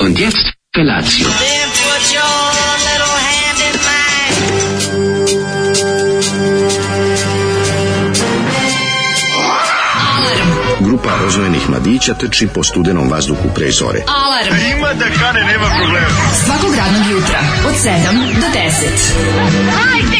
Und jetzt Felatio. Then put your little hand in mine. Grupa rozvojenih mladića trči po studenom vazduhu pre zore. Alarm. Ima da kane, nema problema. Svakog radnog jutra, od 7 do 10.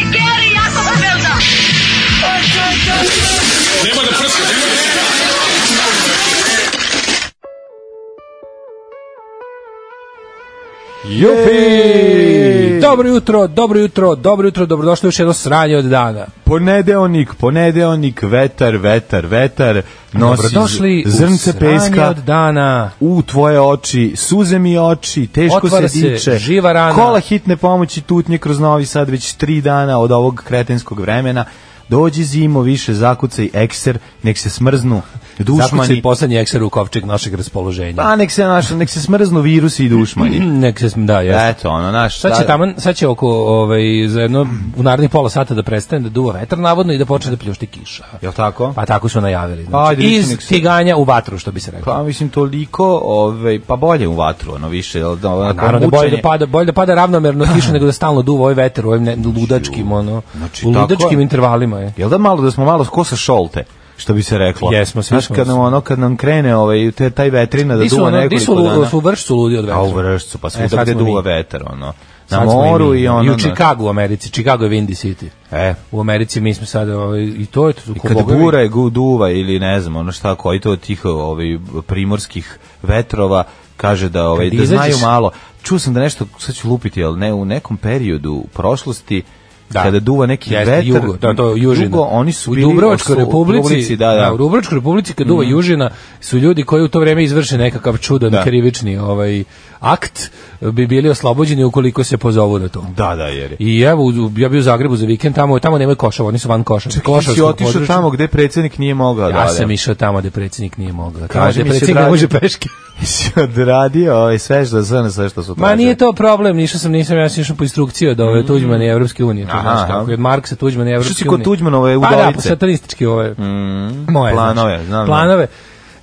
Jupi! Dobro jutro, dobro jutro, dobro jutro, dobrodošli u još jedno sranje od dana. Ponedeonik, ponedeonik, vetar, vetar, vetar, nosi Dobrodošli z- zrnce u sranje peska od dana. u tvoje oči, suze mi oči, teško Otvara se se diče, živa rana. kola hitne pomoći tutnje kroz Novi Sad već tri dana od ovog kretenskog vremena, dođi zimo, više zakucaj ekser, nek se smrznu Zakucaj dušmani, poslednji ekser u kovčeg našeg raspoloženja. pa nek se, naš, nek se smrznu virusi i dušmani. Nek se, sm- da, jeste. Eto, da, ono, naš, Sad će, taman, sad će oko, ovaj, za jedno, u narednih pola sata da prestane da duva vetar navodno i da počne da pljušti kiša. Jel tako? Pa tako su najavili. Znači, Ajde, iz mislim, nek se- tiganja u vatru, što bi se reklo. Pa mislim toliko, ovaj pa bolje u vatru, ono više, jel da ono, Naravno, da bolje da mučenje. pada, bolje da pada ravnomerno kiša nego da stalno duva ovaj vetar u ovim ne, ludačkim, ono, Znači, u tako ludačkim je. intervalima je. Jel da malo da smo malo kosa šolte, što bi se reklo. Jesmo, svi Znaš, smo kad nam se. ono kad nam krene ovaj te, taj vetrina da Di su, duva ono, di su, nekoliko lu- dana. su vršcu ludi od vetra. A u vršcu, pa E, svuda sad gde smo mi. duva vetar, ono. Na Sad smo moru mi. da. i ono. da. na- u Chicagu u Americi, Chicago je Windy City. E, U Americi mi smo sad ovaj, i to je to I kad bura je gu duva ili ne znam, ono šta, koji to tih ovaj, primorskih vetrova, kaže da, ovaj, Kad da znaju izađeš- malo. Čuo sam da nešto, sad ću lupiti, ali ne, u nekom periodu u prošlosti, Da. kada duva neki Jeste, vetar, jugo, da, to je južina. jugo, oni su u bili Dubrovačkoj oslo- u republici, da, da. u Dubrovačkoj republici kad duva južina su ljudi koji u to vreme izvrše nekakav čudan Da. krivični ovaj akt bi bili oslobođeni ukoliko se pozovu na to. da, da, jer je. I evo, u- ja bio u Zagrebu za vikend, tamo, tamo nemaju košava, oni su van košava. Ti si otišao tamo gde predsjednik nije mogao da Ja ode. sam išao tamo gde predsjednik nije mogao. Tamo Kaži gde mi se, predsjednik ne dragi- može peške. si odradio ovaj, sve što, sve, sve što su Ma tražili. nije to problem, nisam sam nisam ja sam išao po instrukciji od ove Tuđmana i Evropske unije, to Mm. Aha, znaš kako aha. je od Marksa Tuđmana i Evropske si unije. kod Tuđmanove Pa da, udovice? pa satanistički ove mm, moje planove, znaš, znam, planove.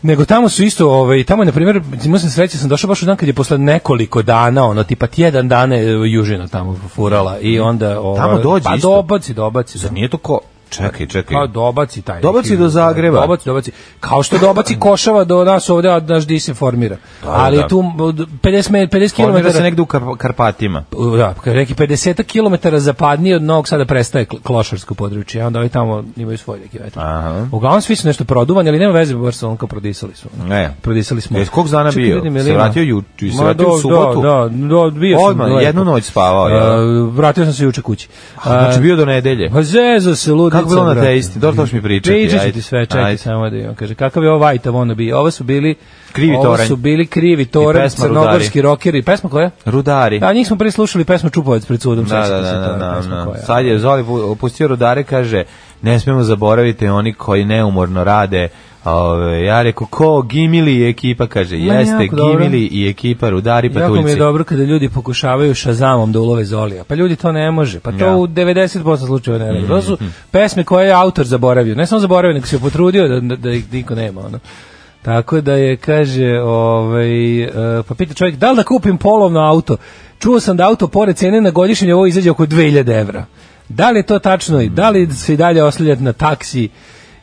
Nego tamo su isto, ovaj, tamo je, na primjer, imao sam sreće, sam došao baš u dan kad je posle nekoliko dana, ono, tipa tjedan dana je južina tamo furala i onda... Ovaj, Mm. Tamo dođe pa, isto? dobaci, dobaci. da. Zar nije to ko... Čekaj, čekaj. Pa dobaci taj. Dobaci neki- do Zagreba. Dobaci, dobaci. Kao što dobaci Košava do nas ovde, a naš di se formira. Ali da. tu m, od 50, me- 50 km... Formira se negde u Karp- Karpatima. da, kad neki 50 km zapadnije od Novog Sada prestaje kl- klošarsko područje, a onda ovi tamo imaju svoj neki vetar. Aha. Uglavnom svi su nešto produvani, ali nema veze, baš su onako prodisali su. Ne. Prodisali smo. Jes, kog dana Čekaj, bio? vidim, je li Se ima? vratio ju- ju- se Ma, vratio u do- subotu? Da, da, do, bio sam. Odmah, lepo. jednu noć spavao, jel? A, vratio sam se juče kući. Znači A, bio do nedelje. Pa zezo se ludica. Kako bilo na brate. te isti? Dobro, to ćeš mi pričati, Pričat ću ajde. ti sve, čekaj Ajde. samo da imam. Kaže, kakav je ovo Vajta ono bi? Ovo su bili... Krivi ovo toranj. su bili krivi toren, pesma crnogorski rokeri. Pesma koja? Rudari. Da, njih smo pre slušali pesmu Čupovac pred sudom. Da, sećate da, se, da, to je da, da, pesma da. koja- Sad je Zoli pu- pustio rudare, kaže, ne smemo zaboraviti oni koji neumorno rade. Ove, ja rekao, ko, Gimili i ekipa, kaže, Ma, jeste, jako dobro. Gimili i ekipa, rudari, pa Jako mi je patuljci. dobro kada ljudi pokušavaju šazamom da ulove Zolija. Pa ljudi to ne može. Pa to Ja. Mhm. u 90% slučajeva ne može. To su pesme koje je autor zaboravio. Ne samo zaboravio, nego se potrudio da, da, da ih niko nema. Ono. Tako da je, kaže, ovaj, e, pa pita čovjek, da li da kupim polovno auto? Čuo sam da auto pored cene na godišnjem nivou izađe oko 2000 evra. Da li je to tačno i da li se i dalje oslanjati na taksi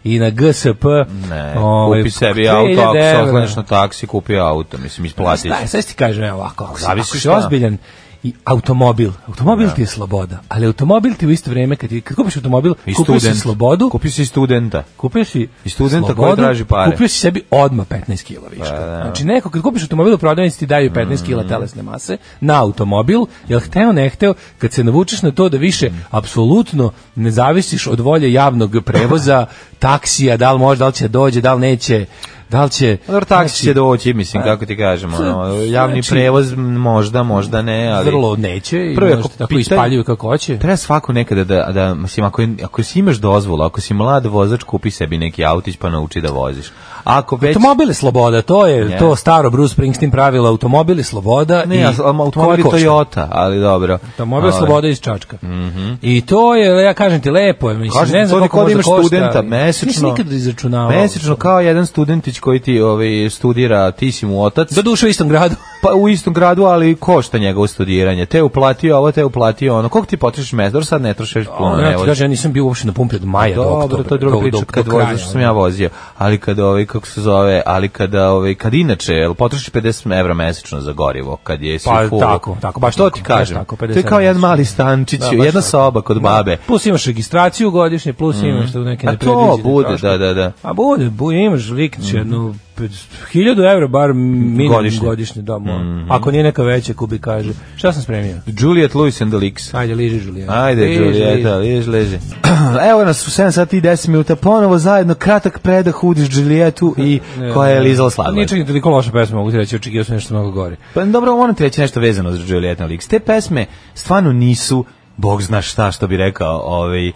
i na GSP? Ne, Ovaj, kupi sebi auto, ako 2000 se evra. oslanjaš na taksi, kupi auto, mislim, isplatiš. Šta, je, sad ti kažem evo ovako, ako, si, Zavisi ako si šta. Da. ozbiljan i automobil, automobil ti je sloboda, ali automobil ti u isto vrijeme, kad, ti- kad kupiš automobil, I kupio si student. slobodu, Kupi si studenta. kupio si I studenta koji slobodu, traži pare. Da, Kupio si sebi odmah 15 kila viška. Znači neko kad kupiš automobil u prodavnici ti daju 15 kila Mm. telesne mase na automobil, jel hteo ne hteo, kad se navučeš na to da više apsolutno ne zavisiš od volje javnog prevoza, taksija, da li može, da li će dođe, da li neće, da li će... Pa Dobro, taksi Znači, će doći, mislim, kako ti kažem, ono, to- javni znači- prevoz m, možda, možda ne, ali... vrlo neće i Prvo, možda ako tako pitanje- ispaljuju kako hoće. Treba svako nekada da, da mislim, ako, je- ako si imaš dozvolu, ako si mlad vozač, kupi sebi neki autić pa nauči da voziš. Ako već... Automobil je sloboda, to je Ja. to staro Bruce Springsteen pravilo, automobil je sloboda Ne, i ja, automobil je koja košta. Toyota, ali dobro. Automobil je Ovaj, sloboda iz Čačka. I to je, ja kažem ti, lepo je, mislim, Kažem, ne znam to je koliko kao da možda imaš košta. studenta ali Nisam mesečno. nikad izračunavao. Mesečno kao jedan studentić koji ti ovaj, studira, ti si mu otac. Da- Do duše u istom gradu. pa u istom gradu, ali košta njegovo studiranje. Te je uplatio ovo, te je uplatio ono. Koliko ti potrošiš mestor, sad ne trošiš puno. ja ne voziš. ti kažem, Znači, ja nisam bio uopšte na pumpi od maja do Dobro, oktobra. to je druga do- priča do- kad do kraja, voziš što sam ja vozio, ali kad ovaj kako se zove, ali kada ovaj kad inače, jel potrošiš 50 evra mesečno za gorivo kad je si Pa, full. tako, tako, baš to tako, ti baš kažem. tako, to je 50 kao jedan evra mali stančić, Da, baš jedna tako. soba kod babe. Plus imaš registraciju godišnje, plus imaš tu neke A to nepredviđene bude, troškove. da, da, da. A bude, bude imaš liknić jedno 1000 evra bar minimum Mhm. Godišnje. Mhm. godišnje, da, mo. Ako nije neka veća kubi kaže. Šta sam spremio? Juliet Lewis and the Leaks. Ajde, liži Julijeta. Ajde, Liži, Julijeta, liži. vidiš, leži. Evo nas u 7 sati i 10 minuta, ponovo zajedno kratak predah udiš Julietu i koja je lizala sladoled. Ničak je toliko loša pesma, mogu ti reći, očekio sam nešto mnogo gore. Pa dobro, moram ti reći nešto vezano za Juliet and the Leaks. Te pesme stvarno nisu, bog zna šta, što bi rekao, ovaj,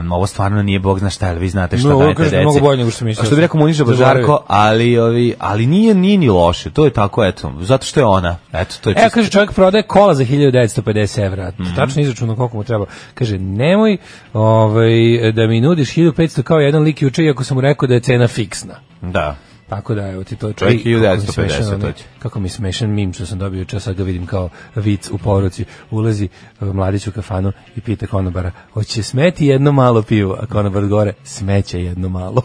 Um, ovo stvarno nije bog zna šta, ali vi znate šta No, ovo dajete kažete deci. mnogo bolje nego što sam mislio. A Što bi rekao Muniša Zaboravio. Božarko, ali, ovi, ali nije, nije ni loše, to je tako, eto, zato što je ona. Eto, to je E, čisto. Mhm. kaže, čovjek prodaje kola za 1950 evra. Tačno izračuno koliko mu treba. Kaže, nemoj ovaj, da mi nudiš 1500 kao jedan lik juče, iako sam mu rekao da je cena fiksna. Da. Tako da, evo ti to Čovjek I kako mi 1950 smešan onaj- dođe. Kako mi smešan mim što sam dobio čas, sad ga vidim kao vic u poruci. Ulazi e, mladić u kafanu i pita konobara, hoće smeti jedno malo pivo? A konobar odgovore, smeće jedno malo.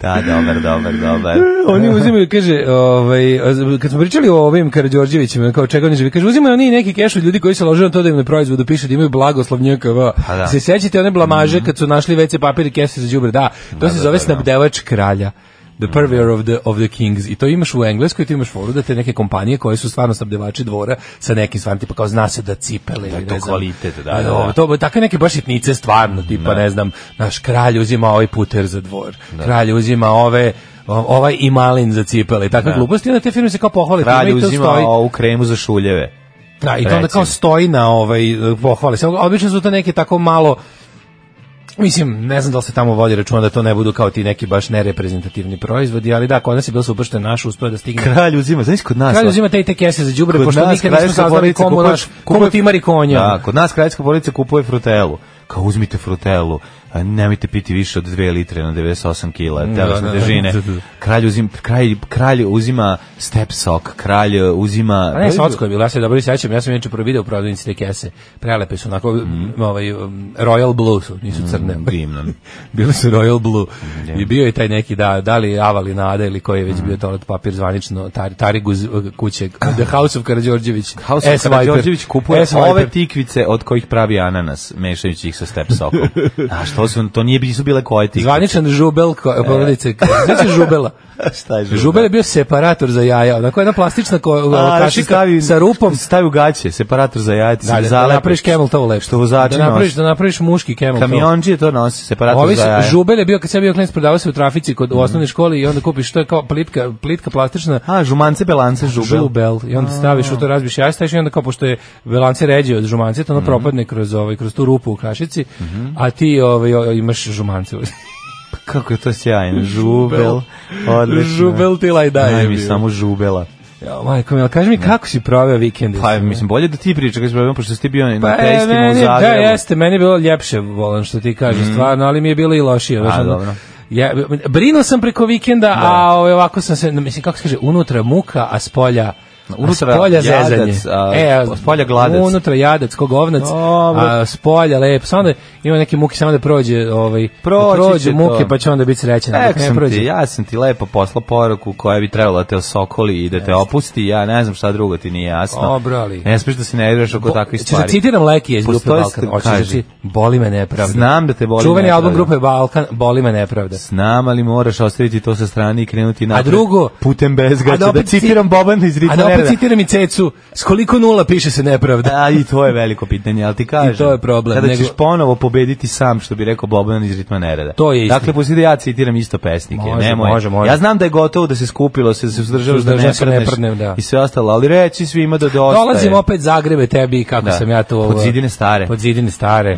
Da, dobar, dobar, dobar. oni uzimaju, kaže, ovaj, a, kad smo pričali o ovim Karadžorđevićima, kao čega oni živi, kaže, uzimaju oni neki keš od ljudi koji se lože na to da im na proizvodu piše da imaju blagoslov NJKV. Pa da. Mhm. Se sećate one blamaže kad su našli WC papir i kese za đubre? Da, to se da, zove da, Mhm. da. snabdevač kralja. The purveyor of the, of the kings. I to imaš u Engleskoj, ti imaš foru da te neke kompanije koje su stvarno snabdevači dvora sa nekim stvarno, tipa kao zna se da cipele. Da je to kvalitet, da, da, da. to, takve neke baš sitnice stvarno, tipa ne znam, naš kralj uzima ovaj puter za dvor, Da. kralj uzima ove o- ovaj i malin za cipele i takve gluposti, onda te firme se kao pohvale time Da. Kralj i to uzima stoji. ovu kremu za šuljeve. Da, i to onda recimo. kao stoji na ovaj eh, pohvale. se. Obično su to neke tako malo Mislim, ne znam da li se tamo vodi računa da to ne budu kao ti neki baš nereprezentativni proizvodi, ali da, kod nas je bilo super što je naš uspeo da stigne Kralj uzima, znaš kod nas. Kralj uzima te i te kese za đubre, Kod pošto nas nikad nismo kraljevska saznali porodica komu, kupuje- naš, komu ti mari konja. Da, kod nas kraljevska porodica kupuje frutelu. Kao uzmite frutelu, a nemojte piti više od 2 litre na 98 kila telesne da, da. težine. Kralj uzima, kralj, kralj uzima step sok, kralj uzima... da A Pa ne, Sotsko je bilo, ja se dobro sećam, ja sam inače prvo video u prodavnici te kese. Prelepe su, onako, Mhm. ovaj, um, Royal Blue su, nisu crne. Divno. Bili su Royal Blue. I bio je taj neki, da, da li je Avali Nada ili koji je već Mhm. bio toalet papir zvanično, tar, Tariguz uh, kuće, The House of Karadžorđević. House of E, S-Viper. E, Karadžorđević kupuje S-Viper. ove tikvice od kojih pravi ananas, mešajući ih sa step sokom. A što su, to nije, nisu bile koje tikvice. Zvaničan žubel E. ko- porodice. Znači žubela. Šta je Žubel je bio separator za jaja, onako jedna plastična ko, A, znači, kašica stavi- sa rupom. Stavi u gaće, separator za jajati, Da, da, da napraviš camel toe lepo. Što vozači da napraviš, nose. da napraviš muški camel toe. Kamionđije to nosi, separator Ovi za se- jaja. žubel je bio kad sam ja bio klinac prodavao se u trafici kod u osnovnoj školi i onda kupiš to je kao plitka plitka plastična A, žumance, belance, žubel. žubel i onda staviš u to razbiš jaje staviš i onda kao pošto je velance ređe od žumance Mhm. to ono propadne kroz ovaj kroz tu rupu u kašici a ti ovaj o- imaš žumance Kako je to sjajno, žubel. Odlično. žubel ti laj daje Daj mi bio. samo žubela. Ja, majko mi, kaži mi kako si proveo vikend Pa, mislim, bolje da ti pričaš, kako problem, pošto si ti bio na Pa, e, testima u meni- Da, Zagrebu. Mhm. jeste, meni je bilo ljepše, volim što ti kažeš, stvarno, ali mi je bilo i lošije. znaš, A, ono, dobro. Da. Ja, brinuo sam preko vikenda, a ovaj, ovako sam se, mislim, kako se kaže, unutra muka, a s polja Unutra s polja jadac, zezanje. E, a s polja gladac. Unutra jadac, ko govnac, Dobro. a s polja lep. Samo da ima neki muki, samo da prođe, ovaj, Proći da prođe će muke, to. pa će onda biti srećan. dok Rekao ne sam prođe. ti, ja sam ti lepo poslao poruku koja bi trebala da te osokoli i da te opusti, ja ne znam šta drugo ti nije jasno. Dobro, ali- Ne smiješ da se ne igraš oko Bo- takvih Hoćeš da stvari. citiram Leki iz Grupe Postoji Balkan. ste- Hoćeš da kaži. ti, boli me nepravda. Znam da te boli Čuveni nepravda. album Grupe Balkan, boli me nepravda. Znam, ali moraš ostaviti to sa strane i krenuti napred. drugo- Putem A bezgaća, da da, opet ci- citiram Bobana iz A Ritma da opet Nereda. citiram i Cecu, s koliko nula piše se nepravda. A, I to je veliko pitanje, ali ti kažem. I to je problem, Kada ćeš nego- ponovo pobediti sam, što bi rekao Boban iz Ritma Nereda. To je istina. Dakle, pusti da ja citiram isto pesnike. Može, nemoj. može, može. Ja znam da je gotovo da se skupilo, se, se uzdržavaš da ne Suzdržan se ne prdneš prdnem, da. i sve ostalo, ali reći svima da dosta Dolazim je. opet Zagrebe tebi i kako Da. sam ja to... Pod zidine stare. Pod zidine stare.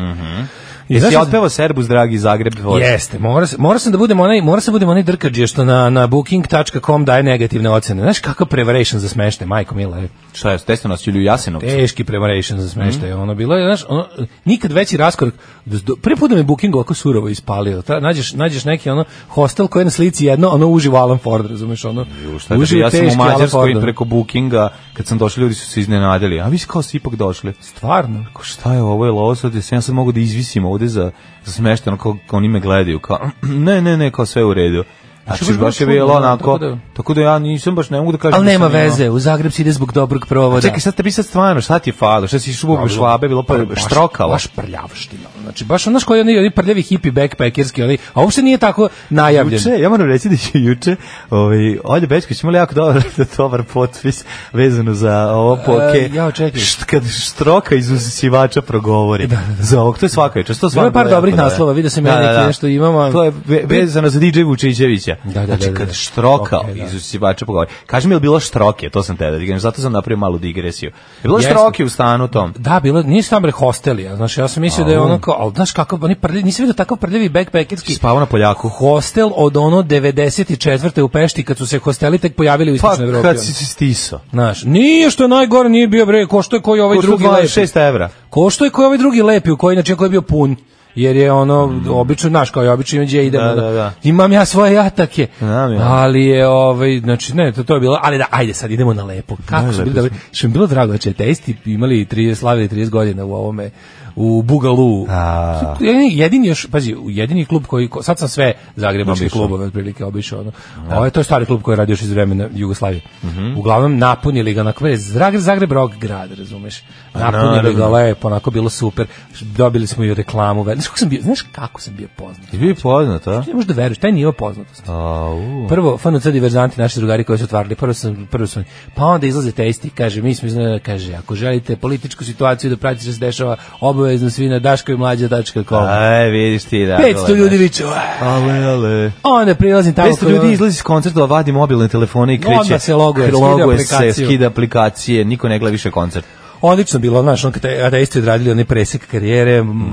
I Jesi znaš- otpevao Serbus, dragi Zagreb? voli? Jeste, mora, se- mora sam da budem onaj, mora sam da budem onaj drkađe što na, na booking.com daje negativne ocene. Znaš kakav prevaration za smešte, majko mila. je. Šta je, desno nas Juliju Jasenovcu? Teški preparation za smeštaj. Mhm. Ono bilo je, znaš, ono, nikad veći raskorak. Do- Prvi put da me Booking ovako surovo ispalio. Ta, nađeš, nađeš neki ono hostel koji je na slici jedno, ono uživo Alan Ford, razumeš, ono. Šta je, uživo ja sam u teški Alan Mađarskoj Ford. preko bookinga, kad sam došli, ljudi su se iznenadili. A vi kao ste ipak došli. Stvarno. Ko šta je ovo, je li ovo sad, jesam ja sad mogu da izvisim ovde za, za smešteno, kao, kao oni me gledaju, kao, ne, ne, ne, kao sve u redu. Znači, baš baš je čudno, bilo da, onako, tako da- tako da ja nisam baš, ne mogu da kažem. Ali da nema sam imao- veze, da. u Zagreb se ide zbog dobrog provoda. Čekaj, sad tebi sad stvarno, šta ti je falo? Šta si šubo švabe, bilo pa Baš- štrokalo? Baš prljavština. Znači, baš ono koji oni, oni prljavi hipi backpackerski, oni, a uopšte nije tako najavljen. Juče, ja moram reći da će juče ovaj, Olja Bečković imala jako dobar, dobar potpis vezano za ovo poke. E, jao, čekaj. Št, kad štroka iz usisivača progovori. Da, da, da. Za ovog, to je svaka večer. To Bilo stvarno je par bilo jako dobrih dobro. naslova, vidio sam ja neki nešto imamo. a- da. To je ve- vezano za DJ Vučićevića. Da, da, da, znači, da, da. kad štroka Ok, da. iz usisivača progovori. Kaži mi, je li bilo štroke? To sam te da ti kažem, zato sam napravio malu digresiju. Je bilo Jeste. štroke u stanu tom? Da, bilo, nije sam bre hostelija, znaš, ja sam mislio da je ono kao, ali znaš kakav, oni prljavi, nisam vidio da takav prljavi backpackerski Spavao na poljaku. hostel od ono 94. u Pešti, kad su se hosteli tek pojavili u Pa, Istočnoj Evropi. ono. kad si si stiso. Znaš, nije što je najgore, nije bio bre, ko što je koji ovaj Košta drugi lepi. 26 evra. Ko što je koji ovaj drugi lepi, u koji način koji je bio pun. Jer je ono, obično, znaš, kao je obično gdje idemo. Da, ono, da, da. Imam ja svoje jatake. Znam ja. Ali je, ovaj, znači, ne, to, to je bilo, ali da, ajde sad, idemo na lepo. Kako su bili dobri. Što mi je bilo drago, znači, te isti imali 30, slavili 30 godina u ovome, u Bugalu. A. Jedini, jedini još, pazi, jedini klub koji, ko- sad sam sve zagrebačke Obišao. Da. klubove otprilike obišao. Ono. Ovo je, to je stari klub koji je radio još iz vremena Jugoslavije. Mhm. Uglavnom, napunili ga na kvare. Zagreb, Zagreb rock grad, razumeš? Napunili ga naravno. lepo, onako bilo super. Dobili smo i reklamu. ve- Znaš kako sam bio, znaš kako sam bio poznat? Je bio poznat, a? Ne možeš da veruješ, taj nivo poznatosti. Au. Prvo, FNC diverzanti, naši drugari koji su otvarali, prvo sam, prvo sam, pa onda izlaze te isti, kaže, mi smo iznenada, kaže, ako želite političku situaciju da pratite što se dešava, obavezno svi na daškoj mlađa.com. Aj, vidiš ti da. 500 gledaj. ljudi viče, "Ua!" Ale, ale. onda prilazim tamo. 500 kod ljudi onog- izlazi s koncerta, da vadi mobilne telefone i Onda kreće. se loguje, skida loguje se, aplikaciju. skida aplikacije, niko ne gleda više koncert. Odlično bilo, znaš, on kada je isto da odradili onaj presek karijere, m,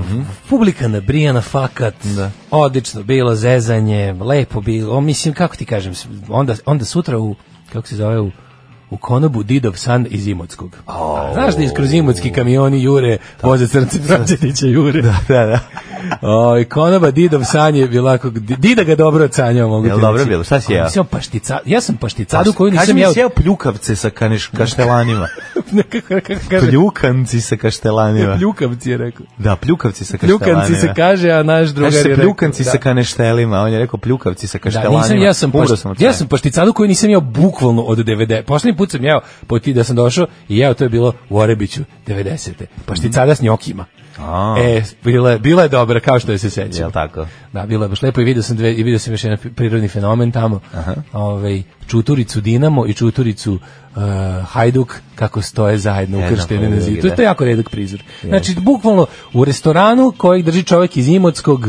publika nabrijana fakat, Da. odlično bilo, zezanje, lepo bilo, o, mislim, kako ti kažem, s- onda, onda sutra u, kako se zove, u, u konobu Didov san iz Imotskog. Znaš da iskroz Imotski kamioni jure, voze crnce Franđetića jure. Da, Da, da. O, konoba Didov san je bila, ako- Di- Dida ga dobro ocanjao, mogu ti Jel dobro reći. bilo? Šta si A, jeo? Pa mislim, paštica, ja sam pašticadu koju Kaži nisam mi, jeo. jesi jeo pljukavce sa kaneš, kaštelanima. Nekako, kako kaže, Pljukanci sa kaštelanima. Pljukavci je rekao. Da, pljukavci sa kaštelanima. Pljukanci se kaže, a naš drugar Kaže je se rekao. pljukanci da. sa kaneštelima, on je rekao pljukavci sa Da, kaštelanima. nisam, ja sam, Umro pašti, od ja smeha. sam pašticadu koju nisam jeo bukvalno od 90. Poslednji put sam jeo, po ti da sam došao i jeo, to je bilo u Orebiću 90. Pašticada s njokima. A. E, bila, je- bila je dobra, kao što je se sećam. Jel tako? Da, bilo je baš lepo i vidio sam, dve, i vidio sam još jedan prirodni fenomen tamo. Ovaj, čuturicu Dinamo i čuturicu eh, Hajduk kako stoje zajedno Jednako ukrštene na drugi, zidu. To je- da. To je jako redak prizor. Znači, bukvalno u restoranu kojeg drži čovjek iz Imotskog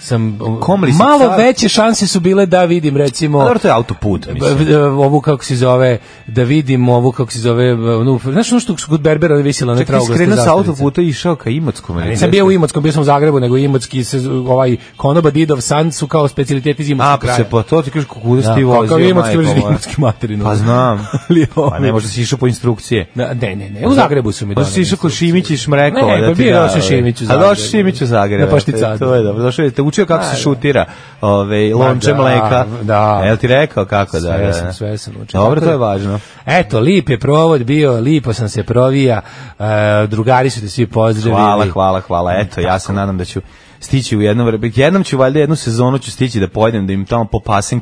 sam Komli si malo car. veće šanse su bile da vidim recimo A dobro, to je autoput, mislim. b- b- ovu kako se zove da vidim ovu kako se zove no, znaš ono što su kod Berbera visila na Čekaj, ti trauglaste skrenuo sa zastavice? autoputa i išao ka Imotskom. ili Nisam gde bio u si? Imotskom, bio sam u Zagrebu, nego Imotski se, ovaj Konoba, Didov, San su kao specijaliteti iz A, Imotskog pa kraja. se po to ti kažeš kukuda Da, si ti pa kao vozio, Imotski majko brži, moja. Imotski materinu. Pa znam. Ali pa ovaj- ne, možda si išao po instrukcije. Na- Ne, ne, ne, u Zagrebu su mi Pa si išao kod Šimić i Šmrekova. Ne, da pa ti bio da, došao ovaj. Šimić u A Zagreb. došao Šimić u Zagreb. Na Pašticadu. To je dobro. Došao je, te učio kako se šutira ovaj, lonče da, mleka. da. Jel ti rekao kako da? Sve da, sam, da. sve sam učio. Dobro, Tako to je da- važno. Eto, lip je provod bio, lipo sam se provija, e, drugari su te svi pozdravili. Hvala, hvala, hvala. Eto, ja se nadam da ću stići u jednom vreme. Jednom ću valjda jednu sezonu ću stići da pojedem da im tamo popasim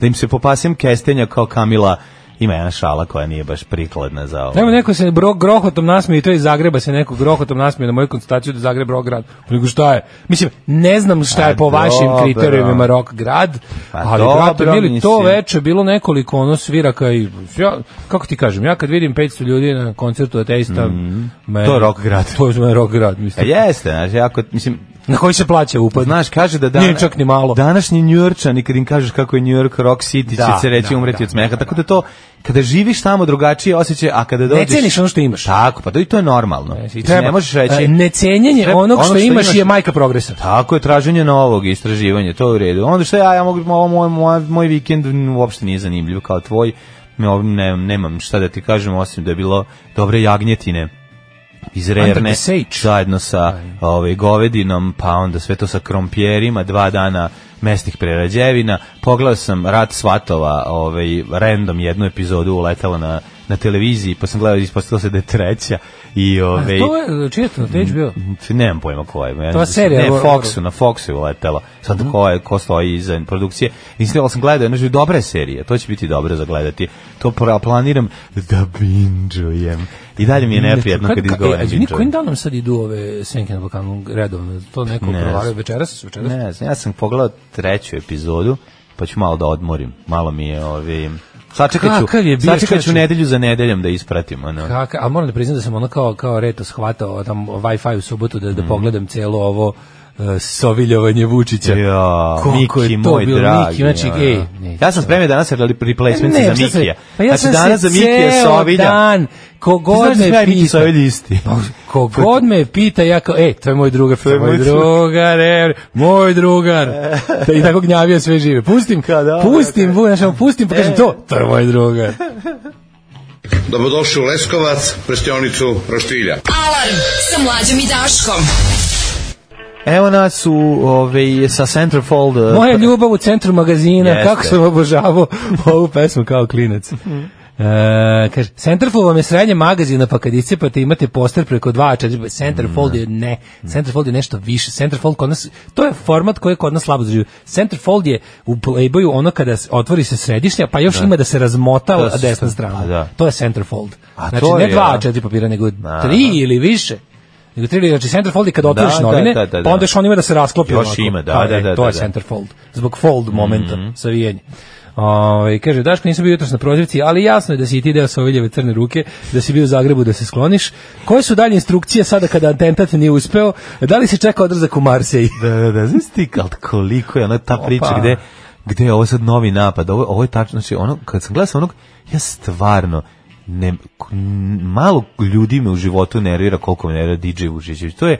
da im se popasim kestenja kao Kamila. Ima jedna šala koja nije baš prikladna za ovo. Evo neko se bro, grohotom nasmije i to iz Zagreba se neko grohotom nasmije na moju konstataciju da je Zagreb rock grad. Pa Nego šta je? Mislim, ne znam šta je A, po vašim Pa dobro. kriterijumima rock grad, Pa ali dobro, brate, bili to mislim. veče bilo nekoliko ono sviraka i ja, kako ti kažem, ja kad vidim 500 ljudi na koncertu ateista, mm, Mhm. To je rock grad. To je rock grad, mislim. Pa jeste, znači, jako, mislim, Na koji se plaća upad? Znaš, kaže da Nije čak ni malo. Današnji Njujorčani, kad im kažeš kako je New York Rock City, Da, će se reći da, umreti da, od smeha. Tako da to, kada živiš tamo drugačije osjećaj, a kada dođeš... Ne ceniš ono što imaš. Tako, pa to i to je normalno. I ti ne možeš reći... E, Necenjenje Treba- onog što, imaš, je majka progresa. Tako je, traženje novog, istraživanje, to je u redu. Onda što ja, ja mogu, ovo, moj, moj, moj vikend uopšte nije zanimljiv kao tvoj, ne, ne, nemam šta da ti kažem, osim da je bilo dobre jagnjetine iz Rerne, the Sage. zajedno sa ovaj, govedinom, pa onda sve to sa krompjerima, dva dana mesnih prerađevina. Pogledao sam Rat Svatova, ovaj, random jednu epizodu uletala na, na televiziji, pa sam gledao i ispostavilo se da je treća. I, A ovaj, E, To je, čije je to? To je HBO? nemam pojma ko je. Ja To je serija, Mhm. Ne, ovo- Foxu, na Foxu je uletelo. Sad ko, je, ko stoji iza produkcije. Instalirao sam gledao, znači, dobra je serija, to će biti dobro za gledati. To pra- planiram da binđujem. I dalje mi je neprijatno kad izgovaram e, Izvini, kojim binđujem. danom sad idu ove senke na Balkanu redovno? To neko Ne provaraju znam. večeras? večeras? Ne znam, ja sam pogledao treću epizodu, pa ću malo da odmorim. Malo mi je ovi... Sačekat ću, Kakav je bio, sačekat ću čoveče? nedelju za nedeljom da ispratim. Ono. Kak, a moram da priznam da sam ono kao, kao reto shvatao tam Wi-Fi u subotu da, da Mm. pogledam celo ovo e, soviljovanje Vučića. Ja, Koliko Miki, je to moj bilo, dragi. Miki, znači, ono. ej, ne, ja sam spremio danas re- replacement Ne, za šta se- Mikija. Pa ja znači, sam danas se za Mikija ceo Sovilja. dan, da. Ti kogod znaš da me ja i Miki pita. Sovilj isti. Pa, Kogod me pita, ja kao, e, to je moj drugar, to je moj moj drugar. drugar, e, moj drugar. Da, I tako gnjavio sve žive. Pustim, Kao da, pustim, bu, znaš, ono, pustim, pa kažem to, to je moj drugar. Dobrodošli u Leskovac, prštionicu Roštilja. Alarm sa mlađom i Daškom. Evo nas u, ove, sa Centerfold. uh, Moja ljubav u centru magazina, Jeste. Mm. kako sam obožavao ovu pesmu kao klinac. E, kaže, Centerfold vam je srednje magazina, pa kad iscepate imate poster preko 2 4, Centerfold je Mm. ne, Centerfold je nešto više, Centerfold kod nas, to je format koji je kod nas slabo zaživio. Centerfold je u Playboyu ono kada se otvori se središnja, pa još ima da se razmota Da, desna s- strana. pa da. To je Centerfold. A znači, to ne je, 2 da. 4 papira, nego 3 Da, da. ili više. Nego tri, ili- znači Centerfold je kad otvoriš da, novine, da, da, da. pa onda još on ima da se rasklopi. Još onako. ima, da, Pa, da, e, da, To je da. Mhm. Centerfold. Zbog fold momenta, savijenje. Ovaj kaže, Daško, nisam bio jutros na prozivci, ali jasno je da si i ti deo Soviljeve crne ruke, da si bio u Zagrebu da se skloniš. Koje su dalje instrukcije sada kada atentat nije uspeo? Da li se čeka odrazak u Marseji? Da, da, da, znaš ti kal- koliko je ona ta priča Opa. gde, gde je ovo sad novi napad, ovo, ovo je tačno, znači ono, kad sam gledao sam onog, ja stvarno, ne, k- n- malo ljudi me u životu nervira koliko me nervira DJ Vučićević, to je,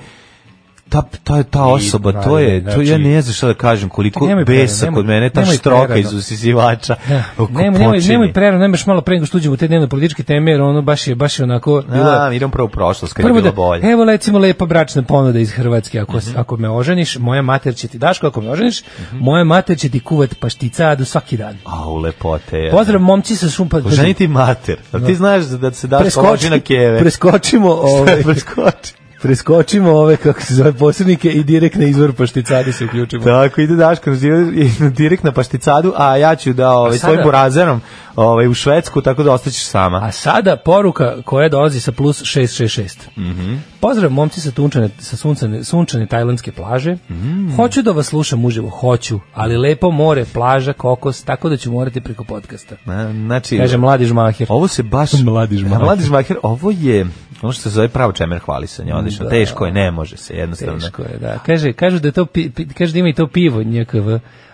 ta, ta, ta osoba, to je, to ja ne znam šta da kažem, koliko znači- Nemoj prerano, besa nemoj- kod mene, ta nemoj štroka prerano. iz usisivača, oko Nemoj, nemoj, počinje. nemoj prerano, nemaš malo pre nego što uđemo u te dnevno političke teme, jer ono baš je, baš je onako... bilo je- da- A, e- idem prvo u prošlost, kad je bilo bolje. Mhm. Evo recimo lepa bračna ponuda iz Hrvatske, ako, ako me oženiš, moja mater će ti, Daško, ako me oženiš, moja mater će ti kuvat pašticadu svaki dan. A, u lepote. je. Pozdrav momci sa šumpa. Ženi ti mater. A ti znaš Pa da se daš koloži na keve. preskočimo ove, Preskoči. preskočimo ove, kako se zove, posrednike i direktne izvor pašticade se uključimo. Tako, ide Daško na zivo- i direkt na pašticadu, a ja ću da ovaj, sada- svojim burazerom ovaj, u Švedsku, tako da ostaćeš sama. A sada poruka koja dolazi sa plus 666. Mm Mhm. Pozdrav momci sa, tunčane, sa sunčane, sunčane tajlandske plaže. Mhm. Hoću da vas slušam uživo, hoću, ali lepo more, plaža, kokos, tako da ću morati preko podcasta. Na- Znači, Kaže mladi žmaher. ovo se baš... Mladi žmaher. A, Mladi žmaher, ovo je ono što se zove pravo čemer hvalisanje, odlično. Da. Teško je, ne može se, jednostavno. Teško je, da. Kaže, kažu da, je to, pi- pi- kaže da ima i to pivo njkv,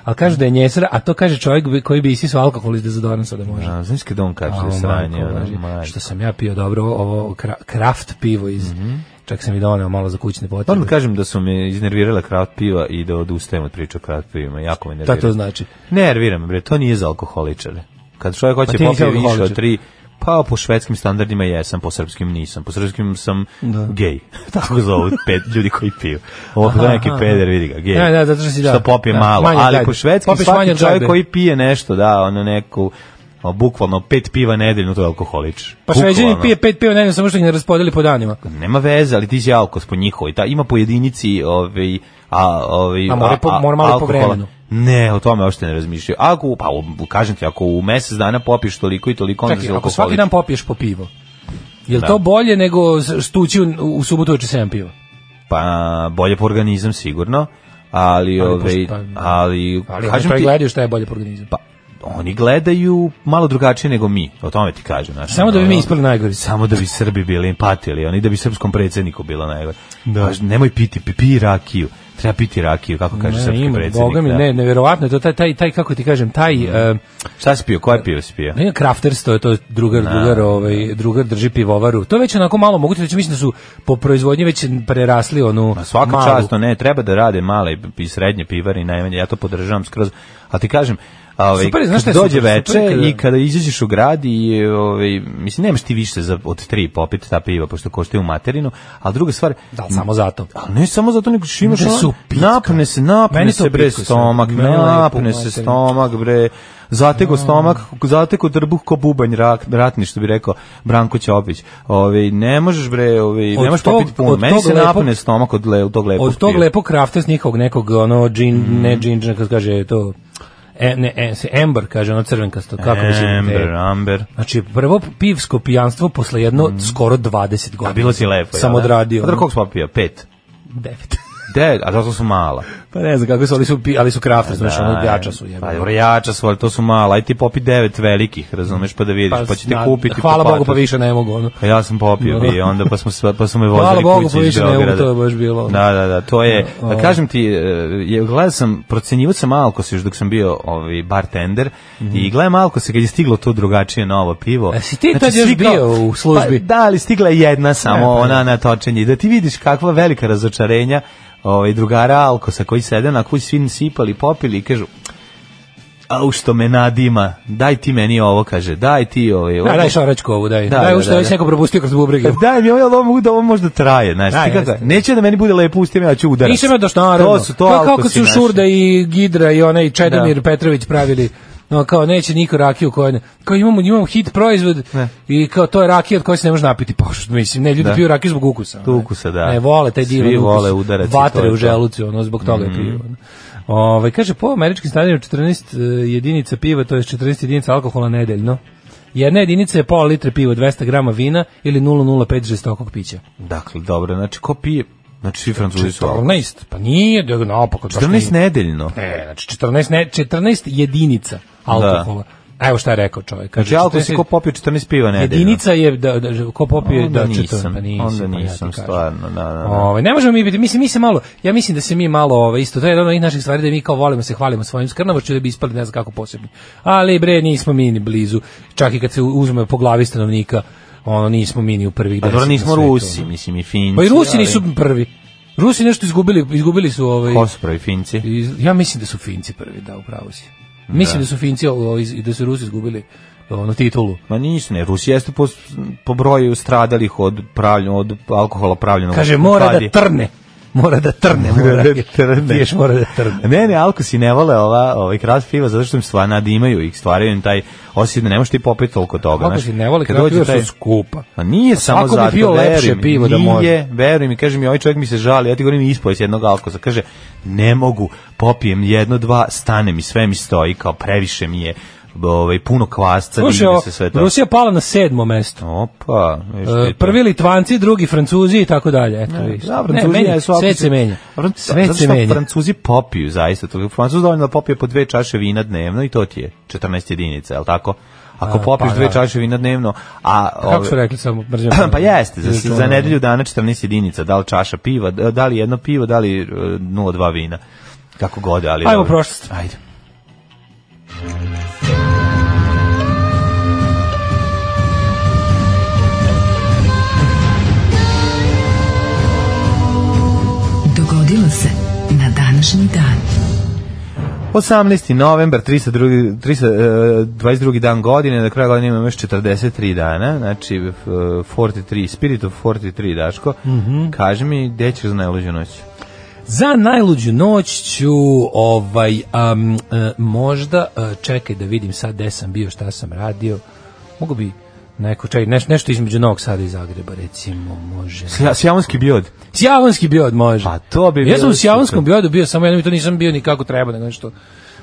ali kažu da je njesra, a to kaže čovjek bi- koji bi isisao alkohol iz dezodoransa da može. A, znaš kada on kaže da je Au, sranje, majko ono, Božja. majko. Što sam ja pio dobro, ovo kra- kraft pivo iz... Mhm. Čak sam i doneo malo za kućne potrebe. Moram da kažem da su me iznervirala kraft piva i da odustajem od priče o kraft pivima. Jako me nervira. Šta to znači? Nervira me, bre, to nije za alkoholičare. Kad čovjek hoće Pa ti nisi popije više alkoholičar. od tri, pa po švedskim standardima jesam, po srpskim nisam. Po srpskim sam Da. gej. Tako zovu pet ljudi koji piju. Ovo kada neki aha. peder, vidi ga, gej. Da, da, zato što si, da, Što popije da, malo. manje od Ali gajbe. po švedskim Popiješ manje svaki od čovjek gajbe. koji pije nešto, da, ono neku, o, bukvalno pet piva nedeljno, to je alkoholič. Pa šveđani Bukvalno. pije pet piva, ne znam, samo što ih ne raspodeli po danima. Nema veze, ali ti si alkos po njihovoj. Ta, ima po jedinici, ovaj, a, ovaj, A mora po- mora malo po alkohola. vremenu. Ne, o tome uopšte ne razmišljaju. Ako, pa u- kažem ti, ako u mesec dana popiješ toliko i toliko, onda Da. si Čekaj, ako alkoholič. svaki dan popiješ po pivo, je li to bolje nego s- stući u, u subotu uveče 7 piva? Pa, bolje po organizam sigurno, ali, Ali ovaj, pošto- pa, ali, Ali kažem oni ti, gledaju šta je bolje po organizmu. pa, oni gledaju malo drugačije nego mi, o tome ti kažem. Znači, Samo da bi ono, mi ispali najgori. samo da bi Srbi bili patili, oni da bi srpskom predsjedniku bilo najgore. Da. nemoj piti, pi, pi rakiju. treba piti rakiju, kako kaže Ne, srpski ima, predsjednik. Boga mi, da. Mm. ne, nevjerovatno je to, taj, taj, taj, kako ti kažem, taj, e, Šta si pio? Koje pivo si pio? Ne, krafterstvo je to drugar, Da, drugar, ovaj, drugar drži pivovaru. To je već onako malo moguće, znači mislim da su po proizvodnji već prerasli onu Ma svaka malu. časno, ne, treba da rade male i- i srednje pivare najmanje, ja to podržavam skroz. A ti kažem, ovaj, Super je, znaš kad šta je dođe super? veče Super je kada- i kada izađeš u grad i ovaj, mislim, nemaš ti više za, od tri popiti ta piva, pošto koštaju u materinu, ali druga stvar, Da, ali samo zato. A ne samo zato nego što imaš Mene ono- su pitka. napne se, napne Meni to se bre pitko sve. stomak, Mene lepo napne se materine. stomak bre. Zateko stomak, zateko trbuh ko bubanj rak, ratni što bi rekao Branko Ćopić. Ovaj ne možeš bre, ovaj ne Od možeš tog- popiti puno. od Meni tog se lepog- napne stomak od le, od tog lepog. Od tog piva. lepog krafterstva njihovog nekog, ono, džin, Mm. ne džinđa, kako se kaže, to, e, ne, e, se, ember, kaže, ono crvenkasto, kako bi se... te- Amber, da. Amber. Znači, prvo pivsko pijanstvo posle jedno skoro 20 godina. Mm. A bilo si lepo. Sam jel da? odradio. A dobro, koliko si popio? Pet. Devet. Devet, a zato su mala. pa ne znam kako su, ali su, pi- ali su krafter, znaš, ono, Aj, jača su. Pa jebote. dobro, jača su, ali to su mala. Aj ti popi devet velikih, razumeš, pa da vidiš, pa, ćete na- kupiti. Hvala pa Bogu, pa patiš. više ne mogu, ono. Pa ja sam popio Dobro. bio, onda pa smo sve- pa smo me Da. Hvala vozili Bogu, kući pa iz više ne mogu, Beograda. to je baš bilo. Da, da, da, to je, Ovo. da kažem ti, e, je, gledao sam, procenjivao sam Alkos još dok sam bio ovaj, bartender i gledam Alkos kad je stiglo to drugačije novo pivo. znači, A Mhm. E, si ti tad još svi kao- bio u službi? pa Pa, da, ali stigla je jedna samo, ona na točenje. I Da ti vidiš kakva velika razočarenja ovaj, drugara Alkosa koji sede na kući svi sipali, popili i kažu, au što me nadima, daj ti meni ovo, kaže, daj ti ovaj, Da, Daj, ovo- daj šoračku ovu, daj. Da, daj, da, ovo što da, je već da. neko propustio kroz bubrege. Daj mi ovo, jel ovo, mogu da ovo možda traje, znaš, Da, ti kako, jeste. neće da meni bude lepo ustim, ja ću udarac. Nisam ja došao, naravno. To su to, Kao- alkosi kao kad su naši. Šurda i Gidra i onaj Čedomir Da. Petrović pravili No, kao neće niko rakiju koja ne. Kao imamo, imamo hit proizvod Ne. i kao to je rakija od koje se ne može napiti. Pa što mislim, ne, ljudi Da. piju rakiju zbog ukusa. ono. Ukusa, da. Ne, vole taj divan Svi ukus. vole udarac i to Vatre je u to. Mhm. želucu, ono, zbog toga mm. piju. ono. Ovaj, kaže, po američkim stadionima 14 eh, jedinica piva, to je 14 jedinica alkohola nedeljno. Jedna jedinica je pola litre piva, 200 grama vina ili 0,05 žestokog pića. Dakle, dobro, znači, ko pije, znači, svi francuzi su alkosi. 14, pa nije, da ga naopako. baš 14 nije. nedeljno. Ne, znači 14, ne, 14 jedinica alkohola. A Evo šta je rekao čovjek. Kaže, Da. Znači, alkos je 14 ko popio 14 piva nedeljno. Jedinica je da, da ko popije Onda da nisam, čitam, pa nisam, onda pa ja ti nisam, kažem. stvarno, da, da, da. Ovaj, ne možemo mi biti, mislim mi se malo, ja mislim da se mi malo ovaj isto to je jedno od onih naših stvari da mi kao volimo se hvalimo svojim skrnavošću da bi ispali ne znam kako posebni. Ali bre nismo mi ni blizu. Čak i kad se uzme po glavi stanovnika, ono nismo mi ni u prvih Pa dobro, deset na nismo svetu, Rusi, ono. mislim, i Finci. Pa i Rusi ali- nisu prvi. Rusi nešto izgubili, izgubili su ovaj Ko su pravi Finci? iz- ja mislim da su Finci prvi, da, upravo si. Mislim da, su Finci o, iz- i da su Rusi izgubili ono titulu. Ma nisu, ne, Rusi jeste po, po broju stradalih od, pravljen, od alkohola pravljenog. Kaže u mora da padi. trne. Mora da trne, mora da trne. Piješ, mora da trne. Ne, ne, alkosi ne vole ova, ovaj kras piva zato što im stvarno nadimaju i stvaraju im taj osjećaj da ne možeš ti popiti toliko toga. Kako znaš. si ne voli Kad kraft dođe piva taj- su skupa. Pa nije samo svako bi zato, pio veruj lepše mi, pivo da može. Nije, veruj mi, kaže mi, ovaj čovjek mi se žali, ja ti govorim ispojest jednog alkoza, kaže, ne mogu, popijem jedno, dva, stane mi, sve mi stoji, kao previše mi je, ovaj, puno kvasca, Slušaj, digne ovo, da se sve to. Rusija pala na sedmo mesto. Opa, viš ti E, to. prvi Litvanci, drugi Francuzi i tako dalje. Eto, vidiš. Da, Pa ne, Francuzi menja, jesu alkosi- sve se menja. Fran- Sve zato se što menja. Francuzi popiju, zaista. To, Francuz dovoljno da popije po dve čaše vina dnevno i to ti je 14 jedinica, je li tako? Ako A, popiješ pa dve da. Pa čaše vina dnevno, a... Kako ove- su rekli samo mrzim? Znači, pa jeste, za, Izračunano. za nedelju dana 14 jedinica, da li čaša piva, da da li jedno pivo, da li e, 0,2 vina. Kako god, ali... Ajmo dobro. prošlost. Ajde. Dogodilo se na današnji dan. 18. novembar, 302, 322. e, dan godine, do kraja godine imamo još 43 dana, znači e, 43, Spirit of 43, Daško. Kaži mi, gde ćeš za najluđu noć? Za najluđu noć ću ovaj am, e, možda e, čekaj da vidim sad gde sam bio, šta sam radio. Mogu bi neko čaj, neš, nešto između Novog Sada i Zagreba recimo može. Sja- Sjamonski biod. Sjavonski biod može. Pa to bi Ja sam u bilo Sjavonskom super. biodu bio samo jednom i to nisam bio ni kako treba, nego nešto.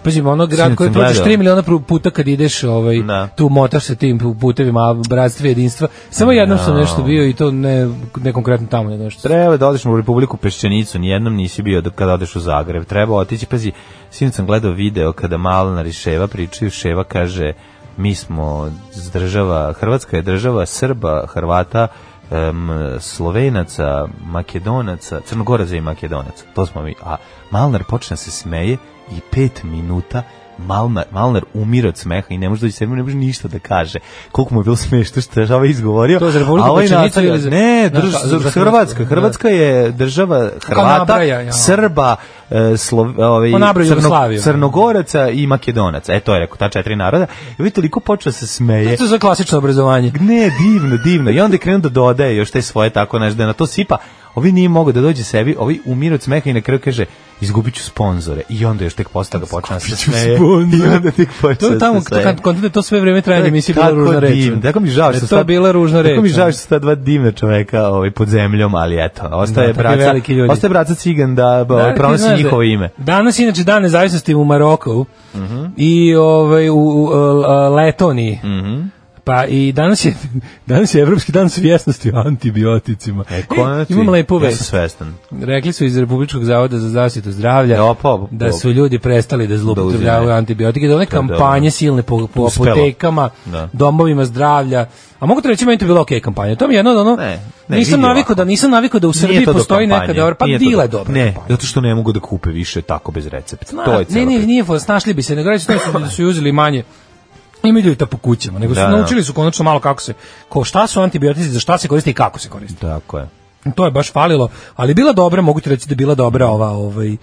Pazi, ono grad Sinoć koji sam prođeš gledao. 3 miliona pru- puta kad ideš, ovaj, Da. tu motaš se tim pu- putevima, a bratstva i jedinstva. Samo jednom sam Da. nešto bio i to ne, ne konkretno tamo, nego nešto. Treba da odeš u Republiku Peščenicu, nijednom nisi bio dok kada odeš u Zagreb. Treba otići, pazi, sinoć sam gledao video kada Malnar i Ševa pričaju, Ševa kaže, mi smo z- država, Hrvatska je država Srba, Hrvata, em, Slovenaca, Makedonaca, Crnogoraca i Makedonaca. To smo mi. A Malnar počne da se smeje i pet minuta Malnar, Malnar umira od smeha i ne može doći sebi, ne može ništa da kaže. Koliko mu je bilo smešno što je ovaj izgovorio. To je za Republiku a ovaj Pečenicu nastavlja- ili za- Ne, Znaš, drž, a, za, za Hrvatska. Hrvatsku, Hrvatska je država Hrvata, nabraja, ja. Srba, e, Slo, ovaj, Pa nabraja Jugoslaviju. Crnogoraca i Makedonaca. E, to je rekao, ta četiri naroda. I vi toliko počeo da se smeje. To je za klasično obrazovanje. Ne, divno, divno. I onda je krenuo da dodaje još te svoje tako, znaš, da na to sipa. Ovi nije mogao da dođe sebi, ovi umira od smeha i na kraju kaže, izgubit ću sponzore. I onda još tek posle toga počne da se smeje. I onda tek To počne je da tamo, se to, smeje. kad, kontent je to sve vreme trajanja emisije bila Tako ružna reč. divno. Tako mi žao Da što je su to ta- bila ružna reč. da. Tako mi žao što su ta dva divna čoveka ovaj, pod zemljom, ali eto, ostaje Da, da, takvi veliki ljudi. braca, ostaje braca cigan da, da ovaj, ti pronosi znaš da- njihovo ime. Mhm. Danas je inače dan nezavisnosti u Maroku i ovaj, u, u e, Letoniji. Mhm. Pa i danas je, danas je Evropski dan svjesnosti o antibioticima. E, konačno ti- imam lepu ja vest. sam svestan. Rekli su iz Republičkog zavoda za zaštitu zdravlja E, opa, opa, da opa. su ljudi prestali da zloupotrebljavaju uzimaju. antibiotike, da one To je dobro. kampanje silne po, po Uspelo. apotekama, Da. domovima zdravlja. A mogu ti reći, meni to je bila okej kampanja. To mi je jedno od ono, Ne, ne, nisam vidi navikao ovako. da, nisam navikao da u Srbiji Nije to do postoji neka kampanje, dobra, pa nije to dila je do- dobra Ne, kampanja. zato što ne mogu da kupe više tako bez recepta. Ma, to je cela ne, ne, priča. nije fos, našli bi se, nego reći to su, da su uzeli manje. Ima ljudi ta po kućama, nego su Da, da. naučili su konačno malo kako se, ko šta su antibiotici, za šta se koriste i kako se koriste. Tako je. To je baš falilo, ali bila dobra, mogu ti reći da je bila dobra ova, ovaj, e,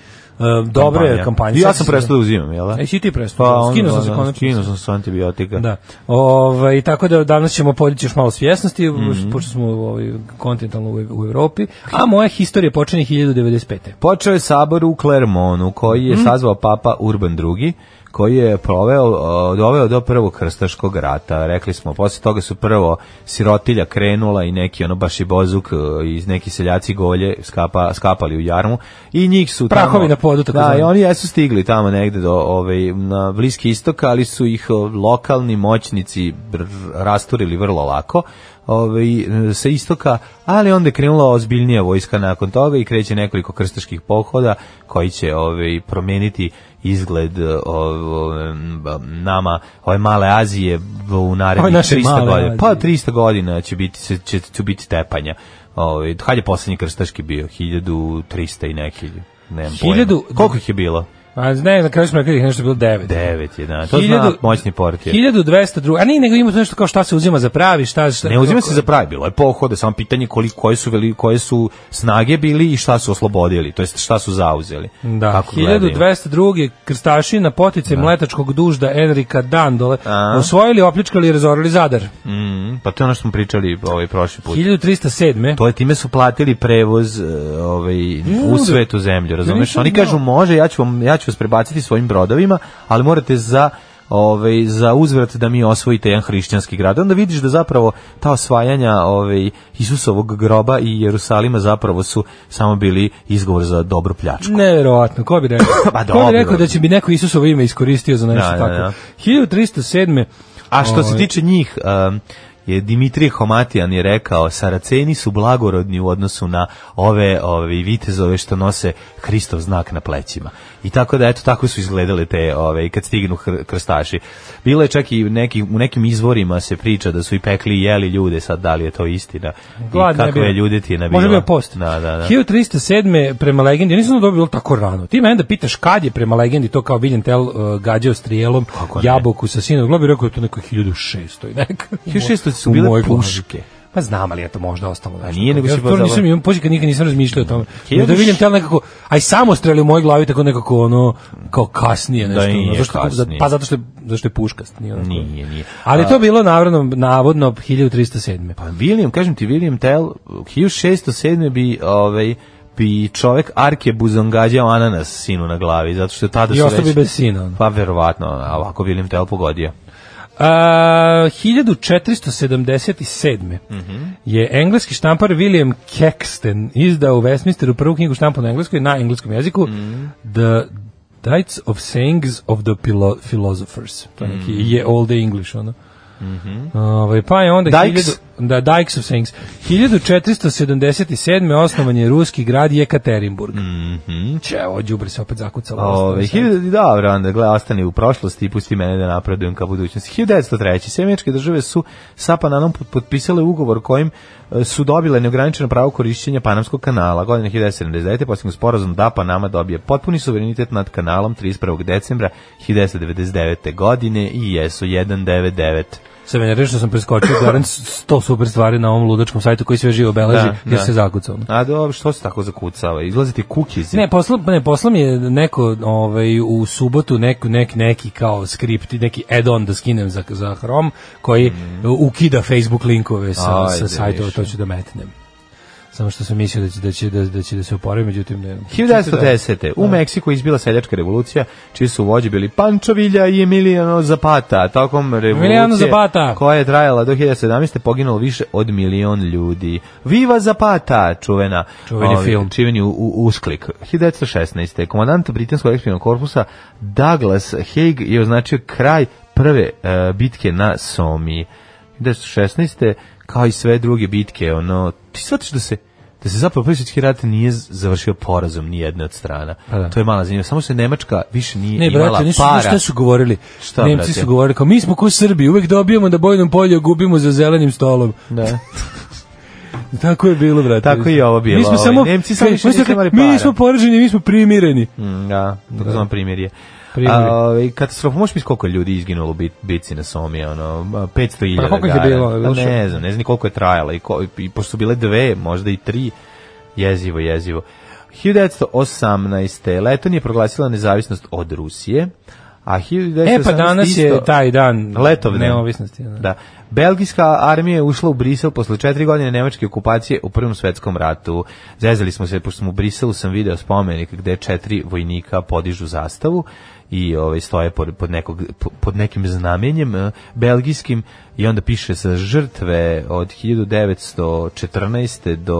dobra je kampanja. I ja Sad sam se- prestao da uzimam, jel? da? E, si ti prestao, Pa, onda, skinuo sam da, se da, konačno. Skinuo sam sa antibiotika. Da. Ovaj tako da danas ćemo podići još malo svjesnosti Mhm. pošto smo ovaj kontinentalno u, u Evropi, a moja historija počinje 1095. Počeo je sabor u Clermontu, koji Mhm. je sazvao papa Urban II, koji je proveo, o, doveo do prvog krstaškog rata. Rekli smo, posle toga su prvo sirotilja krenula i neki ono baš i bozuk e, iz neki seljaci golje skapa, skapali u jarmu i njih su tamo- Prahovi na podu, tako Da, zvani. i oni jesu stigli tamo negde do ovaj na bliski istok, ali su ih o, lokalni moćnici r- rasturili vrlo lako ovaj, sa istoka, ali onda je krenula ozbiljnija vojska nakon toga i kreće nekoliko krstaških pohoda koji će ovaj, promeniti izgled o, o, m, ba- nama ove male Azije u Ove narednih naše 300 male godina. Pa Azije. 300 godina će biti, će, će, će biti tepanja. Ovaj, kad je poslednji krstaški bio? 1300 i neki. Nemam Hiljadu- pojma. Koliko ih je bilo? A ne, na kraju smo rekli da ih nešto je bilo 9. 9, 11. To Hiljadu- zna moćni portir. 1202. A ne, nego ima to nešto kao šta se uzima za pravi, šta, šta Ne uzima se za pravi, bilo je pohode, samo pitanje koliko, koje, su veli, koje su snage bili i šta su oslobodili, to jest šta su zauzeli. Da, Kako gledaju. Da. 1202. krstaši na potice mletačkog dužda Enrika Dandole A. osvojili, opljačkali i razorili Zadar. Mm, pa to je ono što smo pričali ovaj prošli put. 1307. To je time su platili prevoz e, ovaj, u da. svetu zemlju, razumeš? nisam Oni znao. kažu može, ja ću, vam, ja ću vas prebaciti svojim brodovima, ali morate za ovaj, za uzvrat da mi osvojite jedan hrišćanski grad. Onda vidiš da zapravo ta osvajanja ovaj, Isusovog groba i Jerusalima zapravo su samo bili izgovor za dobru pljačku. Neverovatno, ko bi rekao? Pa ko bi dobro. rekao da će bi neko Isusovo ime iskoristio za nešto Da, da, tako? da. 1307. A što se Ovaj. tiče njih, um, je Dimitrije Homatijan je rekao, Saraceni su blagorodni u odnosu na ove, ove vitezove što nose Hristov znak na plećima. I tako da, eto, tako su izgledale te, ove, i kad stignu hr- krstaši. Bilo je čak i neki, u nekim izvorima se priča da su i pekli i jeli ljude, sad da li je to istina. Glad I kakve bio. je ljudetina bila. Može bio post. Da, da, da. 1307. prema legendi, ja nisam znao da je bilo tako rano. Ti mene da pitaš kad je prema legendi to kao Viljen Tell uh, gađao strijelom Kako ne? jabuku sa sinom u glavi, rekao je to neko 1600 i neka. 1600 su U bile mojoj glavi. puške. Pa znam, ali je to možda ostalo. nešto. nije, nego ja si to baš nisam zabavno. imam, pođe kad nikad nisam razmišljao o tome. Hiljadu Da Viljem š- Tell nekako, aj samo streli u mojoj glavi tako nekako ono, kao kasnije nešto. Da nije ono, zašto, kasnije. Pa zato što je, zašto je puškast. Nije, onako. Nije, nije. Ali A- to je bilo navodno, navodno 1307. Pa William, kažem ti, William Tell, 1607. bi, ovaj, bi čovek Arke Buzon gađao ananas sinu na glavi, zato što tada I su ostao bi već- bez sina, ono. Pa verovatno, a ovako William Tell pogodio. A, 1477. je engleski štampar William Caxton izdao u Westminsteru prvu knjigu štampu na engleskoj na engleskom jeziku The Dites of Sayings of the Pilo- Philosophers. To je neki je Old English, ono. Ovaj, pa je onda... Dykes da Dykes of Things. 1477. osnovan je ruski grad Jekaterinburg. Mm -hmm. Če, ovo đubre se opet zakucalo. Ove, Ostalo sam. 1000, dobro, onda gle, ostani u prošlosti i pusti mene da napredujem ka budućnosti. 1903. Sjemeničke države su sa Pananom pot- potpisale ugovor kojim e, su dobile neograničeno pravo korišćenja Panamskog kanala. Godine 1979. postignut sporazum da Panama dobije potpuni suverenitet nad kanalom 31. decembra 1999. godine i jesu 199. Sve mene rešio sam preskočio Goran 100 super stvari na ovom ludačkom sajtu koji sve živo obeleži Da, jer da. se zakucao. A dobro, što se tako zakucava? Izlaziti kukizi? Ne, posla, ne, posla mi je neko ovaj, u subotu nek, nek, neki kao skript, neki add-on da skinem za, za Chrome, koji ukida Facebook linkove sa, Ajde, sa sajtova, više. to ću da metnem. Samo što sam mislio da će da će da, da će da se oporavi, međutim ne. 1910. Da. U Meksiku je izbila seljačka revolucija, čiji su vođe bili Pančo Villa i Emiliano Zapata. Tokom Emiliano revolucije Zapata. koja je trajala do 1917. poginulo više od milion ljudi. Viva Zapata, čuvena. Čuveni ovaj, film. Čuveni u, u, usklik. 1916. Komandant britanskog ekspeditivnog korpusa Douglas Haig je označio kraj prve e, bitke na Somi. 1916. kao i sve druge bitke, ono, ti shvatiš da se da se zapravo prvi svjetski rat nije z- završio porazom ni jedne od strana. Pa da. To je mala zanimljiva. Samo se Nemačka više nije Ne, imala brate, nisu, para. šta su govorili? Šta, Nemci brate? su govorili kao, mi smo ko Srbi, uvek dobijamo na bojnom polju, a gubimo za zelenim stolom. Da. Tako je bilo, brate. Tako je i ovo bilo, Mi smo ovaj, samo, Nemci samo mi više smo nisu rekli, imali para. Mi smo poraženi, mi smo primireni. Mm, da, tako znam primjer je. Primjer. A, ovaj, katastrofa, možeš misliti koliko je ljudi izginulo u bit, bitci na Somi, ono, 500.000 Pa koliko ih je gara. bilo? Je bilo Pa ne še- znam, ne znam ni koliko je trajala i, ko, i pošto su bile dve, možda i tri, jezivo, jezivo. 1918. Leton je proglasila nezavisnost od Rusije, a 1918. E pa danas isto- je taj dan Letovne. neovisnosti. Da. Da. Belgijska armija je ušla u Brisel posle četiri godine nemačke okupacije u Prvom svetskom ratu. Zezali smo se, pošto smo u Briselu sam video spomenik gde četiri vojnika podižu zastavu i ovaj, stoje pod, pod, nekog, pod nekim znamenjem eh, belgijskim i onda piše sa žrtve od 1914. do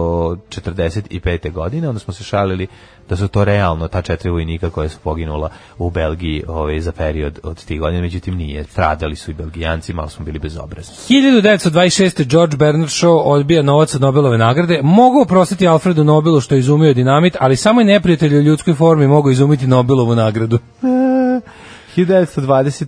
45. godine, onda smo se šalili da su to realno ta četiri vojnika koja su poginula u Belgiji ovaj, za period od tih godina, međutim nije, stradali su i belgijanci, malo smo bili bezobrazni. 1926. George Bernard Shaw odbija novac od Nobelove nagrade. Mogu oprostiti Alfredu Nobelu što je izumio dinamit, ali samo i neprijatelji u ljudskoj formi mogu izumiti Nobelovu nagradu. 1928.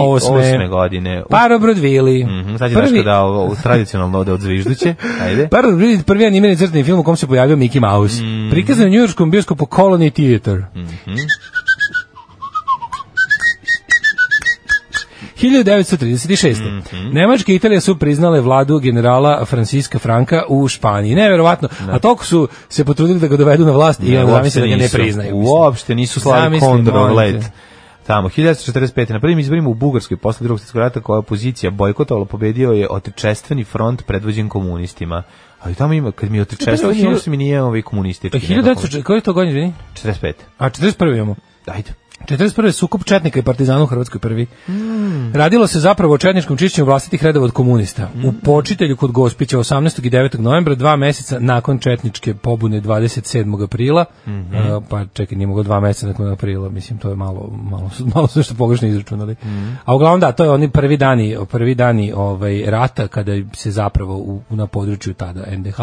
Osme. eh, Pa, godine. Parobrod Vili. Mhm, sad je Daško dao ovo, u tradicionalno ode od zvižduće. Ajde. Parobrod Vili je prvi animirani crtani film u kom se pojavio Mickey Mouse. Mm. Prikazan je u njujorskom bioskopu Colony Theater. Mhm. 1936. Mhm. Nemačka i Italija su priznale vladu generala Franciska Franka u Španiji. Neverovatno. A toliko su se potrudili da ga dovedu na vlast i Da. Ne, ja uopšte zamislim da ga ne nisu. priznaju. mislim. Uopšte nisu slali Zamisli, Kondrov molim te. let. Tamo, 1945. Na prvim izborima u Bugarskoj posle drugog svjetskog rata koja je opozicija bojkotovala, pobedio je otrčestveni front predvođen komunistima. Ali tamo ima, kad mi je Čekaj, otrčestveni, hiljadu- ono mi nije ovi komunistički. nekako. 1900, koji je to godin, izvini? 45. A 41. imamo. Ajde. 41. je sukup četnika i partizana u Hrvatskoj prvi. Radilo se zapravo o četničkom čišćenju vlastitih redova od komunista. U počitelju kod Gospića 18. i 9. novembra, dva meseca nakon četničke pobune 27. aprila, e, pa čekaj, nije mogao dva meseca nakon aprila, mislim, to je malo, malo, malo su nešto pogrešno izračunali. A uglavnom da, to je oni prvi dani, prvi dani ovaj, rata kada se zapravo u, na području tada NDH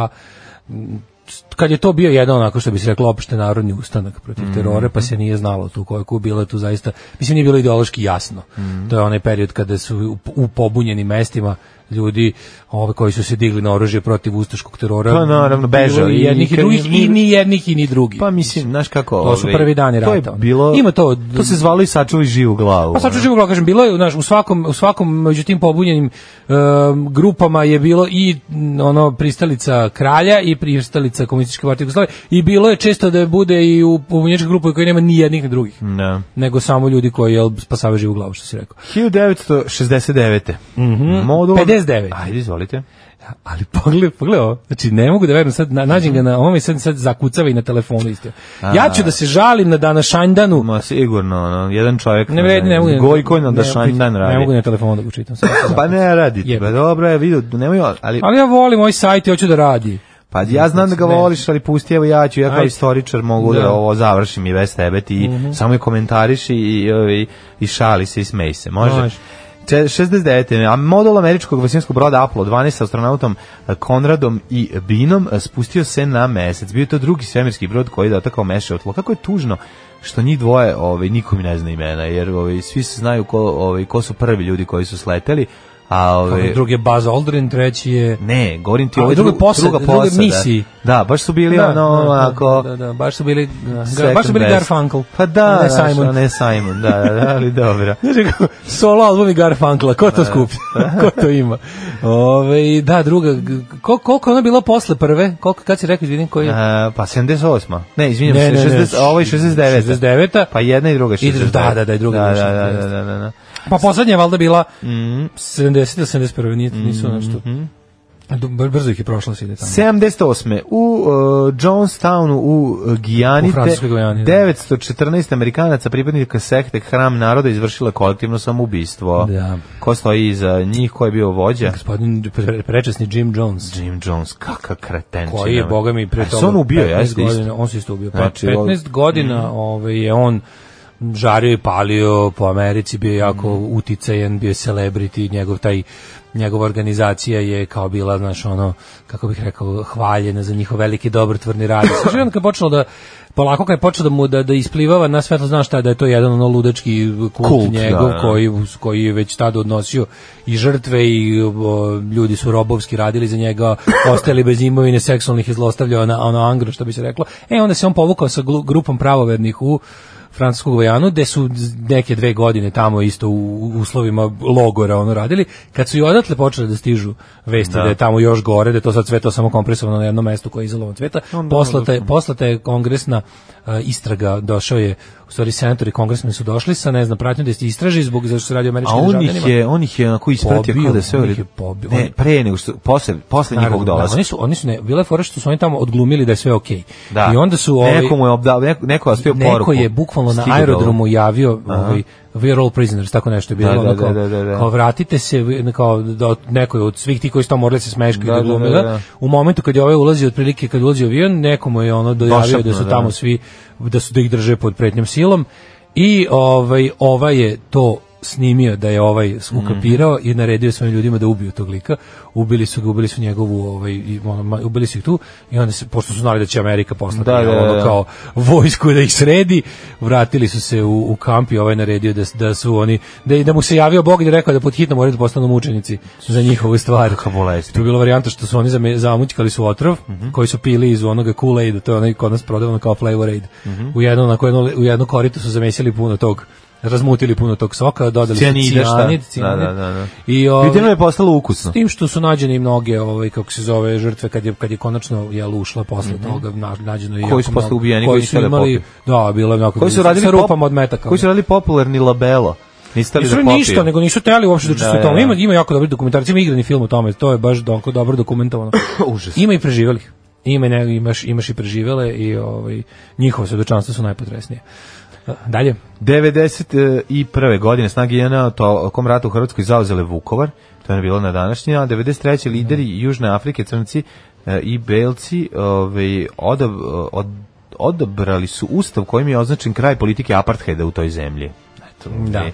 kad je to bio jedan onako što bi se reklo opšte narodni ustanak protiv Mhm. terora pa se nije znalo tu ko je ko bilo je tu zaista mislim nije bilo ideološki jasno Mhm. to je onaj period kada su u, u pobunjenim mestima ljudi ove koji su se digli na oružje protiv ustaškog terora Pa naravno, bilo bežali i i jednih i kad drugih nije- i ni jednih i ni drugih Pa mislim, znaš kako... To su ovaj, prvi dani to je rata, ono. bilo, Ima to- To se zvalo i sačuvaj živu glavu. Pa sad ću živo kažem, bilo je, znaš, u svakom, u svakom među tim pobunjenim em, grupama je bilo i m, ono pristalica kralja i pristalica komunističke partije Jugoslavije i bilo je često da bude i u pobunjeničkoj grupi koji nema ni jednih ni drugih, Da. nego samo ljudi koji jel, spasavaju živu glavu, što si rekao. 1969. Mm -hmm. 59. Ajde, izvolite. Ali pogledaj, pogledaj ovo. Znači, ne mogu da verujem, sad na, nađem ga na ovom i sad, sad zakucava i na telefonu isto. Ja ću da se žalim na današanjdanu Ma sigurno, ono, jedan čovjek. Ne vredi, ne mogu. da- Gojko na ne- dan radi. Ne mogu na telefonu da ga čitam. sad ću Pa zakucam. ne radi. Jebe. Pa dobro, je vidio, nemoj, ali Ali ja volim ovaj sajt i hoću da radi. pa ja znam da ga Ne. voliš, ali pusti evo ja ću, ja kao Ajde. istoričar mogu da, Da. ovo završim ovaj, i bez tebe ti samo je komentariš i i, ovi, i šali se i smej se, može. Može. Če- 69. A modul američkog vasinskog broda Apollo 12 sa astronautom e, Konradom i Binom e, spustio se na mesec. Bio je to drugi svemirski brod koji je dotakao meše od tlo. Kako je tužno što njih dvoje ovaj, niko mi ne zna imena, jer ovaj, svi se znaju ko, ovaj, ko su prvi ljudi koji su sleteli, a ovaj, Drugi je Buzz Aldrin, treći je... Ne, govorim ti A, ovo je druga druga posada, posada. Druga druga posada. misiji. Da, baš su bili ono, ako... Da, da, da, baš su bili, da, second baš su bili best. Garfunkel. Pa da, ne znaš, Simon. a ne Simon, da, da, da, ali dobro. Znači, kao, solo album i Garfunkla, ko Da. to skupi? ko to ima? Ove, da, druga, g- ko, koliko je ono bilo posle prve? Koliko, kad si rekao, izvinim, koji je? A, pa 78. Ne, izvinjam se, 60, a ovo je 69. 69. Pa jedna i druga je I dru- 69. da, da, da, i druga je da, bila da, da, da, da, da, da. Pa poslednja je valjda bila Mhm. 70 ili 71, nije, nisu nešto. Du- br- Brzo ih je prošlo se ide tamo. 78. U uh, Jonestownu u uh, Gijani U Francuskoj Gvijani, da. 914 Amerikanaca pripadnika sekte Hram naroda izvršila kolektivno samoubistvo. Da. Ko stoji iza njih, ko je bio vođa? Gospodin pre- prečasni Jim Jones. Jim Jones, kakav kretenčina. koji je boga mi pre Znači, A se toga on ubio, 15 jeste isto? godina, on se isto ubio. Pa, Znači, Mhm. 15 godina ovaj, je on žario i palio po Americi, bio je jako Mhm. uticajen, bio je celebrity, njegov taj njegova organizacija je kao bila, znaš, ono, kako bih rekao, hvaljena za njihov veliki dobrotvorni rad. Sve je on kad je počelo da polako kad je počeo da mu da da isplivava na svetlo znaš šta je, da je to jedan ono ludački kult, Kult, da, njegov da. koji koji je već tada odnosio i žrtve i o, ljudi su robovski radili za njega, ostali bez imovine, seksualnih je zlostavljao na ono angro što bi se reklo. E onda se on povukao sa glu- grupom pravovernih u Francusku Gvajanu, gde su z- neke dve godine tamo isto u u uslovima logora ono radili, kad su i odatle počeli da stižu vesti da, je tamo još gore, da je to sad sve to samo kompresovano na jednom mestu koje je izolovan cveta, poslata je, poslata je kongresna e, istraga, došao je, u stvari senatori kongresmeni su došli sa, ne znam, pratnjom da se istraži zbog zašto se radi o A američkim on državljanima. ih je, on ih je onako ispratio Pobio, kao da je sve u on ih redu. je pobio. Ne, pre nego što, posle, posle njihovog Naravno, da, dolaska. Oni su, oni su ne, bila je fora što su oni tamo odglumili da je sve okej. Da. I onda su ovaj, Neko mu je obdao, neko, neko je ostavio neko poruku. da je bukvalno na Stigao do- aerodromu javio ovaj we are all prisoners, tako nešto je bilo. Da, da, ono kao, da, da, da. kao vratite se, vi- kao da, neko je od svih ti koji su tamo morali se smeškaju Da, da, da, glumila. da, da. U momentu kad je ovaj ulazio, otprilike kad ulazi u avion, nekomu je ono dojavio da Došapnuo, su da. tamo svi, da su da ih drže pod pretnjom silom i ovaj, ova je to snimio da je ovaj ukapirao Mm. i naredio svojim ljudima da ubiju tog lika. Ubili su ga, ubili su njegovu, ovaj, i ono, ma- ubili su ih tu i onda se, pošto su znali da će Amerika poslati Da, da, ono da. kao vojsku da ih sredi, vratili su se u, u kamp i ovaj naredio da, s- da su oni, da, i- da mu se javio Bog i da je rekao da pod hitno moraju da postanu mučenici za njihovu stvar. Kako bolesti. To je bila varijanta što su oni zame- zamućkali su otrov, Mhm. koji su pili iz onoga Kool-Aida, to je onaj kod nas prodavano kao Flavor Aid. Mhm. U jedno, onako jedno, u jedno korito su zamesili puno tog razmutili puno tog soka, dodali su Cijanida, šta? cijanid, Da, cijanid. da, da, da. I ovaj- Ljudima je postalo ukusno. s tim što su nađene i mnoge ovaj kako se zove žrtve kad je kad je konačno je ušla posle toga na, nađeno je Mhm. Koji jako su posle mnogo- ubijeni, koji koji su nikada imali da bilo je mnogo Koji su radili sa pop- rupama od metaka Koji su radili popularni labelo. Niste li nisu da da popiju? ništa, nego nisu teli uopšte da učestvuju Da, u tome. da, Ima, da. ima jako dobri dokumentarci, ima igrani film o tome, to je baš donko dobro dokumentovano. Užas. Ima i preživelih. Ima i ne, imaš, imaš i preživele i ovaj, njihova svedočanstva su najpotresnije. E, Dalje. 91. godine snage JNA tokom rata u Hrvatskoj zauzele Vukovar, to je bilo na današnji, a 93. lideri Južne Afrike, Crnci e, i Belci ovaj, odob, od, odobrali su ustav kojim je označen kraj politike apartheida u toj zemlji. Eto, Da. ovaj,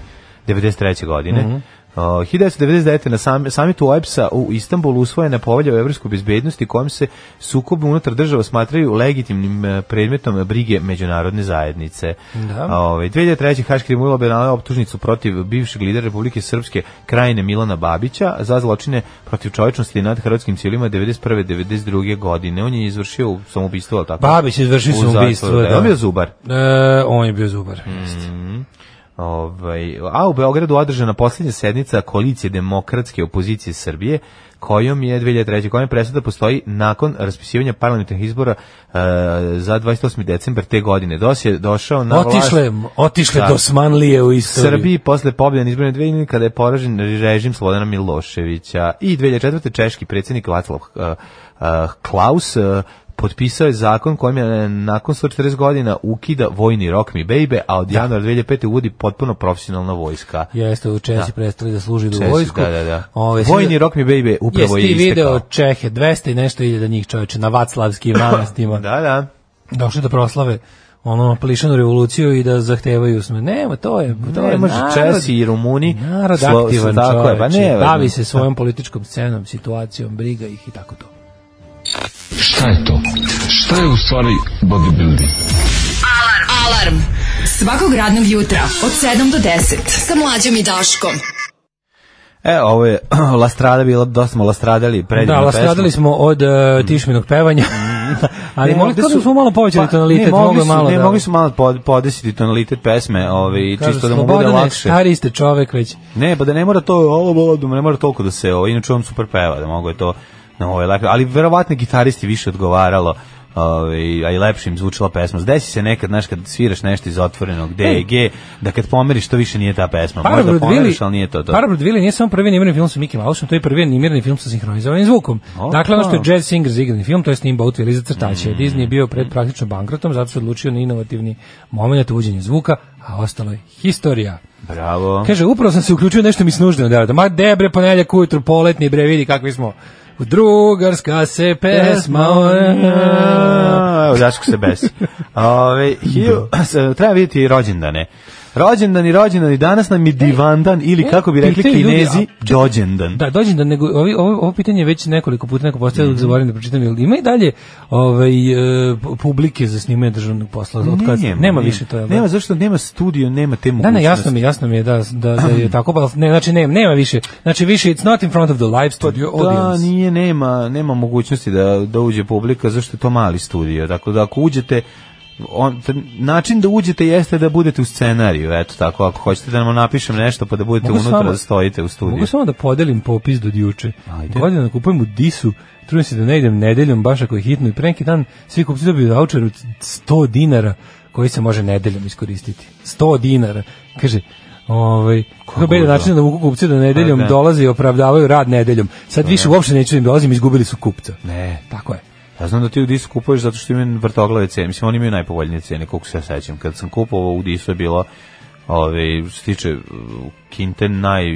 93. godine. Mm 1999. na sam, samitu OEPS-a u Istanbulu usvojena povelja o evropskoj bezbednosti kojom se sukob unutar država smatraju legitimnim e, predmetom brige međunarodne zajednice. ovaj, Da. A, Ove, 2003. Haški tribunal objednala optužnicu protiv bivšeg lidera Republike Srpske krajine Milana Babića za zločine protiv čovječnosti nad hrvatskim cijelima 91. 92. godine. On je izvršio samoubistvo, ali tako? Babić je izvršio U zatvoru, samoubistvo, Da. da. On je bio zubar. Hmm. E, on je bio zubar. jeste. Ovaj, a u Beogradu održana posljednja sednica koalicije demokratske opozicije Srbije, kojom je 2003. kojom je presuda postoji nakon raspisivanja parlamentarnih izbora e, za 28. decembar te godine. DOS je došao na vlast... Otišle, otišle Da. do Smanlije u istoriju. Srbiji posle pobjede na izborne 2000 kada je poražen režim Slobodana Miloševića i 2004. češki predsjednik Václav eh, eh, Klaus eh, potpisao je zakon kojim je eh, nakon 140 godina ukida vojni rok mi bejbe, a od januara 2005. uvodi potpuno profesionalna vojska. Jeste, u Česi Da. prestali da služi do Česi, vojsku. da, da, da. Ove, sad- Vojni rok mi bejbe upravo Jesi je ti video istekao. Čehe, 200 i nešto iljada njih čoveče na Vaclavskim manastima. Da, da. Došli da proslave ono plišanu revoluciju i da zahtevaju sme. Nema, to je, to Ne je može narod. Česi i Rumuni. Narod slo- aktivan tako je, čoveče, pa ne, bavi se svojom političkom scenom, situacijom, briga ih i tako to. Šta je to? Šta je u stvari bodybuilding? Alarm. Alarm. Svakog radnog jutra od 7 do 10 sa mlađom i Daškom. E, ovo je Lastrada bila, dosta smo Lastradali predivna Da, pesma. lastradali smo od uh, tišminog pevanja, ali Mm. Ne, mogli ovde kao da su- smo malo povećali pa, tonalitet, ne, mogli mogli su- malo ne, da... mogli su malo pod, podesiti tonalitet pesme, ovaj, Kažu, čisto da mu bude Slobodane, lakše. Stari ste čovek već. Ne, pa da ne mora to, ovo, ovo, da ne mora toliko da se, ovo, inače on super peva, da mogu je to na ovaj lepo, ali verovatno gitaristi više odgovaralo, ovaj, a i lepše im zvučila pesma. Desi se nekad, znaš, kad sviraš nešto iz E. otvorenog D i G, da kad pomeriš, to više nije ta pesma. Možda Parabrod Vili, pomeriš, da ali nije to to. Parabrod Vili nije samo prvi animirani film sa Mickey Mouseom, to je prvi animirani film sa sinhronizovanim zvukom. O, Mm. dakle, ono što je da. Jazz Singer igrani film, to je snimba Outvili za crtače. Disney je bio pred praktično bankrotom, zato se odlučio na inovativni moment uvođenja zvuka, a ostalo je historija. Bravo. Kaže, upravo sam se uključio nešto mi snužno da radim. Ma de bre, ponedljak ujutru, poletni bre, vidi kakvi smo. Drugarska se pesma. Evo, Daško se besi. Ove, hiju, Da. treba vidjeti i rođendane. Rođendan i rođendan i danas nam je divandan ili kako bi rekli pitaju ljudi, kinezi, a, čekaj, dođendan. Da, dođem da nego ovi, ovo, ovo pitanje je već nekoliko puta neko postavio, Mhm. mm zaboravim da pročitam, jel ima i dalje ovaj e, pu- publike za snimanje državnog posla od kad nema, više to je. Nema, zašto nema studio, nema te Da, mogućnosti. ne, jasno mi, jasno mi je da, da, da je tako, pa ne, znači nema, nema više. Znači više it's not in front of the live studio Da, audience. nije, nema, nema mogućnosti da, da uđe publika, zašto je to mali studio. Tako da ako uđete, on, t- način da uđete jeste da budete u scenariju, eto tako, ako hoćete da nam napišem nešto pa da budete Mogu unutra samo- da stojite u studiju. Mogu samo da podelim popis do juče. Ajde. Godina kupujem u Disu, trudim se da ne idem nedeljom, baš ako je hitno. I pre neki dan svi kupci dobiju voucher od 100 dinara koji se može nedeljom iskoristiti. 100 dinara. Kaže, ovaj, kako beda da? način da mogu kupci da nedeljom Pa da. dolaze i opravdavaju rad nedeljom. Sad više uopšte neću da im dolazim, izgubili su kupca. Ne. Tako je. Ja znam da ti u Disu kupuješ zato što imaju vrtoglave cene. Mislim, oni imaju najpovoljnije cene, koliko se ja sećam. Kad sam kupovao u Disu je bilo ove, što se tiče uh, Kinte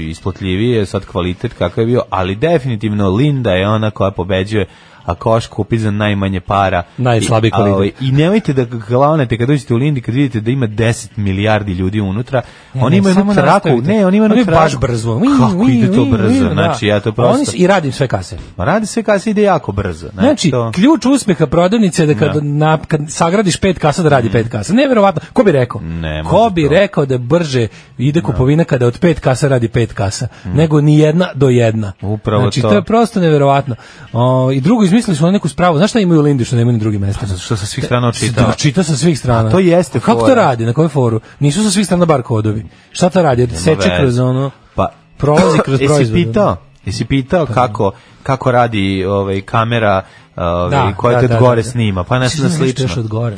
najisplatljivije, sad kvalitet kakav je bio, ali definitivno Linda je ona koja pobeđuje a koš kupi za najmanje para. Najslabiji I, a, kvalitet. ovaj, I nemojte da glavnete kad dođete u Lindi, kad vidite da ima 10 milijardi ljudi unutra, Ne, oni ne, imaju samo da unutra raku, nastavite. ne, oni imaju Oni unutra baš raku. brzo. Uin, Kako uin, ide to uin, brzo, uin, znači ja to da. Oni prosto. s- I radim sve kase. Ma Radi se kasi ide jako brzo. Znači, to- ključ uspeha prodavnice je da kad, na, kad sagradiš pet kasa da radi pet kasa. Neverovatno. Ko bi rekao? Mm. Ne, Ko može bi to. rekao da brže ide kupovina kada od pet kasa radi pet kasa, nego ni jedna do jedna. Mm. Upravo znači, to. to je prosto neverovatno. O, I drugo, izmislili su oni neku spravu. Znaš šta imaju u Lindi što nemaju na drugim mestima? Zato Pa što sa svih strana Da, očitava. čita sa svih strana. A to jeste A Kako to fora. radi? Na kojem foru? Nisu sa svih strana bar kodovi. Šta to radi? Seče veze. kroz ono... Pa, prolazi kroz Jesi proizvod, pitao? da. Jesi pitao kako, kako radi ovaj, kamera Da, ovaj, koja te od gore snima? Pa nešto na Mislim da nešto slično. Još od gore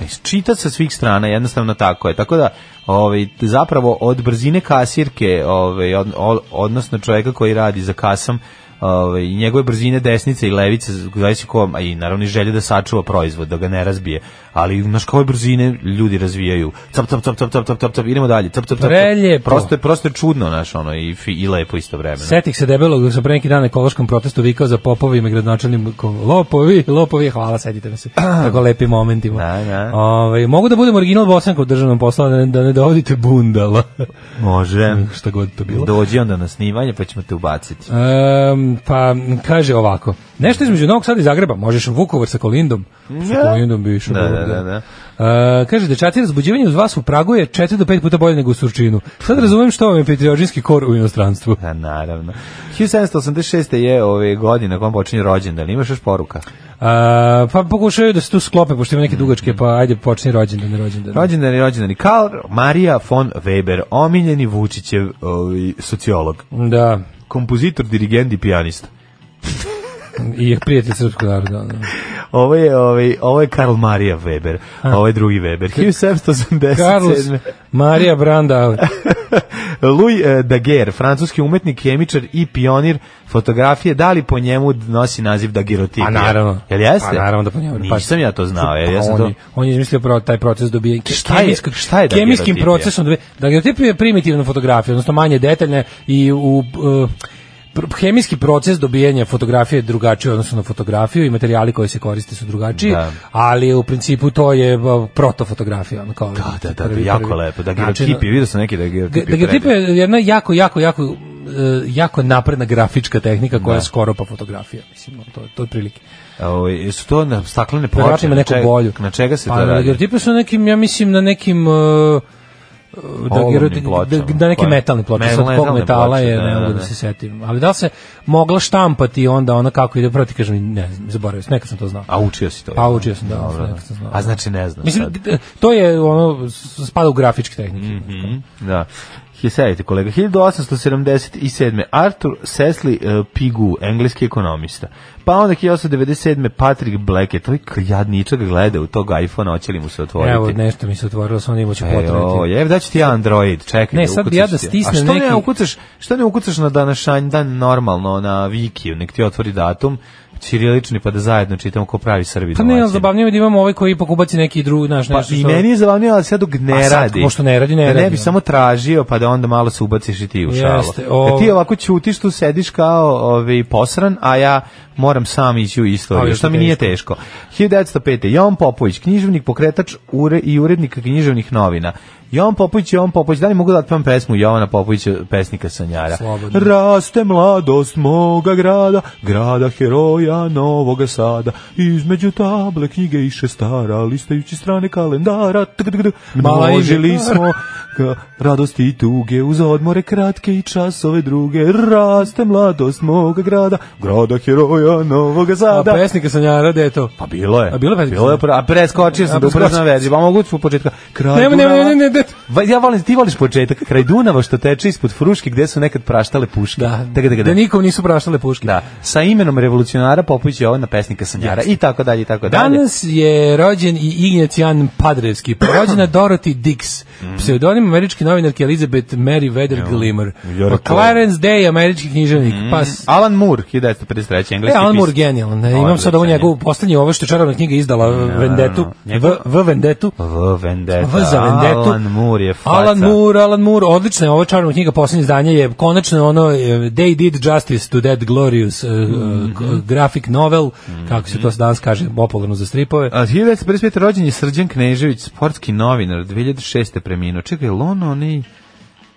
nešto. Čita E, sa svih strana, jednostavno tako je. Tako da, ovaj, zapravo od brzine kasirke, ovaj, od- o- odnosno čovjeka koji radi za kasom, ovaj, i njegove brzine desnice i levice, zavisi ko, a i naravno i želje da sačuva proizvod, da ga ne razbije. Ali znaš koje brzine ljudi razvijaju. Cap, cap, cap, cap, cap, cap, cap, cap, idemo dalje. Cap, cap, cap, cap. Preljepo. Prosto je, prosto je čudno, naš, ono, i, fi- i lepo isto vremeno. Setih se debelog da sam pre neki dan na ekološkom protestu vikao za popovima i gradonačelnikom lopovi, lopovi, hvala, setite me se. Tako lepim momentima. Da, da. Ovaj, mogu da budem original bosanka u državnom poslu, a da ne, da ne dovodite bundala. Može. Šta god to bilo. Dođi onda na snimanje pa ćemo te ubaciti. Ehm, pa kaže ovako. Nešto između Novog Sada i Zagreba, možeš u Vukovar sa Kolindom. Sa Kolindom bi išao. Da, dobro, da, da, da. E, kaže dečaci razbuđivanje uz vas u Pragu je 4 do 5 puta bolje nego u Surčinu. Sad razumem što vam je petriočinski kor u inostranstvu. Pa naravno. 1786. je ove godine kom počinje rođendan. Imaš još poruka? A, pa pokušaju da se tu sklope, pošto ima neke dugačke, pa ajde počni rođendan, rođendan. Rođendan i rođendani. Karl Marija von Weber, omiljeni Vučićev ovaj, sociolog, Da, kompozitor, dirigent i pijanista. i prijatelj srpskog naroda. ono. Ovo je, ovaj, ovo je Karl Marija Weber, ovo je drugi Weber. 1787. Carlos Marija Brandau. Louis eh, Daguerre, francuski umetnik, kemičar i pionir fotografije, da li po njemu nosi naziv daguerotipija? A Pa naravno. Jel jeste? Pa naravno da po njemu. Pa- Nisam ja to znao, jer ja sam on, to... je, on je izmislio pro, taj proces dobije Šta je- kemijskog- šta je kemijskim da daguerotipija? procesom dobije. Daguerotipija je primitivna fotografija, odnosno manje detaljna i u uh, pr- hemijski proces dobijanja fotografije je drugačiji u odnosu na fotografiju i materijali koji se koriste su drugačiji, Da. ali u principu to je ba, protofotografija. Ono, kao Da, da, da, jako lepo. Da girotipi, vidio sam neki da girotipi. Znači, Da, da je jedna jako, jako, jako e, jako napredna grafička tehnika Da. koja je skoro pa fotografija, mislim, ono, to, to je otprilike. Ovaj su to na staklene Verovatno ploče. ima na neku čega- bolju. Na čega se pa, to na radi? daguerreotipu su na nekim, ja mislim, na nekim... Uh, Olovnim da, pločama, da, neke koje- metalne ploče, Metal- sad kog metalne metala ploče, je, da, ne da, mogu da da. se setim. Ali da li se mogla štampati i onda ona kako ide, proti kažem, ne znam, zaboravio sam, nekad sam to znao. A učio si to? Pa učio sam, da, Dobro. nekad sam znao. A znači ne znam Mislim, sad. d- to je ono, s- spada u grafičke tehnike. Da. Sedite kolega, 1877. Arthur Cecily eh, Pigu, engleski ekonomista. Pa onda 1897. Patrick Blackett, ovaj jadničak gleda u tog iPhone, hoće li mu se otvoriti? Evo, nešto mi se otvorilo, da sam onda imaću Ejo, potrati. E, je, da ću ti ja Android, čekaj. Ne, da sad bi ukucaš ja da ti. stisnem A što ne neki- ukucaš, što ne ukucaš na današnji dan normalno na Wikiju, nek ti otvori datum, ćirilični pa da zajedno čitamo ko pravi Srbi. Pa ne, ali domaćin. zabavnije je da imamo ovaj koji ipak ubaci neki drugi, naš Pa nešto i što- meni je zabavnije, ali sad dok A ne sad, radi. pošto ne radi, ne da ne radi, bi da. samo tražio, pa da onda malo se ubaciš i ti u šalu. Jeste, ovo- Da ti ovako ćutiš tu, sediš kao ovaj, posran, a ja moram sam ići u Ali da istoriju, je što to mi nije teško. 1905. Jovan Popović, književnik, pokretač ure, i urednik književnih novina. Jovan Popović, Jovan Popović, da li mogu da otpevam pesmu Jovana Popovića, pesnika Sanjara? Slobodno. Raste mladost moga grada, grada heroja Novoga Sada, između table knjige i šestara, listajući strane kalendara, tk, tk, tk, Mala množili ide. smo ga radosti i tuge, uz odmore kratke i časove druge, raste mladost moga grada, grada heroja Novoga A Sada. pesnika Sanjara, gde je to? da. Pa bilo je. A bilo je pesnika Bilo je, pra- a preskočio sam A da ubrzam preskočio. verziju, pa mogu ću po početka. Kraj Nema, nema, Dunava- ne, ne, ne, Va- Ja volim, ti voliš početak, kraj Dunava što teče ispod Fruške gde su nekad praštale puške. Da, Tega, tega, da nikom nisu praštale puške. Da, sa imenom revolucionara Popović je ovaj na pesnika Sanjara i tako dalje i tako dalje. Danas je rođen i Ignjacijan Padrevski, porođena Dorothy Dix, Mhm. pseudonim američke novinarke Elizabeth Mary Vedder Glimmer, Ja pa rekao. Clarence Day, američki književnik, Mhm. pa s- Alan Moore, 1953. E, engleski Alan Moore pisac. genijalan, ne, imam sad ovu Odličan je. Da, njegovu poslednju, ovo što je čarobna knjiga izdala, Vendetu, Njegov- V- V Vendetu, V Vendetta. V za Vendetu. Alan Moore je faca. Alan Moore, Alan Moore, odlična je ova čarobna knjiga, poslednje izdanje je konačno ono eh, They did justice to that glorious eh, Mhm. eh, graphic novel, kako se to danas kaže, popularno za stripove. A 1955. rođen je Srđan Knežević, sportski novinar, 2006. preminuo. Čekaj, je li on onaj...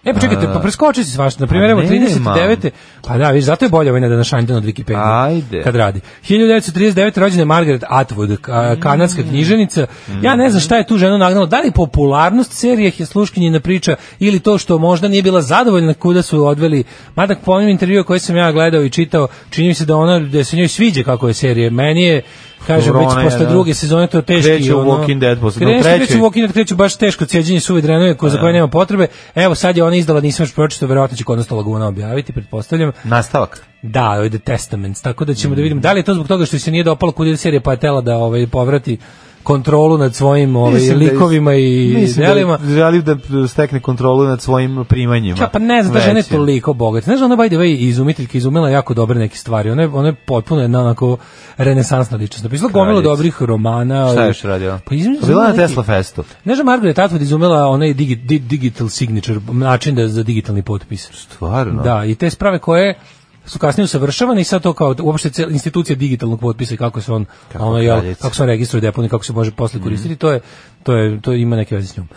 E, pa čekajte, pa preskoči si svašta. Na primjer, Pa evo, nemam. 39. Pa da, viš, zato je bolje ovaj na današnji dan od Wikipedia. Ajde. Kad radi. 1939. rođena je Margaret Atwood, ka- kanadska Mm. književnica. Ja ne znam šta je tu ženu nagnalo. Da li popularnost serije Hjesluškinjina priča ili to što možda nije bila zadovoljna kuda su je odveli. Mada po onim intervjua koje sam ja gledao i čitao, čini mi se da ona, da se njoj sviđa kako je serije. Meni je kažem, Dobro, već ona je, posle da. druge sezone to teški. Kreće u ono, Walking Dead posle- Da. kreće- u trećoj. kreće u Walking Dead kreću baš teško cijeđenje suve drenove koje, za koje nema potrebe. Evo sad je ona izdala, nisam još pročitao, verovatno će kod nas to Laguna objaviti, pretpostavljam. Nastavak. Da, ovo je The Testaments, tako da Mhm. ćemo da vidimo da li je to zbog toga što se nije dopalo kod je serija pa je tela da ovaj, povrati kontrolu nad svojim ovaj, Mislim da je- likovima i mislim delima. Da želi da stekne kontrolu nad svojim primanjima. Ja pa ne znam da žena je Većim. toliko bogata. Znaš, ona by the way izumiteljka izumila jako dobre neke stvari. Ona je, ona je potpuno jedna onako renesansna ličnost. Napisala gomilu Kraljica. dobrih romana. Šta i- je još radila? Pa izumila Bila na neki- Tesla Festu. Ne znam, Margaret Atwood izumela onaj digi, di- digital signature, način da, za digitalni potpis. Stvarno? Da, i te sprave koje su kasnije usavršavane i sad to kao uopšte cel, institucija digitalnog potpisa i kako se on kako, ono, jel, kraljica. Mhm. kako se on registruje deponik, kako se može posle koristiti, to je to je to ima neke veze s njom.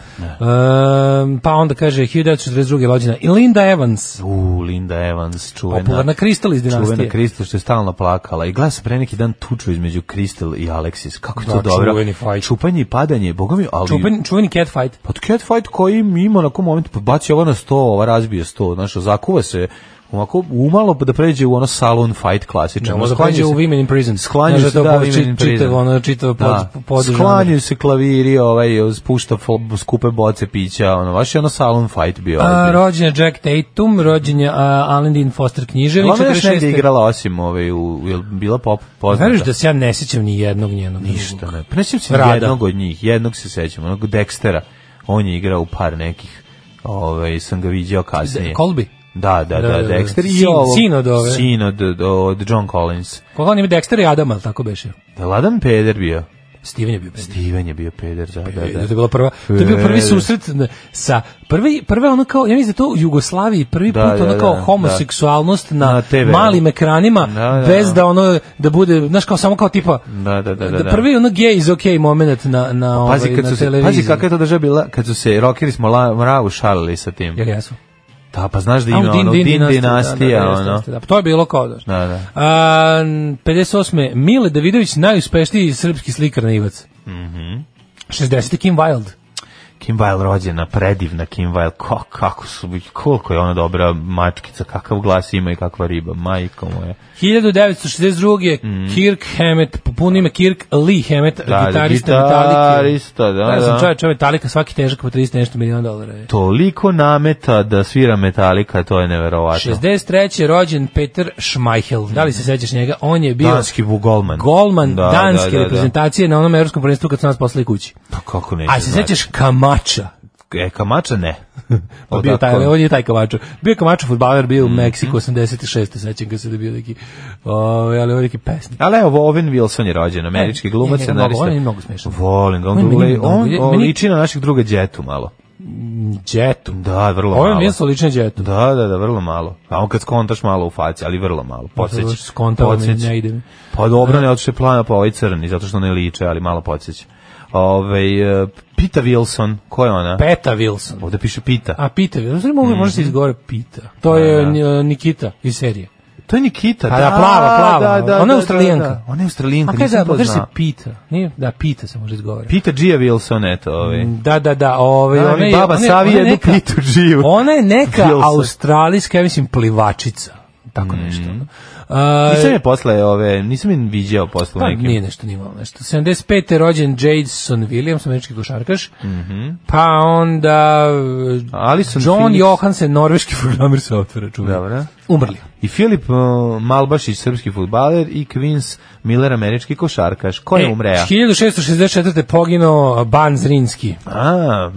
Ehm, pa onda kaže 1942. rođena i Linda Evans, U, Linda Evans, čuvena. popularna Kristal iz Čuvena dinastije. Kristel što je stalno plakala i gleda se pre neki dan tuču između Kristel i Alexis. Kako je to Da, dobro. čuveni fajt. Čupanje i padanje, boga mi, ali... Čuveni, čuveni catfight. Pa to catfight koji ima na kom momentu, pa baci ovo na sto, ova razbije sto, znaš, zakuva se Ovako, umalo da pređe u ono salon fight klasično. Da, možda pređe u Women in Prison. Sklanjaju Znaš se, da to da, po- Women in čit- Prison. čitavo ono, čitavo pod- podržano. Da. Sklanjaju se klaviri, ovaj, spušta fo- skupe boce pića, ono, baš je ono salon fight bio. A, ovaj. rođen je Jack Tatum, rođen je a, Alan Dean Foster književnik. Ona je još negdje 46.. igrala osim, ovaj, u, je bila pop, poznata? Znaš da se ja ne sjećam ni jednog njenog. Ništa drugog. ne. Pa ne sjećam se Rada. jednog od njih. Jednog se sećam, onog Dextera. On je igrao u par nekih. Ovaj sam ga viđao kasnije. Colby? Da, da, da, Da, da, da. Dexter i Sin- ovo- sin od ove. Sin od, od John Collins. Koga on ima Dexter i Adam, ali tako beše. Da Ladan Peder bio. Steven je bio peder. Steven je bio peder, da, da, Da, da. to je bila prva, to je bio prvi Peder. susret na- sa prvi prva ono kao ja mislim da je to u Jugoslaviji prvi Da, put da, ono kao da, homoseksualnost na, Na TV-u. malim ekranima Da, da, bez da. da ono da bude znaš kao samo kao tipa Da, da, da, da, da. prvi ono gay is okay moment na na Pazi, ovaj, kad na su se, televiziji pazi kakva je to država bila, kad su se rokeri smo la, mravu šalili sa tim. jer jesu Da, pa znaš da A, u ima ono, din, dinastija, da, da, da, ono. jeste, Da, pa to je bilo kao da. Da, da. A, 58. Mile Davidović najuspešniji srpski slikar na Ivac. Mhm. 60. Kim Wilde. Kim Wilde rođena, predivna Kim Wilde, ko, kako su, koliko je ona dobra mačkica, kakav glas ima i kakva riba, majko moja. 1962. je Mhm. Kirk Hammett, po puno ime Kirk Lee Hammett, Da, gitarista Metallica. gitarista, da, Da, da. sam čovječ, ovo je Metallica, svaki težak po 30 nešto milijuna dolara. je. Toliko nameta da svira Metallica, to je neverovatno. 63. je rođen Peter Schmeichel. Da li se sećaš njega? On je bio Mhm. Danski Bugolman. golman Da, danske da, da, da. reprezentacije na onom evropskom prvenstvu kad su nas poslali kući. Pa kako neće A se sećaš Kamača? E, Kamača ne. Pa bio taj, Odakle? on je taj Kamačo. Bio je Kamačo fudbaler, bio u Mhm. Meksiku 86. sećam ga se da je bio neki, ovaj, ali on je neki pesnik. Ali evo, Owen Wilson je rođen, američki glumac, ne, ne, scenarista. mnogo, on E, je mnogo smešan. Volim ga, on, On je on, meni mnogo- on, on meni- liči na našeg druga Djetu malo. Džetu. Da, vrlo Ovo je malo. mjesto lične džetu. Da, da, da, vrlo malo. A on kad skontaš malo u faci, ali vrlo malo. Podseća. Skontao mi, ne ide mi. Pa E. dobro, ne otiše plana pa ovaj crni, zato što ne liče, ali malo podsjeća. Ove, Pita Wilson, ko je ona? Peta Wilson. Ovde piše Pita. A Pita Wilson, znači Mhm. mogu, može se izgovore Pita. Da, To je Ni- Nikita iz serije. to je Nikita. A da, plava, plava. Da, da, Ona je da, Australijanka. Da, da. Ona je Australijanka, A kaj nisam da, to kaže se znao. Pita. Nije, da, Pita se može izgovoriti. Pita Gia Wilson, eto, ovaj. Da, da, da, ovaj, Da, ona mi je, baba ona je- Savi ona je jednu neka- pitu živu. Ona je neka Wilson. australijska, ja mislim, plivačica. Tako nešto. ono. A, Nisam Mm. je posle ove, nisam je viđao posle Pa, nekim. nije nešto, nije malo nešto. 75. je rođen Jason Williams, američki košarkaš. Pa onda... e, Mhm. Alison John Phillips. Johansen, norveški programer softvera, čuvaj. Dobro. Umrli. I Filip uh, Malbašić, srpski futbaler i Queens Miller, američki košarkaš. Ko E, je umreja? 1664. poginuo Ban Zrinski. A, Da.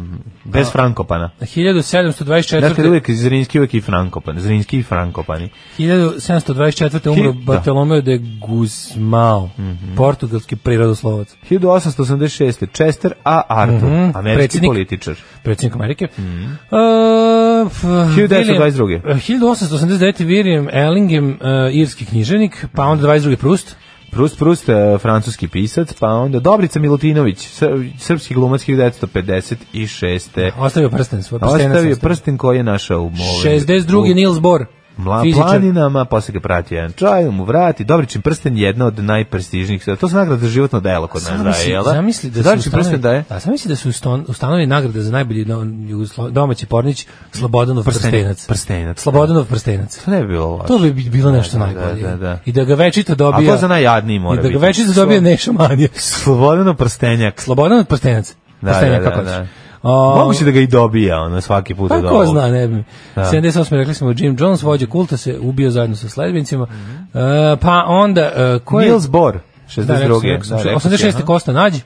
bez Frankopana. 1724. Dakle, uvijek Zrinski, uvijek i Frankopan. Zrinski i Frankopani. 1724. umro Hi- da. Mhm. Bartolomeo de Guzmao, portugalski prirodoslovac, 1886. Chester A. Arthur, Mhm, američki predsjednik. političar. predsjednik Amerike. Mhm. E, f- 1922. William- 1889. William Ellingham, e, irski književnik, pa onda 22. Proust. Proust, Proust, e, francuski pisac, pa onda Dobrica Milutinović, sr- srpski glumac 1956. Ostavio prsten svoj pa prstenac Ostavio prsten koji je našao u moru. 62. Niels Bohr. Mla, fizičar. planinama, posle ga prati jedan čaj, mu vrati, Dobričin prsten je jedna od najprestižnijih, to se nagrada za životno delo kod nas daje, Zamisli, jel? zamisli da se Dobričin ustanovi, prsten daje? da, zamisli da su uston- ustanovi nagrade za najbolji no- jugoslo- domaći pornić Slobodanov Prsten- prstenac. prstenac, da. Slobodanov prstenac. To ne bi bilo loše. To bi bi- bilo Da, nešto da, najbolje. da, da. I da ga večito A dobija. to za najjadniji I mora da biti. ga večito dobija Neša Manija. Slobodano prstenjak. Slobodan od prstenac. Da, prstenac, da, da, kako da. hoćeš. O, Moguće da ga i dobija, ono, svaki put Pa od ko ovog. zna, ne bi. Da. 78. rekli smo Jim Jones, vođa kulta, se ubio zajedno sa sledbenicima. Mhm. E, pa onda, e, ko je... Niels Bohr, da, 62. rekao sam, rekao sam, 86. Kosta Nađi.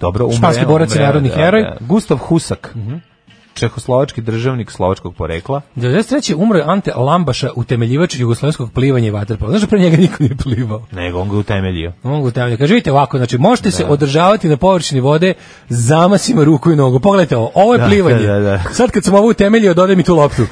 Dobro, umre. Španski borac i umre, narodni heroj. da, Mhm. Gustav Husak, čehoslovački državnik slovačkog porekla. 93. umro je Ante Lambaša, utemeljivač jugoslovenskog plivanja i vaterpola. Znaš, da pre njega niko nije plivao. Nego, on ga utemeljio. Mogu te vam Kaže, vidite ovako, znači možete Da. se održavati na površini vode zamasima ruku i nogu. Pogledajte ovo, ovo je Da, plivanje. da, da. Sad kad sam ovo utemeljio, dodaj mi tu loptu.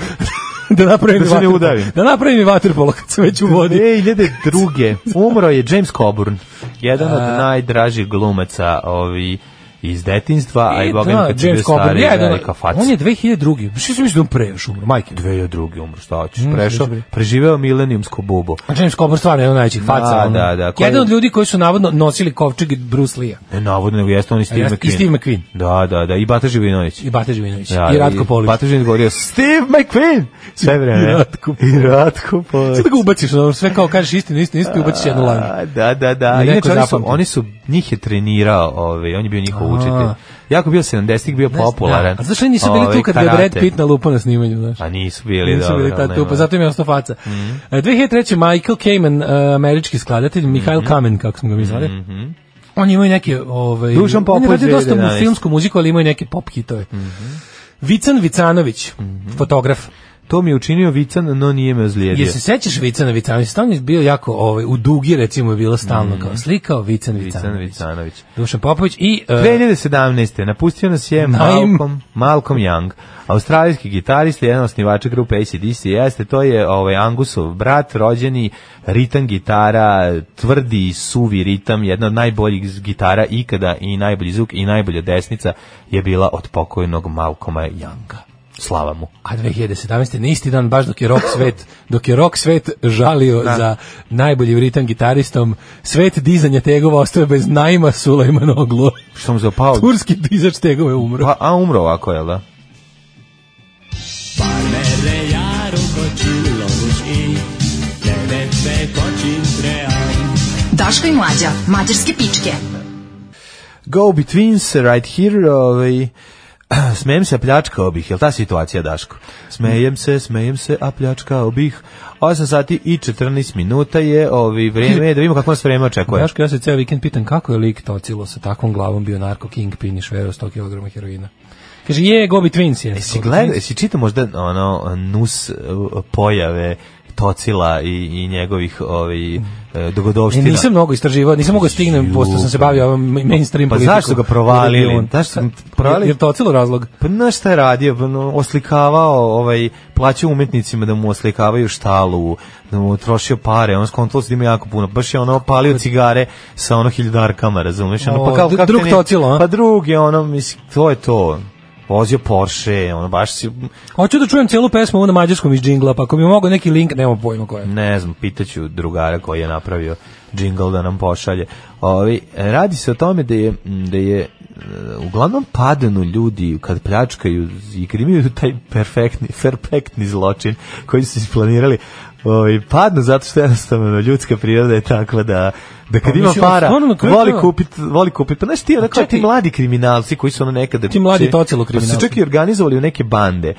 da napravim Da se ne vaterpolo. udavim. Da napravim i vaterpolo kad sam već u vodi. 2002. umro je James Coburn, jedan od najdražih glumaca ovi iz detinstva, a i Boga da, kad si bio James Coburn, stari, jedan- velika faca. On je 2002. Što si mislio da on pre još umro, majke? mi. 2002. umro, šta hoćeš, Mm, prešao, dobro. preživeo milenijumsku bubu. A James Coburn stvarno je jedan od najvećih faca. Da, ono. da, da, koji- Jedan od ljudi koji su navodno nosili kovčeg Bruce Lee-a. Ne navodno, nego jeste on i Steve jeste- i McQueen. Steve McQueen. Da, da, da, i Bata Živinović. Da, I Bate Živinović. I Ratko Polić. Bata Živinović govorio, Steve McQueen! Sve vreme. I Ratko I Ratko Polić. Sada da ga ubaciš, ono, sve kao kažeš istinu, istinu, istinu, ubaciš jednu lanju. A, Da, da, da. I neko Inače, oni su, zapamti. oni su, njih je trenirao, ovaj, on je bio njihov A. učitelj. Jako bio 70-ih, bio popularan. Da. A zašto oni nisu bili Ovaj, tu kad ga je Brad karate. Pitt nalupa na snimanju, znaš? A nisu bili, Nisu dobro, bili ta nema. Mhm. tupa, pa zato im je ostao faca. E, 2003. Michael Kamen, e, američki skladatelj, Mihail Kamen, kako smo ga mi zvali. On imaju neke, ovaj, Mhm. Dušan on Popović, Mhm. je radio dosta 2011. Mhm. mu filmsku muziku, ali imaju neke pop hitove. Vican Vicanović, fotograf. To mi je učinio Vican, no nije me ozlijedio. Jel se sećaš Vicana Vicanovića? Stalno je bio jako, ovaj, u dugi recimo je bilo stalno kao slikao Vican Vican Vicanović. Mhm. Vicanović. Dušan Popović i... e, 2017. napustio nas je Naim. Malcolm, Malcolm Young, australijski gitarist, jedan od osnivača grupe ACDC, jeste, to je ovaj, Angusov brat, rođeni ritam gitara, tvrdi, suvi ritam, jedna od najboljih gitara ikada i najbolji zvuk i najbolja desnica je bila od pokojnog Malcoma Younga. Slava mu. a 2017. na isti dan baš dok je rock svet dok je rock svet žalio Da. za najboljim ritam gitaristom svet dizanja tegova ostao je bez najma Sulejmanoglu Što mu se opao? turski dizač tegova je umro Pa, a umro ovako, jel da? Daško i mlađa, mađarske pičke. Go Betweens, right here, ovaj, smejem se, a pljačkao bih, jel ta situacija, Daško? Smejem se, smejem se, a pljačkao bih. 8 sati i 14 minuta je ovaj, vrijeme, da vidimo kako nas vreme očekuje. Daško, ja se ceo vikend pitam kako je lik tocilo sa takvom glavom bio narko kingpin i šverao 100 kg heroina kaže je gobi twins je Jesi Gobi gleda, Twins. jesi čita možda ono, nus eh, pojave Tocila i, i njegovih ovaj, eh, E, dogodovština? nisam mnogo istraživao, nisam mogao da stignem, pošto sam se bavio ovom mainstream Pa politikom. zašto su ga provalili? Jer je on- Zašto su ga provalili? Jer- Jer to celo razlog. Pa znaš šta je radio, Pa, no, oslikavao, ovaj, plaćao umetnicima da mu oslikavaju štalu, da mu trošio pare, on skontalo se da ima jako puno, baš je ono palio cigare sa ono hiljarkama, razumeš? Ono, O, pa kao, dru- kako te drug ne- Tocilo, a? Pa drug je ono, mislim, to je to. Vozio Porsche, ono, baš si, Hoću da čujem celu pesmu ovu na mađarskom iz džingla, pa ako mi mogu neki link, nema pojma koja. ne znam, pitaću drugara koji je napravio džingl da nam pošalje. Ovi, radi se o tome da je, da je e, uglavnom padanu ljudi kad pljačkaju i kad imaju taj perfektni, perfektni zločin koji su isplanirali, ovaj, padnu zato što jednostavno ljudska priroda je takva da da kad Pa, ima mislim, para, stvarno na kraju voli krajeva- kupiti, voli kupiti. Pa znaš ti, onako, čekaj. ti mladi kriminalci koji su ono nekada... Ti mladi če- tocilo Pa su kriminalci. Pa čak i organizovali u neke bande.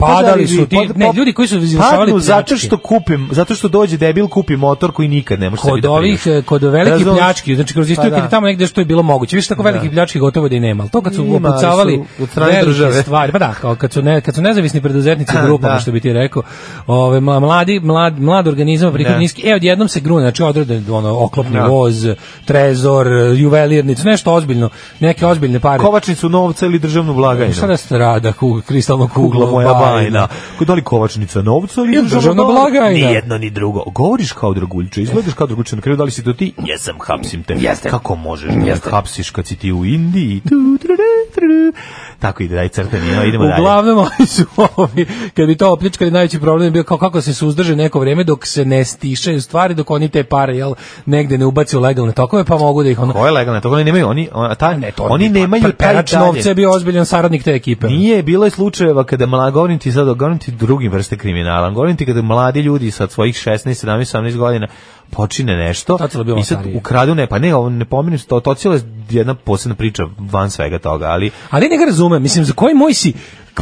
Padali su ti- ne, ljudi koji su izvršavali Padnu zato pljačke. što kupim, zato što dođe debil kupi motor koji nikad ne može sebi Kod da ovih, priušti. eh, kod velikih Razumeš? pljački, znači kroz istoriju Pa kad da. je tamo negde što je bilo moguće. Više tako velikih pljački gotovo da i nema, ali to kad su Ima, ali su opucavali od strane velike države. stvari, pa da, kao kad su, ne, kad su nezavisni preduzetnici u grupama, Da. što bi ti rekao, ove, mla- mladi, mlad, mlad organizam, prihod Da. niski, e, odjednom se grune, znači odrede ono, oklopni Da. voz, trezor, juvelirnicu, nešto ozbiljno, neke ozbiljne pare. kovačnicu novca ili državnu blagajnu. Šta da strada, kugla, kristalna kugla, Kugla moja bajna. Kod da li kovačnica novca ili Ili državna, državna blagajna. Ni jedno ni drugo. Govoriš kao draguljiče, izgledaš kao draguljiče, na kraju da li si to ti? Jesam, hapsim te. Jeste. Kako možeš da me hapsiš kad si ti u Indiji? Tu, tru, tru, tru. Tako ide, daj crtani, no, idemo dalje. Uglavnom oni su ovi, kad bi to opljačkali, najveći problem je bio kao kako se suzdrže neko vrijeme dok se ne stišaju stvari, dok oni te pare jel, negde ne ubace u legalne tokove, pa mogu da ih ono... Ko je legalno? To oni nemaju, oni, a ta, Ne, to pa- oni bi- nemaju per- taj perač dalje. novca je bio ozbiljan saradnik te ekipe. Nije, bilo je slučajeva kada mla, govorim ti sad, govorim ti drugim vrste kriminala, govorim ti kada mladi ljudi sa svojih 16, 17, 18 godina počine nešto Tocilo je bio i sad da stariji. ukradu, ne, pa ne, ovo ne pominjem, to, to cijela je jedna posebna priča van svega toga, ali Ali ne ga razumem, mislim, za koji moj si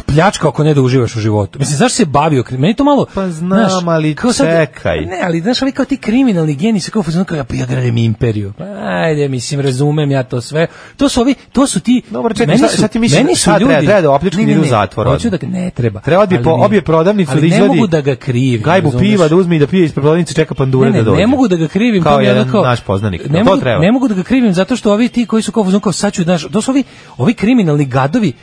pljačka ako ne da uživaš u životu. Mislim, zašto se bavio krim? Meni to malo... Pa znam, ali kao čekaj. Ne, ali znaš, ali kao ti kriminalni geni se kao fazon kao, ja, pa ja gradim imperiju. Pa, ajde, mislim, razumem ja to sve. To su ovi, to su ti... Dobro, čekaj, meni šta- su- šta ti misliš, meni su sad treba- ljudi- treba da opljačkani Ne, ne, idu u ne, zatvor Hoću da odmah. ga- ne treba. treba bi Ali po, mi- obje prodavnicu ali da izvadi ne mogu da ga krivim. gajbu razumeš? piva da uzme i da pije iz prodavnice, čeka pandure Ne, ne, da dođe. ne mogu da ga krivim Kao to mi je jedan onako- naš poznanik. Ne to mogu, treba. ne mogu da ga krivim zato što ovi ti koji su kao fuzon kao sad ću znaš, to su ovi ovi kriminalni gadovi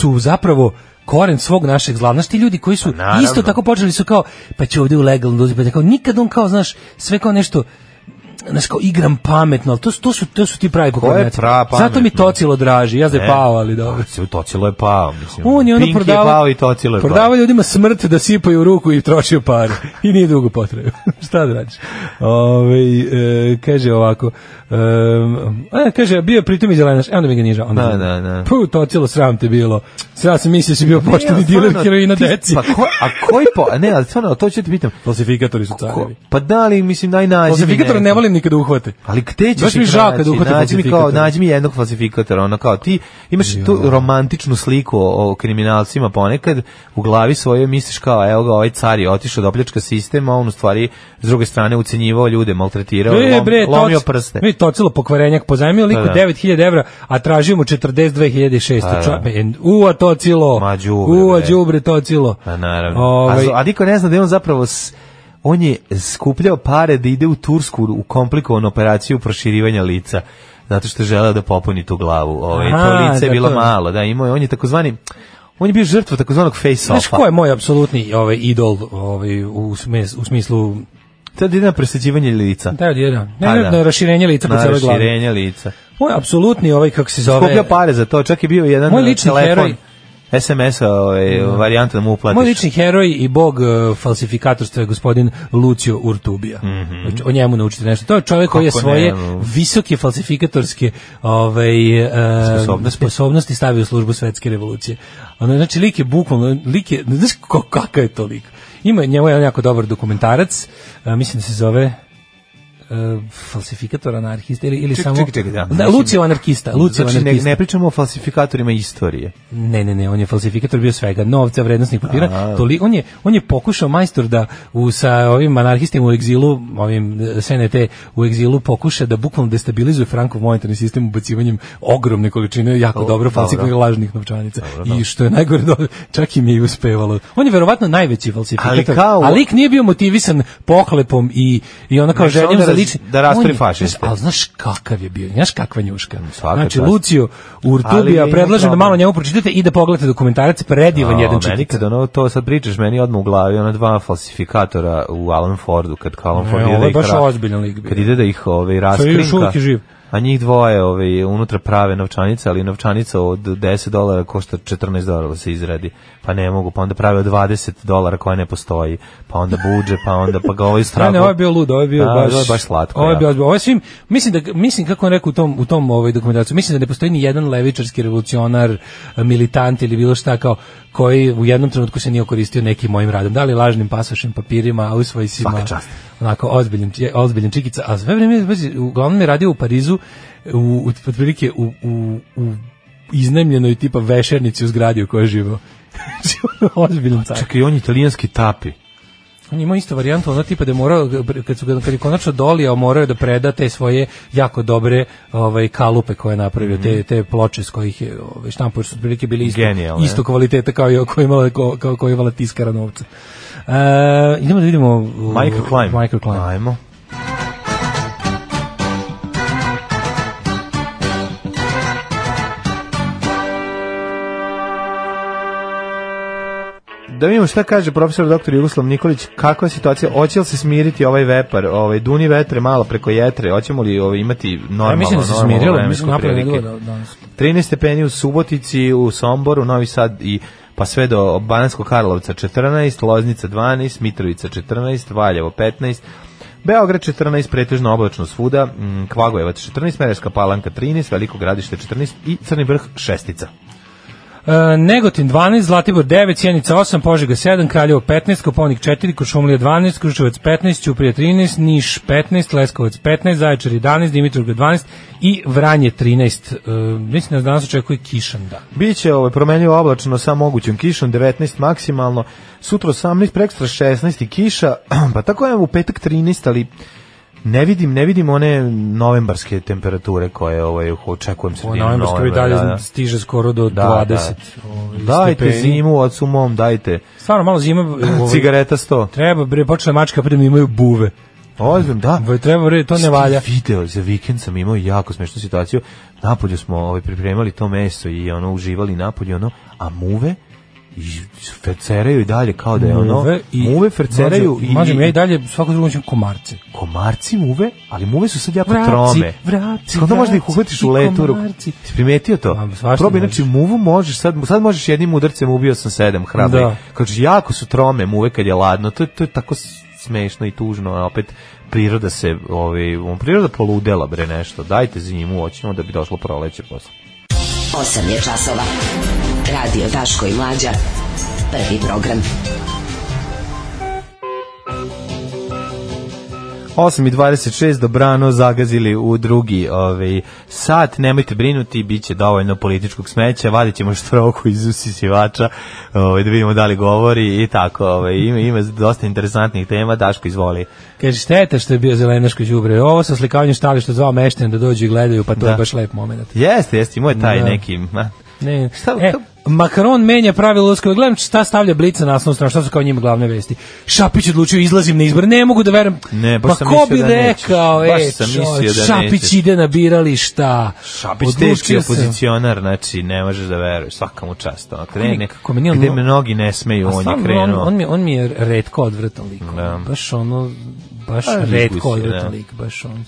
su zapravo koren svog našeg zla. Znaš, ti ljudi koji su Pa, naravno. isto tako počeli su kao, pa će ovdje u legalno dozi, pa će kao, nikad on kao, znaš, sve kao nešto, znaš, kao igram pametno, ali to, su- to, su, to su ti pravi pokornjaci. pra Zato mi pametno? tocilo draži, ja se Ne. pao, ali dobro. Pa, Tocilo je pao, mislim. On je ono Pink prodavao, je pao i Tocilo je pao. prodavao ljudima smrt da sipaju u ruku i trošio pare. I nije dugo potrebno. Šta da radiš? Ove, e, kaže ovako, em, a, kaže, bio je pritom i zelenaš, e, onda mi ga niža. Onda Da, da, da. Puh, to cijelo sram te bilo. Sada sam mislio da si bio pošteni Ne, diler Pa stvarno, heroina ti- deci. Pa ko, a koji po... a Ne, ali stvarno, to ću te pitam. Falsifikatori su Ko, carevi. pa da li, mislim, najnađe... Falsifikatore ne voli volim ni kada uhvate. Ali gde ćeš Baš mi ih žao naći? kada uhvate nađi mi kao, falsifikatora. nađi mi jednog falsifikatora, ono kao ti imaš tu romantičnu sliku o, o kriminalcima ponekad u glavi svojoj misliš kao evo ga ovaj car je otišao da opljačka sistem, a on u stvari s druge strane ucenjivao ljude, maltretirao, E, lom, bre, lomio toc- prste. Vidi, tocilo pokvarenjak, pozajmio liku Pa da. 9000 evra, a tražio mu 42.600. da. Ča- en- Ua, E, tocilo! Ma, đubre, Ua, bre. đubre, tocilo! Pa naravno. Ovaj, A, zo- a niko ne zna da je on zapravo s, on je skupljao pare da ide u Tursku u komplikovanu operaciju proširivanja lica zato što je želeo da popuni tu glavu. Ovaj Aha, to lice je da, bilo to- malo, da, imao je, on je takozvani on je bio žrtva takozvanog face Znaš offa. ko je moj apsolutni ovaj idol ovaj u smis- u smislu To ide na presađivanje lica. da da da Pa ne, da. na raširenje lica po na celoj glavi. raširenje lica. Moj apsolutni ovaj kako se zove Skupljao pare za to, čak je bio jedan Moj lični telefon. heroj. SMS-a ovaj, varijanta da mu uplatiš. Moj lični heroj i bog e, falsifikatorstva je gospodin Lucio Urtubija. Znači, O njemu naučite nešto. To je čovjek koji je Mhm. Kako svoje ne, no. visoke falsifikatorske ovaj, e, Sposobnosti. sposobnosti stavio u službu svetske revolucije. Ono, znači, lik je bukvalno, lik je, znaš ko- kakav je to lik? Ima njemu jedan jako dobar dokumentarac, e, mislim da se zove e, falsifikator anarhista ili, ili Ček, samo... ček, ček, da. Ne, Lucio anarhista. Lucio Znači, ne, anarhista. ne pričamo o falsifikatorima istorije. Ne, ne, ne, on je falsifikator bio svega, novca, vrednosnih papira. Toli, on, je, on je pokušao majstor da u, sa ovim anarhistima u egzilu, ovim eh, SNT u egzilu pokuša da bukvalno destabilizuje Frankov monetarni sistem ubacivanjem ogromne količine jako dobro falsifikovanih lažnih novčanica. da. I što je najgore, do- čak im je i uspevalo. On je verovatno najveći falsifikator, Ali kao- a lik nije bio motivisan pohlepom i, i ona kao Ne, samo željom da za raz- lični... da rastori On je- fašiste. Ali znaš kakav je bio, znaš kakva njuška. svaka Znači, čast. Lucio Ali je Urtubija, imao predlažem da malo problem. njemu pročitate i da pogledate dokumentarac, predivan jedan Meni čitica. kad ono, to sad pričaš, meni odmah u glavi ona dva falsifikatora u Alan Fordu, kad kao Alan Ne, Ford ide ovo da je ih baš ra- ozbiljan lik bio. Kad ide da ih ovaj, raskrinka. još uvijek je živ. A njih dvoje ovaj, unutra prave novčanice, ali novčanica od 10 dolara košta 14 dolara da se izradi. Pa ne mogu, pa onda prave od 20 dolara koja ne postoji. Pa onda buđe, pa onda pa ga ovaj strahu. Ne, ne, ovo je bio lud, ovo je bio Da, baš, ovo je baš slatko, Ovo je ja. bio ozbiljan. Ovo je svim, mislim da mislim kako on rekao u tom u tom ovaj dokumentaciju, mislim da ne postoji ni jedan levičarski revolucionar, militant ili bilo šta kao koji u jednom trenutku se nije okoristio nekim mojim radom, da li lažnim pasošem, papirima, ausvajsima. Svaka čast. Onako ozbiljan, či- ozbiljan čikica, a sve vreme pazi, uglavnom je radio u Parizu u u otprilike u u, u iznajmljenoj tipa vešernici u zgradi u kojoj je živeo. Znači, Ozbiljno car. Čekaj, on je italijanski tapi. On je imao isto varijantu, ono tipa da je morao, kad, su, ga- kad je konačno dolio, morao je da preda te svoje jako dobre ovaj, kalupe koje je napravio, Mhm. te, te ploče s kojih je ovaj, štampo, jer su otprilike bili isto, Genijalne. isto kvaliteta kao i koje imala, kao, kao, koje je imala tiskara novca. E, idemo da vidimo... u- Michael Klein. Michael Klein. Ajmo. Da vidimo šta kaže profesor dr. Jugoslav Nikolić, kakva je situacija, hoće li se smiriti ovaj vepar, ovaj duni vetre malo preko jetre, hoćemo li ovaj, imati normalno, Ja mislim da se normalno smirilo, vremensko mislim napravljeno prilike? da, danas. 13 stepeni u Subotici, u Somboru, Novi Sad i pa sve do Bananskog Karlovca 14, Loznica 12, Mitrovica 14, Valjevo 15, Beograd 14, pretežno oblačno svuda, mm, Kvagojevac 14, Merevska palanka 13, Veliko gradište 14 i Crni vrh šestica. E, Negotin 12, Zlatibor 9, Sjenica 8, Požega 7, Kraljevo 15, Koponik 4, Košumlija 12, Kruševac 15, Ćuprija 13, Niš 15, Leskovac 15, Zaječar 11, Dimitrovgrad 12 i Vranje 13. E, mislim da nas danas očekuje kišan dan. Biće ovaj, promenljivo oblačno sa mogućom kišom, 19 maksimalno, sutra 18, prekstra 16 i kiša, pa tako je u petak 13, ali ne vidim, ne vidim one novembarske temperature koje ovaj, očekujem Ovo sredinom novembarsko i novembra, dalje da, da. stiže skoro do Da, 20. da. ovaj, Dajte stepeni. zimu od sumom, dajte. Stvarno malo zima. ovaj, Cigareta 100. Treba, bre, počela je mačka, pre da mi imaju buve. Ozbiljno, da. Bre, Treba, bre, to ne Jesi ti valja. Video, za vikend sam imao jako smešnu situaciju. Napolju smo ovaj, pripremali to meso i ono uživali napolju, ono, a muve i ferceraju i dalje kao da je ono muve, i, muve ferceraju Mađo, mađo, i, ja i dalje svako drugo ću komarce. komarci muve, ali muve su sad jako Vraci, trome. vraci, Skoro možeš da ih vraci uhvatiš i u letu. ruku. komarci. Jesi primetio to? Ma, svašta Probaj, možeš. znači muvu možeš, sad, sad možeš jednim udarcem, ubio sam sedam hrabri. Da. Znači, jako su trome muve kad je ladno, to, je- to je tako s- smešno i tužno, a opet priroda se, ovaj, um, priroda poludela bre nešto, dajte zimu, hoćemo da bi došlo proleće posle. 8 je časova. Radio Daško i Mlađa. Prvi program. 8 i 26 dobrano zagazili u drugi ovaj, sat, nemojte brinuti, bit će dovoljno političkog smeća, vadit ćemo štroku iz usisivača, ovaj, da vidimo da li govori i tako, ovaj, ima, ima dosta interesantnih tema, Daško izvoli. Kaže, šteta što je bio Zelenaško đubre. Ovo sa slikavanjem štališta zvao meštene da dođu i gledaju, pa to Da. je baš lep moment. Jeste, jeste, imao je taj Da. neki... Ma, Ne, Šta- e, šta- Makaron menja pravilo uskoj. Gledam šta stavlja Blica na naslovnu stranu, šta su kao njima glavne vesti. Šapić odlučio, izlazim na izbor. Ne mogu da verujem. Ne, baš pa sam ko bi mislio da nećeš. rekao, Baš e, sam čo, mislio da Šapić nećeš. ide na birališta. Šapić Odlučio teški sam. opozicionar, znači ne možeš da veruješ, svaka mu čast. On krene, Kako meni on- gde mnogi ne smeju, A on je stvarno, krenuo. On, on, mi, on mi je redko odvratan lik. Da. Baš ono, baš A, redko izgusi, odvratan da. lik, baš on.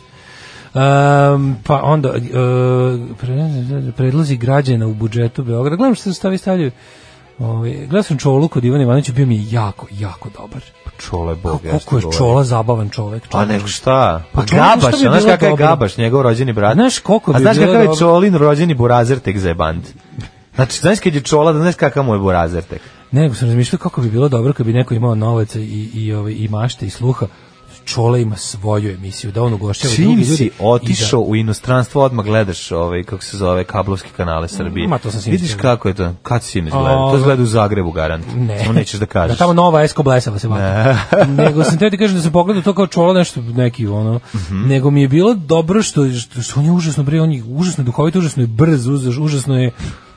Um, pa onda uh, pre- predlozi građana u budžetu Beograda. Gledam što se stavi stavljaju. Ovaj gledao sam Čolu kod Ivana Ivanovića, bio mi je jako, jako dobar. Čole Bog, ja što Koliko je govorim. Čola zabavan čovek. Pa nego šta? Pa Pa to je ono što Gabaš, bi znaš bilo kakav je dobro. Gabaš, njegov rođeni brat. Znaš koliko A bi znaš bilo kakav je dobro? Čolin rođeni burazer tek za jebant? Znači, znaš kad je Čola, da znaš kakav mu je burazer tek. Nego sam razmišljao kako bi bilo dobro kad bi neko imao novac i, i, ovaj, i mašte i sluha. Čola ima svoju emisiju, da on ugošćava drugi Čim ljudi. si i da- otišao u inostranstvo, odmah gledaš ovaj, kako se zove, kablovski kanale Srbije. Ma, to sam sinoć Vidiš gledao. kako je to? Kad si sinoć gledao? To Ove. gleda u Zagrebu, garant. Ne. Samo nećeš da kažeš. Da tamo nova Esko Blesava se vata. nego sam teo ti kažem da sam pogledao to kao čolo nešto neki ono. Mhm. Nego mi je bilo dobro što, što, što on je užasno bre, on je užasno duhovit, užasno je brz, uzaš, užasno je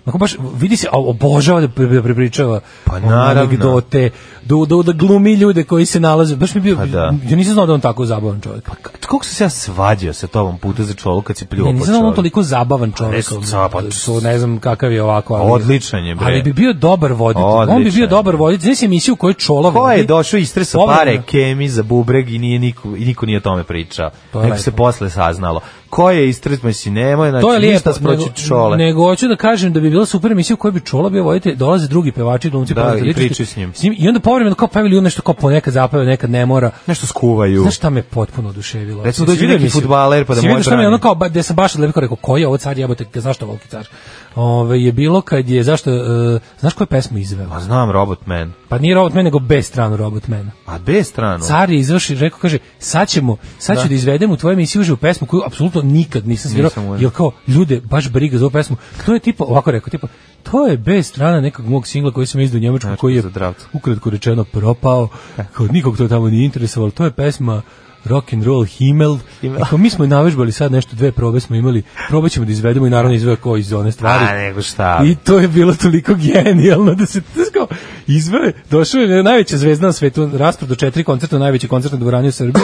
Onako baš, vidi se, a obožava da pri- da prepričava Pa ono naravno. anegdote, da, da, da glumi ljude koji se nalaze, baš mi je bio, Pa da. ja nisam znao da je on tako zabavan čovjek. Pa, K- Koliko sam se ja svađao sa tobom puta za čolu kad si pljuo ne, po nisam znao da je on čolu? toliko zabavan čovjek, ne, sa- pa- to ne znam kakav je ovako. ali- Odličan je, bre. Ali bi bio dobar voditelj, on bi Odličan je. bio dobar voditelj, znaš emisiju koju čolo Ko je došao i stresa Obrana. pare kemi za bubreg i nije niko, i niko nije o tome pričao. To je Nego lepo. se posle saznalo. Ko je istresma si nemoj, znači to je lijepo, ništa sproći nego- čole. Nego hoću da kažem da bi bila super emisija u kojoj bi Čola bio voditelj, dolaze drugi pevači, glumci, Da, poznate i ličnosti. pričaju s njim. I onda povremeno kao pevili nešto kao ponekad zapeva, nekad ne mora. Nešto skuvaju. Znaš šta me potpuno oduševilo? Recimo, Jesi dođe vidio neki emisiju? fudbaler pa da Jesi mu vidio šta mi je odbrani? ono kao, ba- gde sam baš lepo rekao, ko je ovo car jebote, zašto volki car? Ove, je bilo kad je, zašto, e, znaš koju pesmu izveo? Pa znam, robot man. Pa nije Robot Man, nego bez stranu Robot Mana. A bez stranu. Car je izašao i rekao, kaže, sad ćemo, sad ću da, izvedem u tvojoj emisiji uživu pesmu koju apsolutno nikad nisam svirao, Nisam uživo. jer kao, ljude, baš briga za ovu pesmu. To je tipa, ovako rekao, tipa, to je bez strana nekog mog singla koji sam izdao u Njemačku, Znači, koji je za dravca. Da. ukratko rečeno propao, kao nikog to tamo nije interesovalo, to je pesma rock and roll Himmel. Himmel. Ako mi smo navežbali sad nešto, dve probe smo imali, probat ćemo da izvedemo i naravno izveo kao iz one stvari. A, nego šta. I to je bilo toliko genijalno da se znaš kao izveo, je, došao je najveća zvezda na svetu, raspor do četiri koncerta, najveći koncert na dvorani u Srbiji.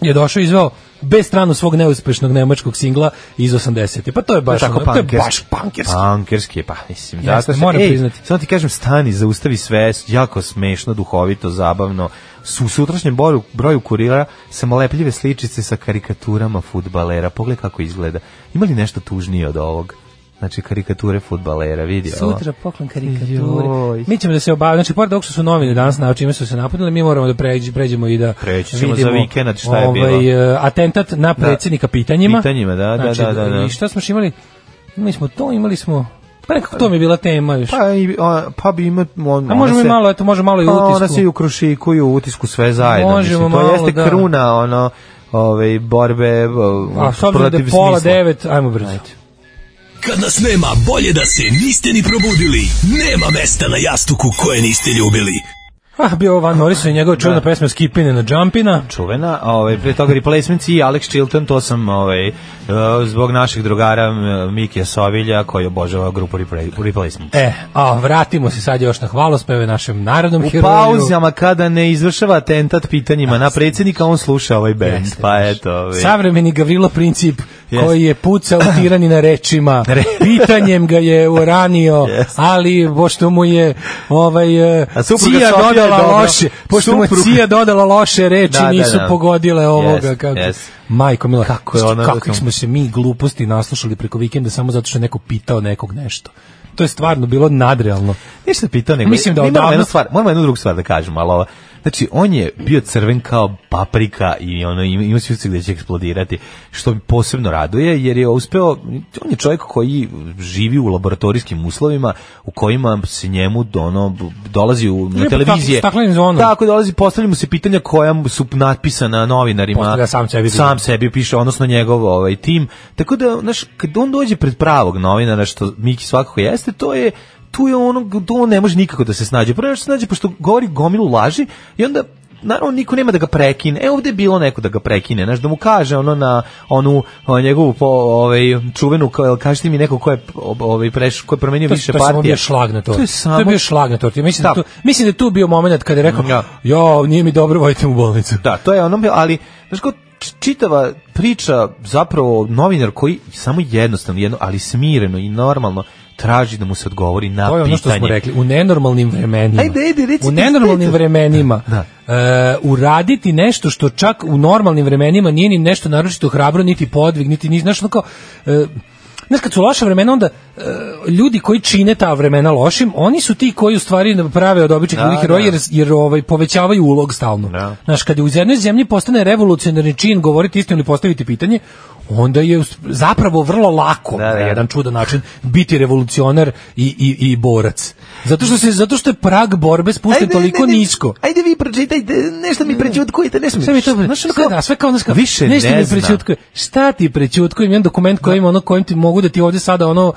je došao i izveo bez stranu svog neuspešnog nemačkog singla iz 80. Pa to je baš tako ono, to je punkerski. baš punkerski. Pankerski je, pa mislim, Jeste, zato što, moram ej, priznati. samo ti kažem, stani, zaustavi sve, jako smešno, duhovito, zabavno, su u sutrašnjem broju, broju kurira samolepljive sličice sa karikaturama futbalera, pogledaj kako izgleda, ima li nešto tužnije od ovog? Znači, karikature futbalera, vidi ovo. Sutra poklon karikature. Joj. Mi ćemo da se obavimo, znači pored ovog što su novine danas na čime su se napunile, mi moramo da pređi, pređemo i da Preći ćemo vidimo, za vikend šta je bilo. Da. e, atentat na predsjednika pitanjima. Pitanjima, da, da, znači, da, da, da. I šta smo još imali? Imali smo to, imali smo... Pa nekako to mi je bila tema još. Pa, i, a, pa bi ima... On, A ona možemo i se- malo, eto, možemo malo i Pa ona utisku. se i u krušiku i u utisku sve zajedno. Možemo mislim, to malo, jeste da. kruna, ono, ove, borbe o, A s obzirom da je protiv pola smisla. devet, ajmo brzo. Kad nas nema, bolje da se niste ni probudili. Nema mesta na jastuku koje niste ljubili. Ah, bio Van Morrison i njegova Da. čudna pesma Skipine na Jumpina. čuvena, a ovaj pre toga Replacements i Alex Chilton, to sam ovaj eh, zbog naših drugara eh, Mikija Sovilja koji obožava grupu Repla- Replacements. E, a vratimo se sad još na hvalospeve našem narodnom U heroju. pauzama kada ne izvršava atentat pitanjima na predsjednika, on sluša ovaj band. Jeste, pa baš. eto, ovaj. Savremeni Gavrilo Princip Jeste. koji je pucao tirani na rečima. Na re- Pitanjem ga je uranio, Jeste. ali pošto mu je ovaj e, A supruga Sofija Cija je dobro. dodala loše, pošto mu je Supruga- Cija dodala loše reči, Da, da, nisu da. pogodile ovoga Jeste, kako. jeste. Majko mila, kako je ono- kako smo se mi gluposti naslušali preko vikenda samo zato što je neko pitao nekog nešto. to je stvarno bilo nadrealno. Nisam pitao nego. Mislim da mi moramo odavno- jednu stvar, moramo jednu drugu stvar da kažemo, ali ova, znači on je bio crven kao paprika i ono ima, ima se gde će eksplodirati, što mi posebno raduje jer je uspeo on je čovjek koji živi u laboratorijskim uslovima u kojima se njemu ono dolazi u, na Ili pod televizije. stak- staklenim zonom. Tako dolazi postavljaju mu se pitanja koja mu su natpisana novinarima. Postavlja sam sebi. Sam sebi piše, odnosno njegov ovaj tim. Tako da, znaš, kad on dođe pred pravog novinara, što Miki svakako jeste, to je tu je ono, to on ne može nikako da se snađe. Prvo što se snađe, pošto govori gomilu laži i onda naravno niko nema da ga prekine. E ovde je bilo neko da ga prekine, znaš, da mu kaže ono na onu o, njegovu po, ovaj čuvenu kao kažete mi neko ko je ovaj preš ko je promenio To, više to je samo bio partija. šlag na to. To je samo bio šlag na to. Mislim da, Da. tu, mislim da je tu bio moment kada je rekao, Da. jo, nije mi dobro, vojte mu u bolnicu. Da, to je ono, bio, ali znaš kao č- čitava priča zapravo novinar koji samo jednostavno, jedno, ali smireno i normalno traži da mu se odgovori na To je ono što pitanje. smo rekli, u nenormalnim vremenima. Ajde, ajde, reci u ti nenormalnim šta je to? vremenima. Da. e, uraditi nešto što čak u normalnim vremenima nije ni nešto naročito hrabro, niti podvig, niti ni znaš, ono kao, e, Znaš, kad su loša vremena, onda e, ljudi koji čine ta vremena lošim, oni su ti koji u stvari prave od običnih Da, ljudi heroja, da. jer, jer ovaj, povećavaju ulog stalno. Da. Znaš, kad je u jednoj zemlji postane revolucionarni čin govoriti istinu ili postaviti pitanje, onda je us- zapravo vrlo lako Da, da, na da. jedan čudan način biti revolucionar i, i, i borac. Zato što, se, zato što je prag borbe spušten Ajde, toliko ne, ne, nisko. Ajde vi pročitajte, nešto mi prećutkujete, ne smiješ. Sve mi to, znaš, ono kao, da, sve kao, znaš, kao, više nešto ne mi zna. prećutkuje. Šta ti prećutkuje? Imam dokument kojim, ono, kojim ti mogu da ti ovde sada, ono,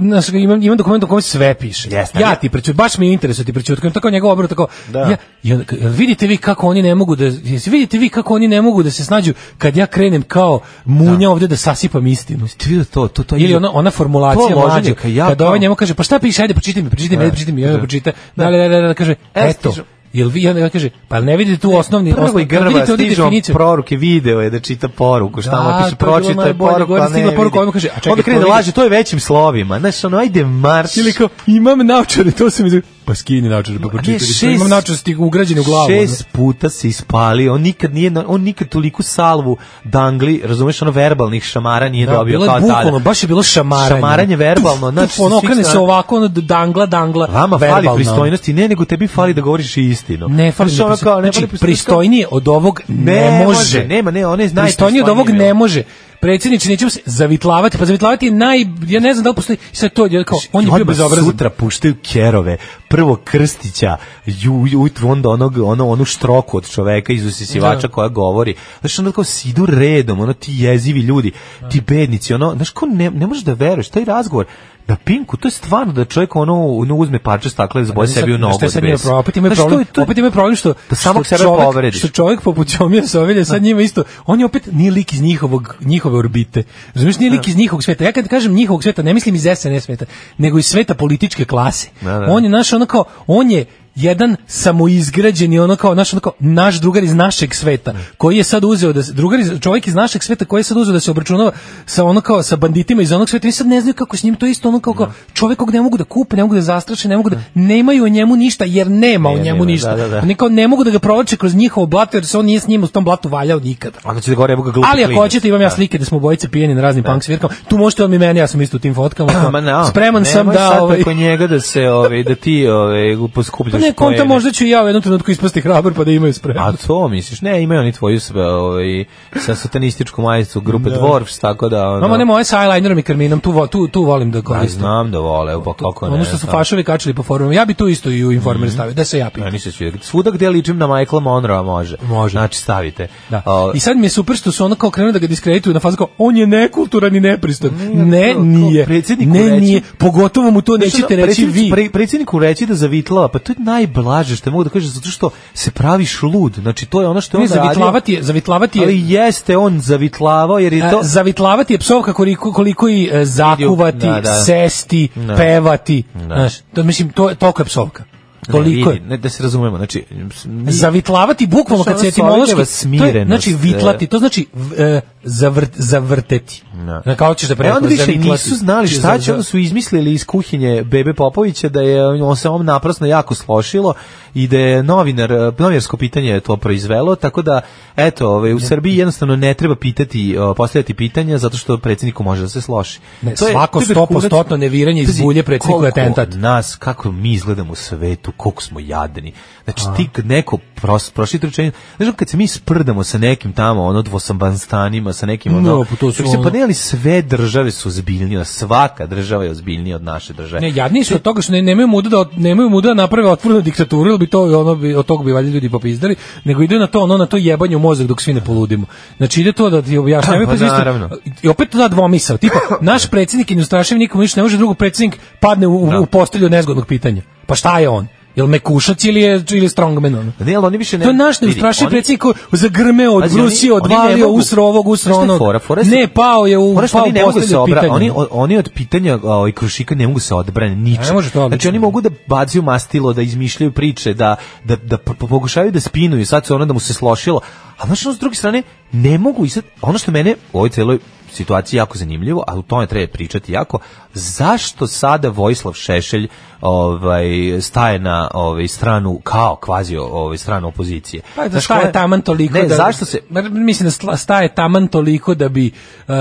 znaš, imam, imam dokument u kojem sve piše. Jeste, ja ali- ti prećutkujem, baš mi je interesu ti prećutkujem, tako njegov obrot, tako, Da. ja, i onda, jel vidite vi kako oni ne mogu da, jesi vidite vi kako oni ne mogu da se snađu kad ja krenem kao munja ovde da sasipam istinu. Ti vidio to, to, to. Pa Ili ona ona formulacija To loženje, mlađe. kad ja kad kao- ovaj njemu kaže pa šta piše ajde pročitaj mi pročitaj mi ajde, pročitaj mi ajde, pročitaj. Da da da, da, da, kaže E, eto. stižu. E, Jel vi onda kaže pa jel ne vidite tu osnovni Prvo i osnovni grba vidite ovdje stiže on definiciju. proruke, video je da čita poruku, šta mu Da, piše, to je bilo pročita najbolje, poruku, gore a ne stigla poruka, vidi. ovome kaže, a čekaj, Onda krene da to vidi- laže, to je većim slovima, znaš, ono, ajde marš. Ili kao imam naočare, to se mi zove. Pa skini naočare pa pročitaj. šest- Pa imam naočare sti ugrađene u glavu. ono. Šest puta se ispalio, on nikad nije on nikad toliku salvu dangli, razumeš, ono verbalnih šamara nije Da, dobio bilo je kao tada. bukvalno, baš je bilo šamaranje. Šamaranje verbalno, Puf, znači, puf, ono sa svih okrene se strana. ovako, ono dangla, dangla, Vama fali verbalno. pristojnosti, ne, nego tebi fali da govoriš istinu. Ne, fali Znaš, ono kao, ne fali znači, pristojnosti, pristojnije od ovog ne, Ne može. može, nema, ne, ona je Pristojnije od ovog najpristojnije ne bilo. može. Predsjedniče, nećemo se zavitlavati, pa zavitlavati je naj... Ja ne znam da li postoji... Sad to, je kao, on je bio Znači, Odmah bezobrazan. Sutra puštaju kerove, prvo Krstića, ju, jutru onda onog, ono, onu štroku od čoveka iz Da. usisivača koja govori. Znaš, onda kao si idu redom, ono ti jezivi ljudi, Da. ti bednici, ono, znaš, ko ne, ne možeš da veruješ, taj razgovor na Pinku, to je stvarno da čovjek ono, ono uzme parče stakle i zboji sebi u nogu. Šta je Pa sad od njima besa. problem? Opet imaju Znaš, to je- problem, to je- opet imaju problem što, Da samog što, sebe čovjek, povrediš. što čovjek poput Ćomija Sovelja Da. sad njima isto, on je opet nije lik iz njihovog, njihove orbite. Razumiješ, nije Da. lik iz njihovog sveta. Ja kad kažem njihovog sveta, ne mislim iz SNS sveta, nego iz sveta političke klase. Da, da. On je naš ono kao, on je jedan samoizgrađeni ono kao naš ono kao naš drugar iz našeg Da. sveta koji je sad uzeo da se, drugar iz, čovjek iz našeg sveta koji je sad uzeo da se obračunava sa ono kao sa banditima iz onog sveta i sad ne znaju kako s njim to je isto ono kao, kao čovjek kog ne mogu da kupe ne mogu da zastraše ne mogu da nemaju o njemu ništa jer nema o Nema, njemu nema, ništa da, da, da. Oni kao ne mogu da ga provlače kroz njihovo blato jer se on nije s njim u tom blatu valjao nikada Onda će da govori, evo ga glupi Ali ako klinac. hoćete, imam ja Da. slike da smo bojice pijeni na raznim punk svirkama. Tu možete vam i meni, ja sam isto u tim fotkama. Ma ne, Spreman sam nemoj da... sad ovaj, preko njega da se ovaj da ti ovaj Pa poskupljaš ne, konta poene. možda ću i ja u jednom trenutku ispasti hrabar pa da imaju A spremno. to misliš? Ne, imaju oni tvoju sve, ovaj, sa satanističku majicu grupe Dwarfs, tako da... Ono, Mamo, ne moje sa eyelinerom i karminom, tu, vo- tu, tu volim da Ja koristim. znam da vole, evo, pa kako ne. Mhm. ono što su znam. fašovi kačili po forumima. Ja bi tu isto i u informer stavio, da se ja Ja pitam. nisam svi. Svuda gde ličim na Michaela Monroe može. Može. Znači stavite. Da. A, I sad mi je super što su ono kao krenuli da ga diskredituju na fazu kao on je nekulturan i nepristan. Ne, to- to nije. predsjedniku Ne, reći- nije. Pogotovo mu to Znaš, nećete ono, reći predsjednič- vi. pre- predsjedniku reći da zavitlava, pa to je najblaže što mogu da kažem, zato što se praviš lud. Znači, to je ono što je Ne, on radio. zavitlavati je, zavitlavati je. E, Ali jeste on zavitlavao, jer je A, to... zavitlavati je psovka koliko, koliko i e, zakuvati, Da, da. sesti, Da. pevati. Znaš, to, mislim, to, je- toliko je psovka. Toliko ne, je. E, vidi, ne, da se razumemo, znači... mi- Zavitlavati bukvalno Znaš, kad se ono, etimološki sovjetljava to je, znači smirenost, vitlati, to znači v- e, zavrt, zavrteti. Da. Na kao ćeš da E, onda preokroz, više i zavitlati. nisu znali Ćeš šta za- će, onda su izmislili iz kuhinje Bebe Popovića da je on se ovom naprasno jako slošilo i da je novinar, novinarsko pitanje je to proizvelo, tako da, eto, ovaj, u Srbiji jednostavno ne treba pitati, o, postavljati pitanja zato što predsjedniku može da se sloši. Ne, svako to je 100% neviranje iz Pazi, bulje predsjedniku je koliko atentat. nas, kako mi izgledamo u svetu, koliko smo jadni. Znači, ti kad neko pros, prošli trčanje, znaš, ono kad se mi sprdamo sa nekim tamo, ono, dvosambanstanima, sa nekim, ono, No, pa to su mislim, ono- pa ne, ali sve države su ozbiljnije, svaka država je ozbiljnija od naše države. Ne, jadni su od toga što ne, nemaju muda da nemaju muda da naprave otvorenu diktaturu, ili bi to ono bi od toga bi valjda ljudi popizdali, nego ide na to ono na to jebanje u mozak dok svi ne poludimo. Znači ide to da ti objašnjavaju Pa, pa isto- naravno. I opet ta dvomisao, tipa naš predsjednik je neustrašiv nikom ništa ne može, drugo predsjednik padne u, Da. u postelju od nezgodnog pitanja. Pa šta je on? Jel me kušac ili je ili je strongman ono? Ne, ali oni više ne... To je naš vidi, neustrašiv oni- predsjednik koji zagrmeo, Pazi, oni- odbrusio, oni ne odvalio, mogu- usro ovog, usro Znaš šta je onog. fora? Fora je- Ne, pao je u pa, Fora što pao oni ne mogu da se postelju obra, pitanja. oni, o- oni od pitanja ovaj, krušika ne mogu se odbrane ničim. Ne može to obično. znači oni mogu da bacaju mastilo, da izmišljaju priče, da, da, da po- po- pokušavaju da spinuju, sad se ono da mu se slošilo, a znaš ono s druge strane ne mogu i sad, ono što mene u ovoj celoj situaciji jako zanimljivo, a u tome treba pričati jako, zašto sada Vojislav Šešelj ovaj, staje na ovaj, stranu kao kvazi ovaj, stranu opozicije? Pa da Znaš, staje koja- taman toliko ne, da... zašto se, Ma, Mislim da sla- staje taman toliko da bi e,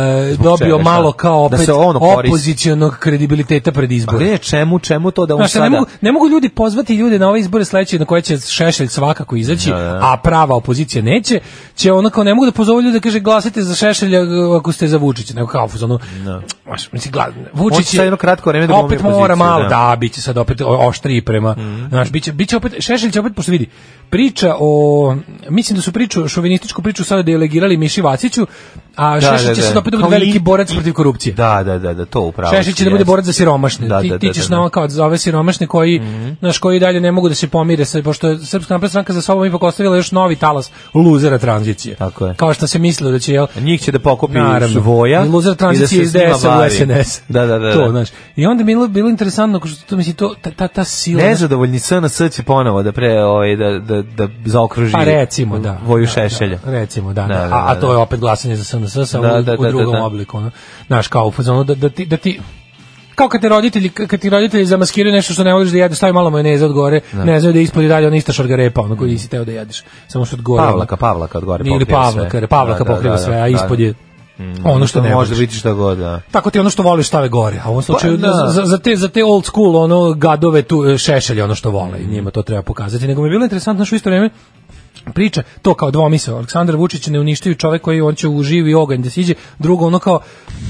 dobio čega, šta? malo kao Da opet se ono koristi. opozicionog kredibiliteta pred Pa izbore. ne, čemu, čemu to da on Znaš, sada... ne, mogu, ne mogu ljudi pozvati ljude na ove izbore sledeće na koje će Šešelj svakako izaći, Da, a prava opozicija neće, će onako ne mogu da pozovu ljude da kaže glasajte za Šešelja e, ako ste za Vučića, nego kao ono, znaš, mislim, gla- On će Vučić Da. sad jedno kratko vreme da glumi opet mora opoziciju, malo, da. Mhm. da, a biće sad opet o- oštriji prema znaš biće biće opet Šešelj će opet pošto vidi priča o mislim da su priču šovinističku priču sada delegirali Miši Vaciću a Da, Šešelj da, će da. sad opet da Kao bude veliki i- borac i- protiv korupcije Da, da, da, da, to upravo. Šešić će da bude borac za siromašne. Da, ti, da, ti da, ćeš da, na da. Mhm. ono kao za ove siromašne koji, znaš, koji dalje ne mogu da se pomire, sa, pošto je Srpska napredna stranka za sobom ipak ostavila još novi talas luzera tranzicije. Tako je. Kao što se mislilo da će, jel, Njih će da pokupi Naravno. svoja. I Loser tranzicije iz DS u SNS. Da, da, da. To, znači, da. znaš. I onda mi je bilo- bilo interesantno, kao što to misli, to, ta, ta, ta sila. znaš, Nezadovoljni SNS će ponovo da pre ovaj da da da zaokruži. Pa recimo, da. Voju Da, šešelja. Da, recimo, da. Da, da, da, a, a da, to da. je opet glasanje za SNS samo Da, u- da, u da, drugom da, da. obliku. Ono. Znaš, kao u fazonu da, da, ti, da ti kao kad te roditelji, kad ti roditelji zamaskiraju nešto što ne voliš da jedeš, stavi malo majoneza od gore, ne znaju da je ispod i dalje ona ista šargarepa, ono koji nisi teo da jedeš, samo što od gore. Pavlaka, Pavlaka od gore Ili pokriva Pavlaka, sve. jer Pavlaka Da, da, pokriva da, da, sve, a da. Mm, ispod je ono što ne može voliš. biti šta god, da. Tako ti ono što voliš stave gore, a u ovom slučaju Pa, da. za, za, te, za te old school ono gadove tu e, šešelje ono što vole i njima to treba pokazati. Nego mi je bilo interesantno što u isto vreme priča, to kao dvomisao, Aleksandar Vučić ne uništaju čovek koji on će u živi oganj da siđe, drugo ono kao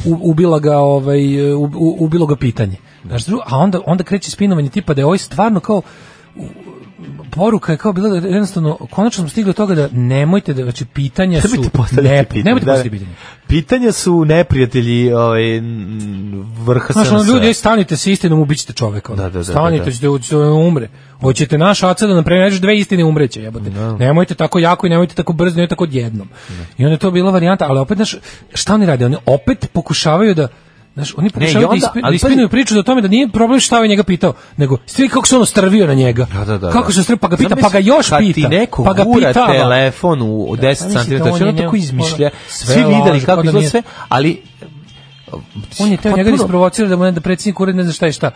u- ubila ga, ovaj, e, u- u- ubilo ga pitanje. Znaš, drugo, a onda, onda kreće spinovanje tipa da je ovaj stvarno kao poruka je kao bila da jednostavno konačno smo stigli do toga da nemojte da znači pitanja su Nemojte postavljati ne, pitanja, nemojte da. postavljati pitanja. Pitanja su neprijatelji ovaj, n- vrha Znaš, ono, SNS. ljudi, ej, stanite se istinom, ubićete čoveka. ono. Da, da, da, stanite, da, da. ćete, ćete umre. Hoćete naš aca da nam prenađeš dve istine umreće, jebote. Da. Nemojte tako jako i nemojte tako brzo, nemojte tako odjednom. I onda je to bila varijanta, ali opet, znaš, šta oni rade? Oni opet pokušavaju da Znaš, oni pokušavaju onda- da, ispi, da ali ispinuju pazi- priču o tome da nije problem šta je njega pitao, nego stvari kako se ono strvio na njega. Da, da, da, da. kako se strvio, pa ga pita, Zamisli, pa ga još kad pita. ti neko pa ga gura pita. telefon u 10 cm, zamislite, da, on znači je ono tako njemu- izmišlja, ono, sve svi videli laže, kako kao da izgleda nije- sve, ali On je teo njega da Potpuno- isprovocira da mu ne da predsjednik ured ne zna šta je šta.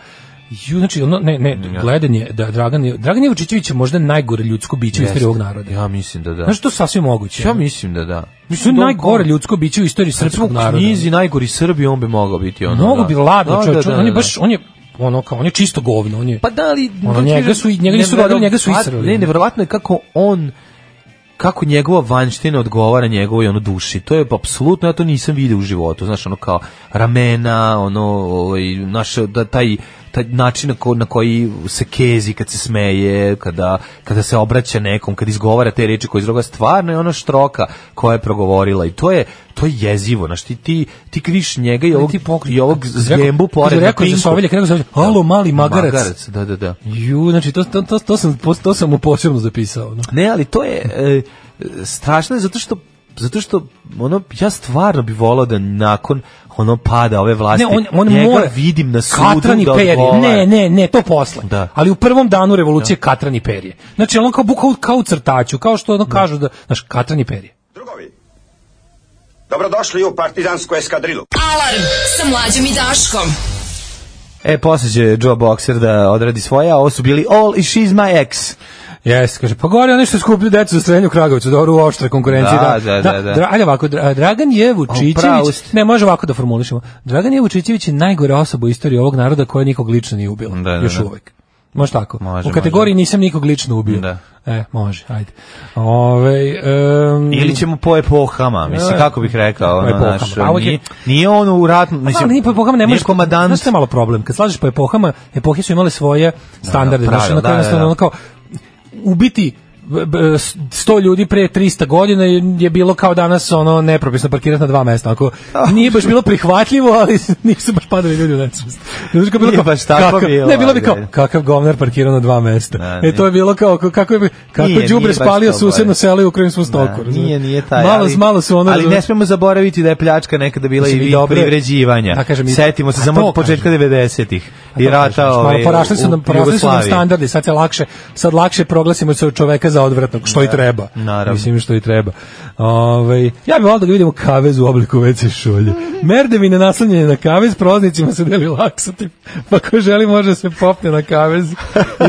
Ju, znači, ono, ne, ne, gledanje, da Dragan, je- Dragan je Vučićević je možda najgore ljudsko biće u istoriji ovog naroda. Ja mislim da da. Znaš, to je sasvim moguće. ja mislim da da. Mislim, to je najgore ljudsko biće u istoriji srpskog srpskog naroda. naroda. Knjizi najgori Srbi, on bi mogao biti ono. Mnogo da. bi ladno Da, čovječ, da, da, on je da. baš, on je, ono kao, on je čisto govno, on je... Pa da li... Ono, njega su- njega nisu rodili, njega su israli. Ne, nevjerovatno je kako on kako njegova vanština odgovara njegovoj ono duši. To je apsolutno, ja to nisam vidio u životu. Znaš, ono kao ramena, ono, ovaj, naš, da, taj, taj način na, ko- na koji se kezi kad se smeje, kada, kada se obraća nekom, kad izgovara te reči koje izgovara, stvarno je ono štroka koja je progovorila i to je to je jezivo, znaš, ti, ti, ti kad vidiš njega i ovog, ti pokri- i ovog kad si rekao- zgembu kad si pored na rekao za pinku. Sovilja, kad je rekao Sovilja, "Alo, mali Da. magarac." magarac da, da, da. Ju, znači, to, to, to, to sam, to sam mu posebno zapisao. ono. Ne, ali to je e, strašno je zato što zato što ono ja stvarno bih volao da nakon ono pada ove vlasti Ne, on, on njega mora vidim na sudu Katran i da perje. odgovara. Ne, ne, ne, to posle. Da. Ali u prvom danu revolucije Katran i perje. Znači da- on kao buka kao u crtaću, kao što ono kažu da, znaš, Katran i perje. Drugovi, Dobrodošli u partizansku eskadrilu. Alarm sa mlađom i Daškom. E, posle će Joe Boxer da odradi svoje, a ovo su bili All i She's My Ex. Jes, kaže, pa gore oni što skuplju decu za strenju Kragovicu, dobro u oštre konkurencije. Da, da, da, da. dra- ajde ovako, Dra- Dragan je pravo Vučićević, ste. ne, može ovako da formulišemo, Dragan je Vučićević je najgora osoba u istoriji ovog naroda koja nikog lično nije ubila, Da, da, još da. uvek. Može tako. Može, u kategoriji nisam nikog lično ubio. Da. E, može, ajde. Ove, um, Ili ćemo po epohama, mislim, E, kako bih rekao. Ono, po epohama. naš, A ovo je- nije, nije on u ratnom, Mislim, mislim, ali ni po epohama ne nije možeš komadant. Znaš što je malo problem? Kad slažeš po epohama, epohe su imale svoje standarde. Da, da, znaš, ono pravila, kao da, da, jednostavno, da. ono kao, ubiti b- b- 100 ljudi pre 300 godina je je bilo kao danas ono nepropisno parkirati na dva mesta. Ako Da. nije baš bilo prihvatljivo, ali nisu baš padali ljudi u nesvest. Znaš kako je bilo Nije kao, baš tako kakav- bilo, Ne, bilo bi ali kao ajde. kakav govnar parkirao na dva mesta. Da, e to je bilo kao kao- kako je kako Nije, je đubre nije baš spalio to susedno gore. selo i u krivim svom stoku. Da, nije, nije taj. Malo, ali, malo su ono Ali ne smemo zaboraviti da je pljačka nekada bila i Mislim, i vid dobro je- privređivanja. Da, kažem, i- Setimo se a samo to od početka 90-ih A i to rata kažem, što ove, porasli su u- nam u porasli su nam Jugoslaviji. standardi, sad je lakše, sad lakše proglasimo se čoveka za odvratnog, što i treba. Da, naravno. Mislim što i treba. Ovaj ja bih volio da ga vidimo kavez u obliku WC šolje. Merdevine naslanjene na kavez, proznicima se deli laksativ. Pa ko želi može da se popne na kavez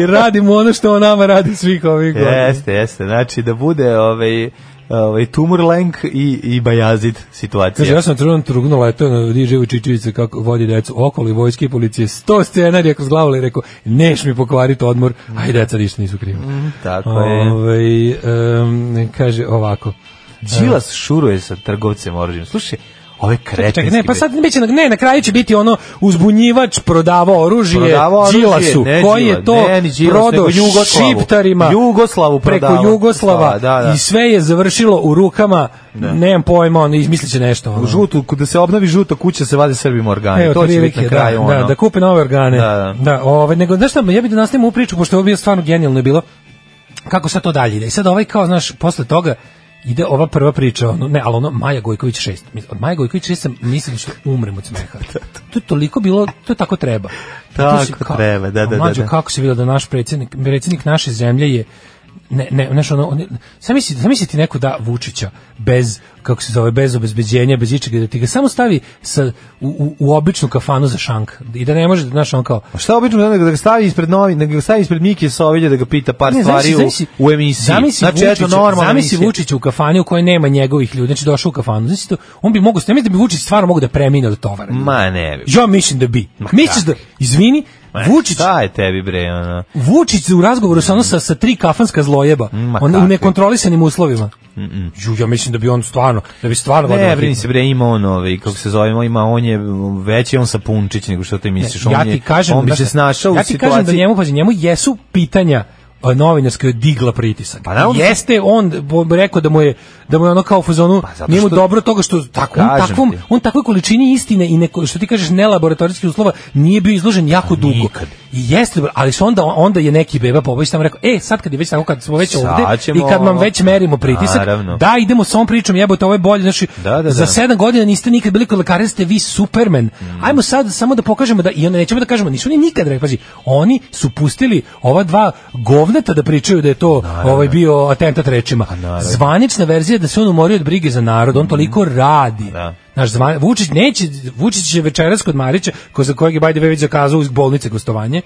i radimo ono što on nama radi svih ovih godina. Jeste, jeste. Znači da bude ovaj ovaj Tumurlenk i i Bajazid Kaže, situacija. ja sam trudno trugno letao na Riže Vučićevića kako vodi decu okolo i vojske i policije. Sto scenarija kroz glavu i rekao, neš mi pokvariti odmor, a i deca ništa nisu kriva. Mhm, tako je. Ovaj, em, kaže ovako. Đilas šuruje sa trgovcem oružjem. Slušaj, ove kretenske. Čekaj, ne, pa sad biće, na, ne, na kraju će biti ono uzbunjivač prodavao oružje, Prodavao oružje, Đilasu, ne koji Đilas, je to ne, ni Đilas, prodao nego Jugoslavu. šiptarima Jugoslavu preko prodavao. Jugoslava Da, da. i sve je završilo u rukama, nemam pojma, on izmislit će nešto. U Ono. žutu, da se obnovi žuta kuća se vade Srbim organi. Evo, to će biti na otprilike, kraju da, ono. Da, da kupe nove organe. Da, da. ovaj, nego, znaš šta, ja bih da nastavim ovu priču, pošto je ovo bio stvarno genijalno je bilo, kako sad to dalje ide. I sad ovaj kao, znaš, posle toga ide ova prva priča, ono, ne, ali ono, Maja Gojković 6. Mislim, Od Maja Gojković 6 sam, mislim što umrem od smeha. To je toliko bilo, to tako treba. Tako To si kao- treba, da, da, da, Mlađo, da. kako se vidjelo da naš predsjednik, predsjednik naše zemlje je ne ne znaš ono on je- sam misli sam misli ti neko da Vučića bez kako se zove bez obezbeđenja bez ičega da ti ga samo stavi sa u, u, u običnu kafanu za šank i da ne može da znaš on kao A Šta obično da da ga stavi ispred novi, da ga stavi ispred Mike Sovilja da ga pita par stvari u, u emisiji. Zamisli znači, Vučića, eto, normalna zamisli emisija. Vučića u kafani u kojoj nema njegovih ljudi. Znači došao u kafanu. Znači to, on bi mogao, ne mislim da bi Vučić stvarno mogao da premine od tovara. Ma ne. bi. Ja mislim da bi. Misliš da, izvini, Ma, Vučić, Šta je tebi bre, ono? Vučić u razgovoru sa, ono, sa, sa tri kafanska zlojeba, Ma on, u kakvi. nekontrolisanim uslovima. Ju, ja mislim da bi on stvarno, da bi stvarno... vladao Ne, brini hitno. se bre, ima on ovaj, kako se zove, ima on je veći je on sa punčić nego što ti misliš. ja on ti je, kažem, on bi znaš se šta, snašao ja u ti situaciji. kažem da njemu, pazi, njemu jesu pitanja a, novinarska je digla pritisak. Pa naravno. Jeste on bo- rekao da mu je da mu je ono kao u fazonu Pa zato nije mu što- dobro toga što tako on Kažem takvom ti. on takvoj količini istine i neko što ti kažeš nelaboratorijskih uslova nije bio izložen jako dugo. nikad. I jeste, bro, ali su onda onda je neki beba Popović tamo rekao: "E, sad kad je već tako kad smo već Sad ovde i ćemo kad vam ono- već merimo pritisak, Naravno. da idemo sa ovom pričom, jebote, ovo je bolje, znači Da, da, da. za sedam godina niste nikad bili kod lekara, ste vi Superman. Ajmo sad samo da pokažemo da, i onda nećemo da kažemo, nisu oni nikad rekli, pazi, oni su pustili ova dva govneta da pričaju da je to ovaj bio atentat rečima. Zvanična verzija je da se on umori od brige za narod, on toliko radi. Da. Naš zvan, Vučić neće, Vučić je večeras kod Marića, ko za kojeg je Bajde već zakazao iz bolnice gostovanje.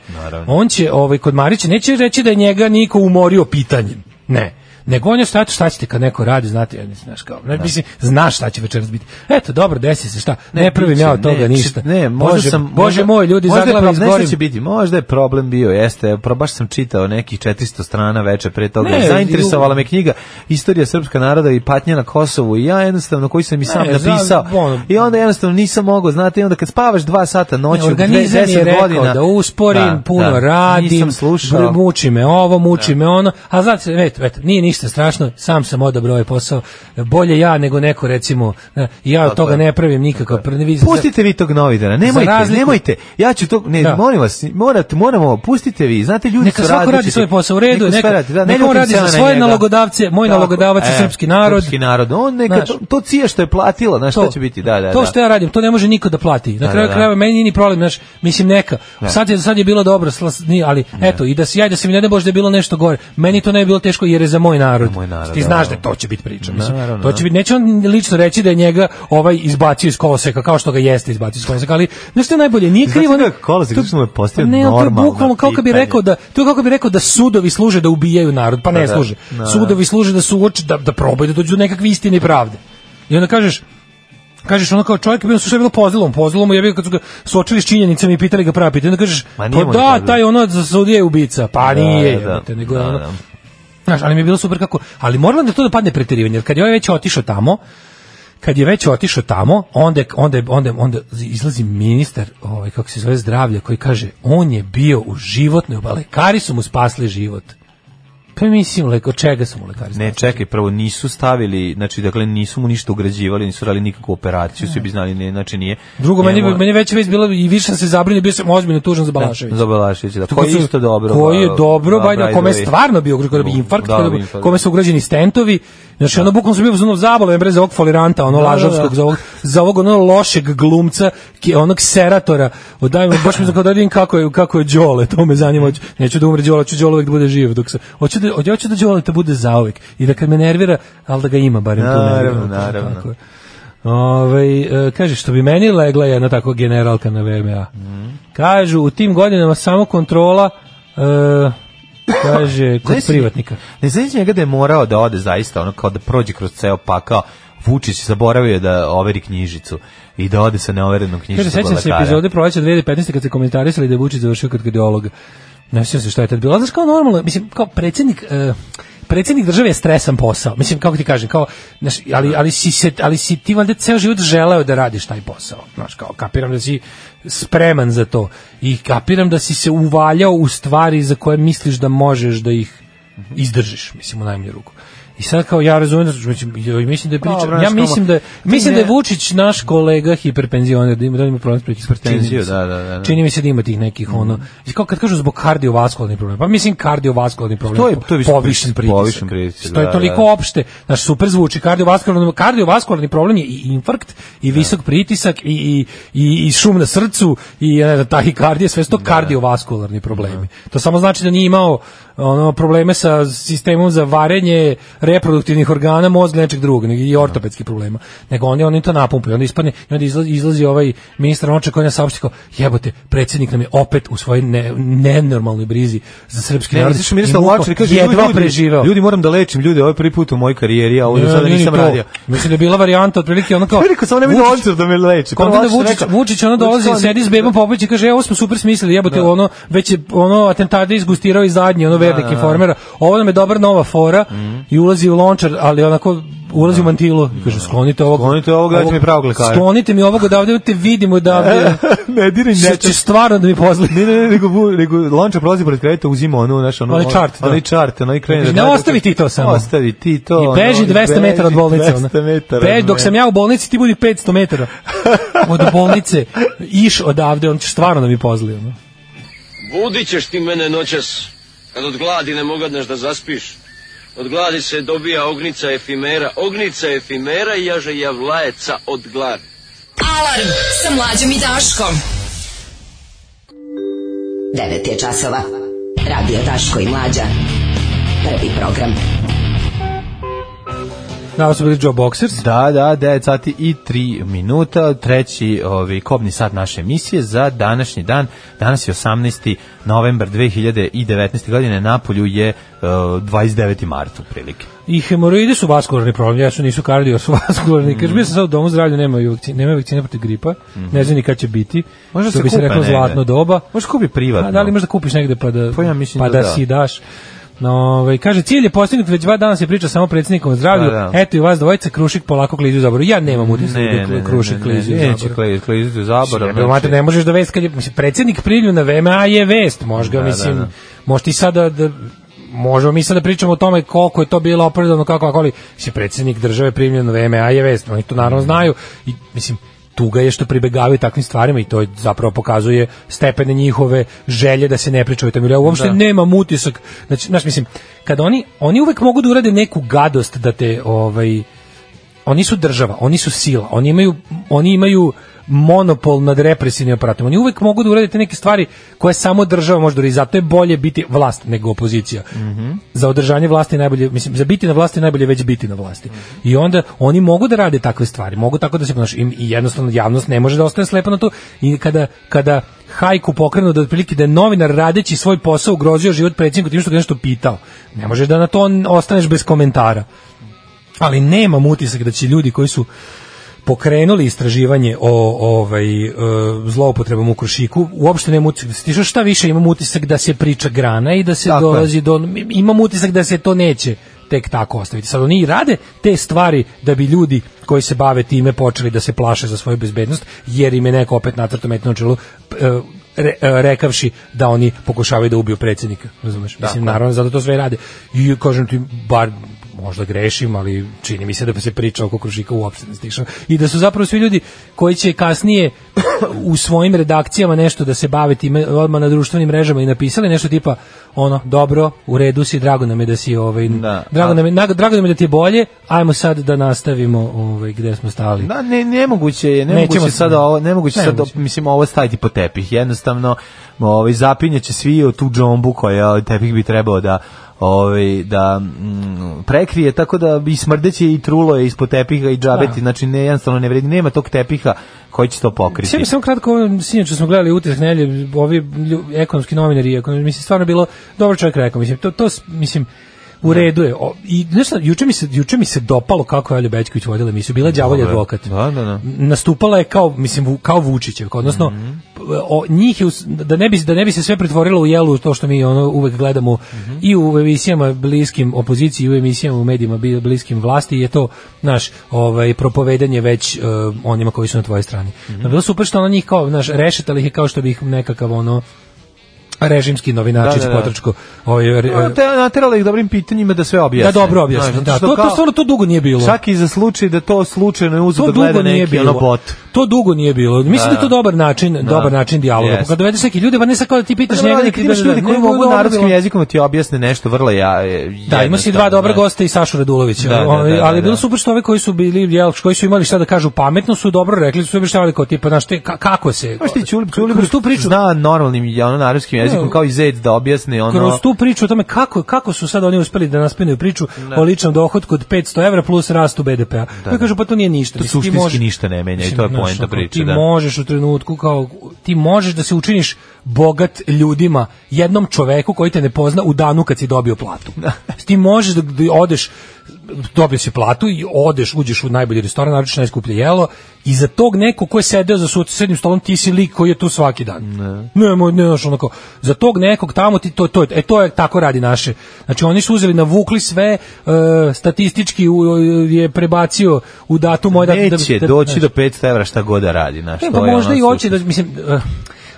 On će ovaj kod Marića neće reći da je njega niko umorio pitanjem. Ne. Nego on je šta, šta ćete kad neko radi, znate, ja mislim, znaš kao, ne, Da. mislim, znaš šta će večeras biti. Eto, dobro, desi se šta, ne, prvim biće, ja od toga Znači, ne, ništa. či- Ne, možda Bože, sam Bože moj, ljudi, možda je zaglavim problem- znaš šta zgorim. će biti. Možda je problem bio, jeste, pro, baš sam čitao nekih 400 strana veče pre toga. Ne, Zainteresovala me knjiga Istorija srpska naroda i patnja na Kosovu i ja jednostavno koji sam i sam Ne, za- napisao. ono- I onda jednostavno nisam mogao, znate, i onda kad spavaš dva sata noću, dve- Organizam je 10 rekao godina. da usporim, Da, puno da, radim, Nisam slušao. Da. br- muči me ovo, muči me ono, a znate, eto, eto, nije ništa strašno, sam sam odabrao ovaj posao, bolje ja nego neko recimo, e, ja od toga je. ne pravim nikakav, ne vidim- Pustite vi tog novinara, nemojte, Za razliku- nemojte. Ja ću to, ne, Da. molim vas, morate, moramo, pustite vi. Znate, ljudi neka su svako radi različiti. svoj posao u redu, Neka neka, sve radi, da, neka nemojte on im radi sve za na svoje njega. nalogodavce, moj Tako, nalogodavac je e, srpski narod. Srpski narod, on neka, Znaš, to, to cije što je platila, znaš, to, će biti, da, da. To da. što ja radim, to ne može niko da plati. Na Da, kraju da, da. krajeva meni nije ni problem, znaš, mislim neka. Sad je sad je bilo dobro, slas- ni- ali eto i da se ja i da se mi ne da bože da je bilo nešto gore. Meni to ne bi bilo teško jer je za moj narod. Na moj narod, Ti da, znaš da. da to će biti priča. Da, Mislim, naravno, to će da. biti, neće on lično reći da je njega ovaj izbacio iz koloseka, kao što ga jeste izbacio iz koloseka, ali znaš što je najbolje, nije Izbacio krivo... ga ne- iz koloseka, to- zato što mu je postavio Pa ne, ali To je normalno bukvalno kao kad bi pitanje. rekao da, to je kao kad bi rekao da sudovi služe da ubijaju narod, pa ne Pa da, služe. da, da. Sudovi služe da suoče, da, da probaju, da dođu do nekakve istine i pravde. I onda kažeš, kažeš ono kao čovjek bio su sve bilo pozilom, pozilom, ja bih kad su ga suočili s činjenicama i pitali ga prava pitanja, onda kažeš, Ma nije pa mu da, nikad- taj ono za sudije je ubica, pa nije, da, da. jebote, nego je Da, ono- da. Znaš, ali mi je bilo super kako, ali moralo da to da padne preterivanje, jer kad je ovaj već otišao tamo, kad je već otišao tamo, onda je- onda je- onda je- onda izlazi ministar, ovaj kako se zove zdravlja, koji kaže on je bio u životnoj oba- lekari su mu spasli život. Pa mislim, leko čega su mu lekari? Ne, spasli? čekaj, prvo nisu stavili, znači dakle nisu mu ništa ugrađivali, nisu radili nikakvu operaciju, svi bi znali, ne, znači nije. Drugo meni Njemu- meni je već već bilo i više sam se zabrinio, bio sam ozbiljno tužan za Balaševića. Za Balaševića, da. To Koji su- je isto dobro. Koji je ba- dobro, ba- bajda, Brajdovi. kome je stvarno bio ugrožen, kome bi infarkt, Da, kome bi- infarkt. kome su ugrađeni stentovi. Znači, ono bukvalno su bio uzunov zabole, bre, za ovog foliranta, Da, ono lažovskog, za ovog, za ovog ono lošeg glumca, ki- onog seratora. Odaj mi, baš mi za kao da vidim kako je, kako je Đole, to me zanima. Hoću- Neću da umre Đole, hoću Đole uvek da bude živ. Dok se, hoću, da, hoću da Đole te bude zauvek. I da kad me nervira, ali da ga ima barem tu Naravno, nervira. naravno. Tako je. Ovaj e, kaže, što bi meni legla jedna tako generalka na VMA. Kažu, u tim godinama samo kontrola e, kaže, kod Znaš, privatnika. Ne znači njega da je morao da ode zaista, ono kao da prođe kroz ceo pakao. Vučić zaboravio je da overi knjižicu i da ode sa neoverenom Kaže, knjižicom. sećam kod se lekara. epizode proleća 2015. kad se komentarisali da je Vučić završio kod kardiologa. Ne sjećam se šta je tad bilo. Ali Znaš, kao normalno, mislim, kao predsjednik... e, predsjednik države je stresan posao. Mislim, kako ti kažem, kao, znaš, Da. ali, ali, si se, ali si ti valjda ceo život želeo da radiš taj posao. Znaš, kao, kapiram da si spreman za to. I kapiram da si se uvaljao u stvari za koje misliš da možeš da ih izdržiš, mislim, u najmanju ruku. I sad kao ja razumem da mislim, ja mislim da je priča, Dobro, znaš, ja kao, mislim da je- ti mislim da je ne- Vučić naš kolega hiperpenzioner, da ima da li ima problem s hiperpenzijom. Hipertenziju, da, da, da, Mm. da. Čini mi se da ima tih nekih ono. I kao kad kažu zbog kardiovaskularnih problema, pa mislim kardiovaskularni problem. To je- to je više povišen pritisak, pritisak. povišen pritisak, Što je da, toliko da. opšte, naš super zvuči kardiovaskularni kardiovaskularni problem je i infarkt Da. i visok pritisak i i i, i šum na srcu i ja ne znam tahikardija, sve Da. su to kardiovaskularni problemi. To samo znači da nije imao ono probleme sa sistemom za varenje reproduktivnih organa, mozga nečeg drugog, nego Da. i ortopedskih problema. Nego oni oni to napumpaju, onda ispadne i onda izlazi, izlazi ovaj ministar Noček koji nas saopšti kao jebote, predsjednik nam je opet u svojoj ne, nenormalnoj brizi za srpski Ne, narod. znači mi je i muko lače, kaže jedva ljudi, preživeo. Ljudi moram da lečim ljude, ovo je prvi put u mojoj karijeri, a ovo do Ne, sada nije ni nisam to. radio. Mislim da je bila varijanta otprilike ono kao. Pa rekao sam, Pa nemoj Vučić- dolaziti da me leči. Pa Kao onda da Vlašić Vučić, rekao- Vučić ono dolazi, Vučić Da. kao- sedi s bebom Popović i kaže, evo smo super smislili, jebote, ono, već je ono atentate izgustirao i zadnji, ono vernik Da, informera. Ovo nam je dobra nova fora Mhm. i ulazi u lončar, ali onako ulazi u mantilu. I kaže, sklonite ovog. Da. Sklonite ovog, dajte mi pravog lekara. Sklonite mi ovog odavde, te vidimo da ne diraj Što će nečeg. stvarno da mi pozli. Ne, ne, ne, nego, bu- nego Lončar prolazi pored kredita, uzima ono, naš, ono, Onaj čart, da. onaj čart, onaj krene. Ne, da gleda, ostavi ti to samo. Ostavi ti to. I beži ono, 200 metara od beži bolnice. 200 metara. Beži, dok sam ja u bolnici, ti budi 500 metara od bolnice. Iš odavde, on će stvarno da mi pozli. Ono. Budit ćeš ti mene noćas, kad od gladi ne mogadneš da zaspiš. Od gladi se dobija ognica efimera, ognica efimera i jaže javlajeca od gladi. Alarm sa mlađom i Daškom. 9 je časova. Radio Daško i Mlađa. Prvi program. Da, ovo su bili Joe Boxers. Da, da, 9 sati i 3 minuta, treći ovaj, kobni sat naše emisije za današnji dan. Danas je 18. novembar 2019. godine, Napolju je eh, 29. mart u prilike. I hemoroidi su vaskularni problem, ja su nisu kardio, su vaskularni. Kaže, bio sam sad u domu zdravlja, nemaju vakcine, nemaju vakcine protiv gripa, ne znam ni kad će biti, Možda što se bi se kupe reklo negde. zlatno doba. Možda kupi privatno. A da li možda kupiš negde pa da, Pa ja mislim pa da da, da. si daš. No, ovaj, kaže, cilj je postignut, već dva dana se priča samo predsjednikom o zdravlju, Da, da. eto i vas dvojica, Krušik polako klizi u zaboru. Ja nemam utisak Ne, ne, da ne, ne, Krušik ne, klizi u ne, neće zaboru. kliz- kliziti u zaborav. znači, Jebe, mate, ne možeš da vest kad je, mislim, predsjednik prilju na VMA je vest, možda, Da, da, mislim, da. možda i sada da, možemo mi sada da pričamo o tome koliko je to bilo opravdano, kako, ako ali, mislim, predsjednik države primljen na VMA je vest, oni to Mm. naravno znaju, i, mislim, tuga je što pribegavaju takvim stvarima i to je zapravo pokazuje stepene njihove želje da se ne priča o tome. Ja uopšte Da. nemam utisak. Znači, znaš, mislim, kad oni, oni uvek mogu da urade neku gadost da te, ovaj, oni su država, oni su sila, oni imaju, oni imaju monopol nad represivnim aparatom. Oni uvek mogu da uradite neke stvari koje samo država može da uradi. Zato je bolje biti vlast nego opozicija. Za održanje vlasti je najbolje, mislim, za biti na vlasti je najbolje već biti na vlasti. I onda oni mogu da rade takve stvari, mogu tako da se ponašaju i jednostavno javnost ne može da ostane slepa na to i kada kada hajku pokrenu da otprilike da je novinar radeći svoj posao ugrozio život predsjedniku tim što ga je nešto pitao. Ne možeš da na to ostaneš bez komentara. Ali nemam utisak da će ljudi koji su pokrenuli istraživanje o ovaj e, zloupotrebama u Krušiku, uopšte nemam utisak da se tišao šta više, imam utisak da se priča grana i da se Tako je. dolazi do imam utisak da se to neće tek tako ostaviti. Sad oni i rade te stvari da bi ljudi koji se bave time počeli da se plaše za svoju bezbednost, jer im je neko opet natrto metno na čelu p- e, re- e, rekavši da oni pokušavaju da ubiju predsjednika, razumeš? Mislim, naravno, zato to sve i rade. I kažem ti, bar možda grešim, ali čini mi se da se priča oko Krušika uopšte ne stiša. I da su zapravo svi ljudi koji će kasnije u svojim redakcijama nešto da se bave time odmah na društvenim mrežama i napisali nešto tipa ono, dobro, u redu si, drago nam je da si ovaj, Da, drago, a- nam je, na- drago nam je da ti je bolje, ajmo sad da nastavimo ovaj, gde smo stali. Da, ne, nemoguće je, Nećemo nemoguće se- sad ovo, nemoguće sad, Nemoguće. mislim, ovo staviti po tepih. Jednostavno, ovaj, zapinjaće svi u tu džombu koja tepih bi trebao da ovaj da mm, prekrije tako da bi smrdeće i trulo je ispod tepiha i džabeti Da. znači ne jednostavno ne vredi nema tog tepiha koji će to pokriti Sve mi samo kratko, ovo, sinoć smo gledali utisak nelje, ovi lju- ekonomski novinari, ekonom, mislim, stvarno je bilo, dobro čovjek rekao, mislim, to, to s- mislim, u redu je. O, I znaš šta, juče mi se, juče mi se dopalo kako je Alja Bećković vodila emisiju, bila je đavolji Dobro. advokat. Da, da, Mhm. da. Nastupala je kao, mislim, vu- kao Vučićevka, odnosno, p- o, njih je, us- da ne, bi, da ne bi se sve pretvorilo u jelu, to što mi ono uvek gledamo Mhm. i u emisijama bliskim opoziciji i u emisijama u medijima bi- bliskim vlasti, je to, naš ovaj, propovedanje već e, onima koji su na tvojoj Mhm. strani. No, bilo super što ona njih kao, znaš, rešetali ih je kao što bi ih nekakav, ono, režimski novinačić Da, da, da. potrčko ovaj, re- Ono, E, te naterala ih dobrim pitanjima da sve da objasne. dobro objasni. Znaš, Da, zato to, što to kao- stvarno to dugo nije bilo. Čak i za slučaj da to slučajno je uzeo To da gleda dugo nije neki bilo. ono bot. To dugo nije bilo. Mislim da, Da, je to da. dobar način, dobar način dijaloga. Jeste. Kad dovedeš neke ljude, pa ne sad kao da ti pitaš Znaš, njega, njega da neki ti imaš daš- ljudi koji nego je mogu dobro narodskim bilo. jezikom da ti objasne nešto vrlo ja Da, ima si dva dobra gosta i Sašu Radulovića. Da, da, Ono, da, da, ali bilo da. super što ove koji su bili, jel, koji su imali šta da kažu pametno, su dobro rekli, su objašnjavali kao tipa, znaš, te, ka- kako se... Baš ti Ćuli, Ćuli kroz tu priču, zna normalnim ono, narodskim jezikom Ne. kao i zec da objasni ono... kroz tu priču o tome kako, kako su sad oni uspeli da naspinuju priču o ličnom dohotku od 500 evra plus rastu BDP-a. Da, kažu, pa to nije ništa. To Mislim, ti suštinski možeš- ništa ne menja i Mislim, to je znaš, poenta ono, priče, Ti da. možeš u trenutku kao, ti možeš da se učiniš bogat ljudima, jednom čoveku koji te ne pozna u danu kad si dobio platu. Ti možeš da, da odeš dobio si platu i odeš, uđeš u najbolji restoran, naručiš najskuplje jelo i za tog neko ko je sedeo za sud srednjim stolom ti si lik koji je tu svaki dan. Ne, ne, ne, znaš, onako, za tog nekog tamo ti to, to, je- e, to je tako radi naše. Znači oni su uzeli, navukli sve, e, statistički u- je prebacio u datum moj da, Neće da- da- doći do 500 evra šta god da radi, znaš. E, to pa je možda ono i hoće da, suštinski. mislim, eh,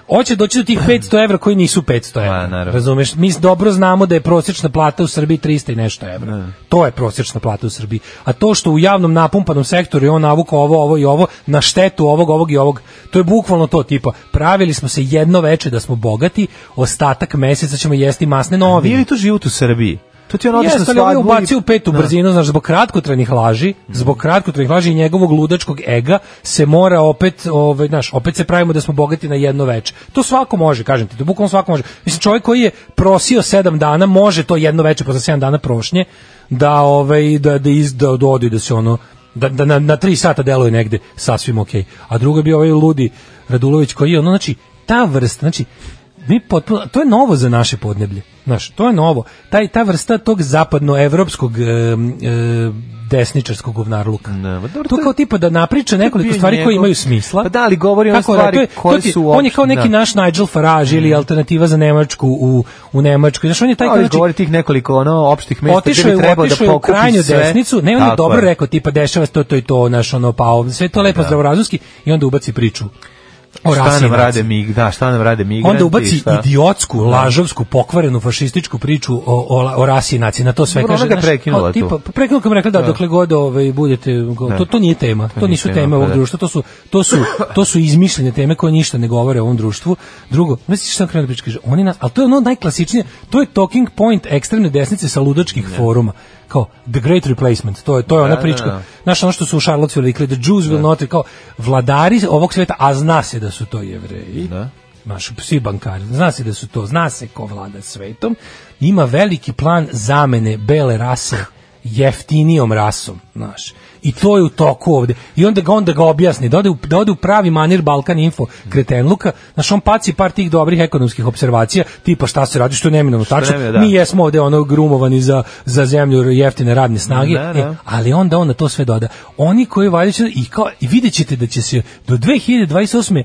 hoće doći do tih 500 evra koji nisu 500 Ma, evra. Pa, naravno. razumeš? Mi dobro znamo da je prosječna plata u Srbiji 300 i nešto evra. Da. To je prosječna plata u Srbiji. A to što u javnom napumpanom sektoru je on navukao ovo, ovo i ovo, na štetu ovog, ovog i ovog, to je bukvalno to tipa. Pravili smo se jedno veče da smo bogati, ostatak meseca ćemo jesti masne Nije novine. li to život u Srbiji? To ti je ono odlično Jeste, ali ovaj svadbu i- ubacio u petu Da. brzinu, znaš, zbog kratkotrajnih laži, zbog kratkotrajnih laži i njegovog ludačkog ega se mora opet, ovaj, znaš, opet se pravimo da smo bogati na jedno veče. To svako može, kažem ti, to bukvalno svako može. Mislim, čovjek koji je prosio sedam dana, može to jedno veče posle sedam dana prošnje, da, ovaj, da, da, iz, da, da ode i da se ono, da, da na, na tri sata deluje negde, sasvim okej. A drugo je bio ovaj ludi Radulović koji je ono, znači, ta vrsta, znači, mi potpuno, to je novo za naše podneblje. Znaš, to je novo. Taj, ta vrsta tog zapadnoevropskog em, e, desničarskog govnarluka. Da, pa dobro, to to je- kao tipa da napriča nekoliko bio stvari koje njegov- imaju smisla. Pa da, ali govori one Kako, da, stvari to je- to koje ti- su On je uopšte- kao neki da. Mm. naš Nigel Farage ili alternativa za Nemačku u, u Nemačkoj. Znaš, on je taj Taj koji... koji znači, govori tih nekoliko ono opštih mesta gde otišao je, bi trebalo da otišao je u pokupi krajnju sve. desnicu, ne, on je Tako dobro rekao, tipa, dešava se to, to i to, naš, ono, pa, ovo, sve to lepo zdravorazumski, i onda ubaci priču o Da. Šta rasi i nam naciji. rade mig, da, šta nam rade migranti? Onda ubaci šta? Da. idiotsku, lažovsku, pokvarenu fašističku priču o, o, o rasi i naciji. Na to sve Dobro, ona kaže. ga znaš, prekinula kao tu. Da. tipa, pa prekinula kad mi rekla da, dokle god ovaj, budete, go- to, to nije tema. To, nije nisu tema, teme pa ovog da. društva. To su, to, su, to su izmišljene teme koje ništa ne govore o ovom društvu. Drugo, misliš šta da krenu priča, kaže, oni nas, ali to je ono najklasičnije, to je talking point ekstremne desnice sa ludačkih foruma. kao the great replacement. To je to je ona da, prička. da. Znaš ono što su u Charlottesville rekli the Jews will not kao vladari ovog sveta, a zna se da su to jevreji. Da. Maš, svi bankari, zna se da su to, zna se ko vlada svetom, ima veliki plan zamene bele rase jeftinijom rasom, znaš. I to je u toku ovde. I onda ga onda ga objasni, da ode u, da ode u pravi manir Balkan Info kretenluka, znaš, on paci par tih dobrih ekonomskih observacija, tipa šta se radi, što je neminovno tačno, neminovno, da. mi jesmo ovde ono grumovani za, za zemlju jeftine radne snage, Da, da. E, ali onda on na to sve doda. Oni koji valjaju i kao i videćete da će se do 2028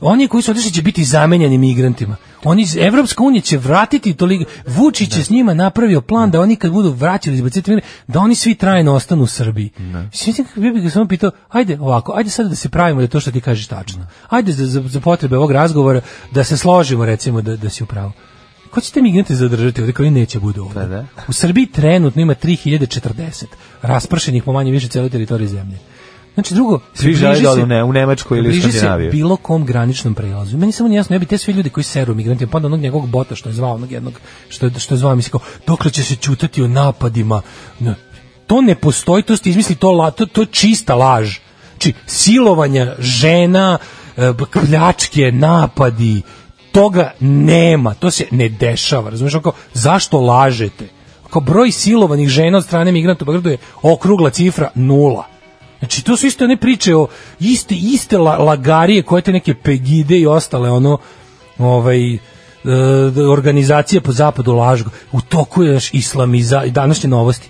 oni koji su otišli će biti zamenjani migrantima. Oni iz Evropska unija će vratiti toliko Vučić Da. je s njima napravio plan da oni kad budu vraćali izbaciti migrante, da oni svi trajno ostanu u Srbiji. Da. Mislim kako bih ga samo pitao, ajde ovako, ajde sada da se pravimo da je to što ti kažeš tačno. Da. Ajde za, za, za potrebe ovog razgovora da se složimo recimo da da si u pravu. Ko će te migrante zadržati ovde koji neće budu ovde? Pa da. U Srbiji trenutno ima 3040 raspršenih po manje više celoj teritoriji zemlje. Znači drugo, Svi žele približi da se- odu u Ne- u Nemačku ili u približi se Skandinaviju. bilo kom graničnom prelazu. Meni samo nije jasno, ja bi te svi ljudi koji seru migrantima, pa onda onog njegovog bota što je zvao onog jednog, što, je- što je zvao, mislim kao, dokle će se ćutati o napadima? Ne. To ne postoji, to ste izmislili, to, la, to, to je čista laž. Či, silovanja žena, e, b- pljačke, napadi, toga nema, to se ne dešava, razumiješ, kao, zašto lažete? Kao broj silovanih žena od strane migranta u Beogradu je okrugla cifra nula. Znači, to su isto one priče o iste, iste la- lagarije koje te neke pegide i ostale, ono, ovaj, e, organizacije po zapadu lažu. U toku je još islamiza, i današnje novosti.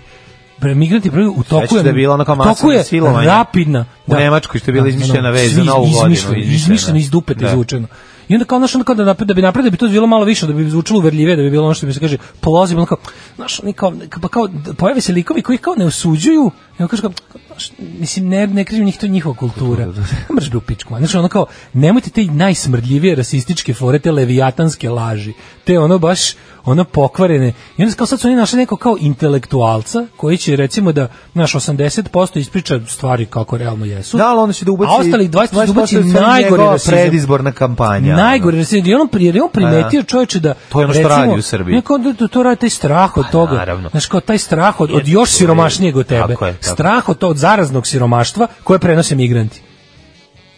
Pre, migranti prvi u toku je, Sećaš da je bilo ono kao u toku je masovno silovanje rapidna. da. u Nemačkoj, što je bila izmišljena vez za iz- Novu godinu, izmišljeno, izmišljena. Izmišljeno, iz dupe Da. da. izvučeno. I onda kao naš, onda kao da, napred, da bi napred, da bi to bilo malo više, da bi zvučilo uverljivije, da bi bilo ono što bi se kaže, polazimo, ono kao, znaš, oni kao, pa kao, pojave se likovi koji ih kao ne osuđuju, i on kaže kao, znaš, mislim, ne, ne krivim njih, to je njihova kultura. Ne mreš bi u pičku, man. znaš, ono kao, nemojte te najsmrdljivije rasističke fore, te levijatanske laži, te ono baš, ono pokvarene. I onda kao sad su oni našli neko kao intelektualca koji će recimo da, naš 80% ispriča stvari kako realno jesu. Da, ali onda će da ubaci... A ostalih 20 ubaci postoji samo najgore njegova rasizam. predizborna kampanja. Najgore rasizam. I on, pri- jer je on primetio čoveče da... To je ono što radi u Srbiji. Pa Neko, da, da to radi taj strah od toga. naravno. Znaš, kao taj strah od, od još siromašnijeg od tebe. Tako je, tako. Strah od, to- od zaraznog siromaštva koje prenose migranti.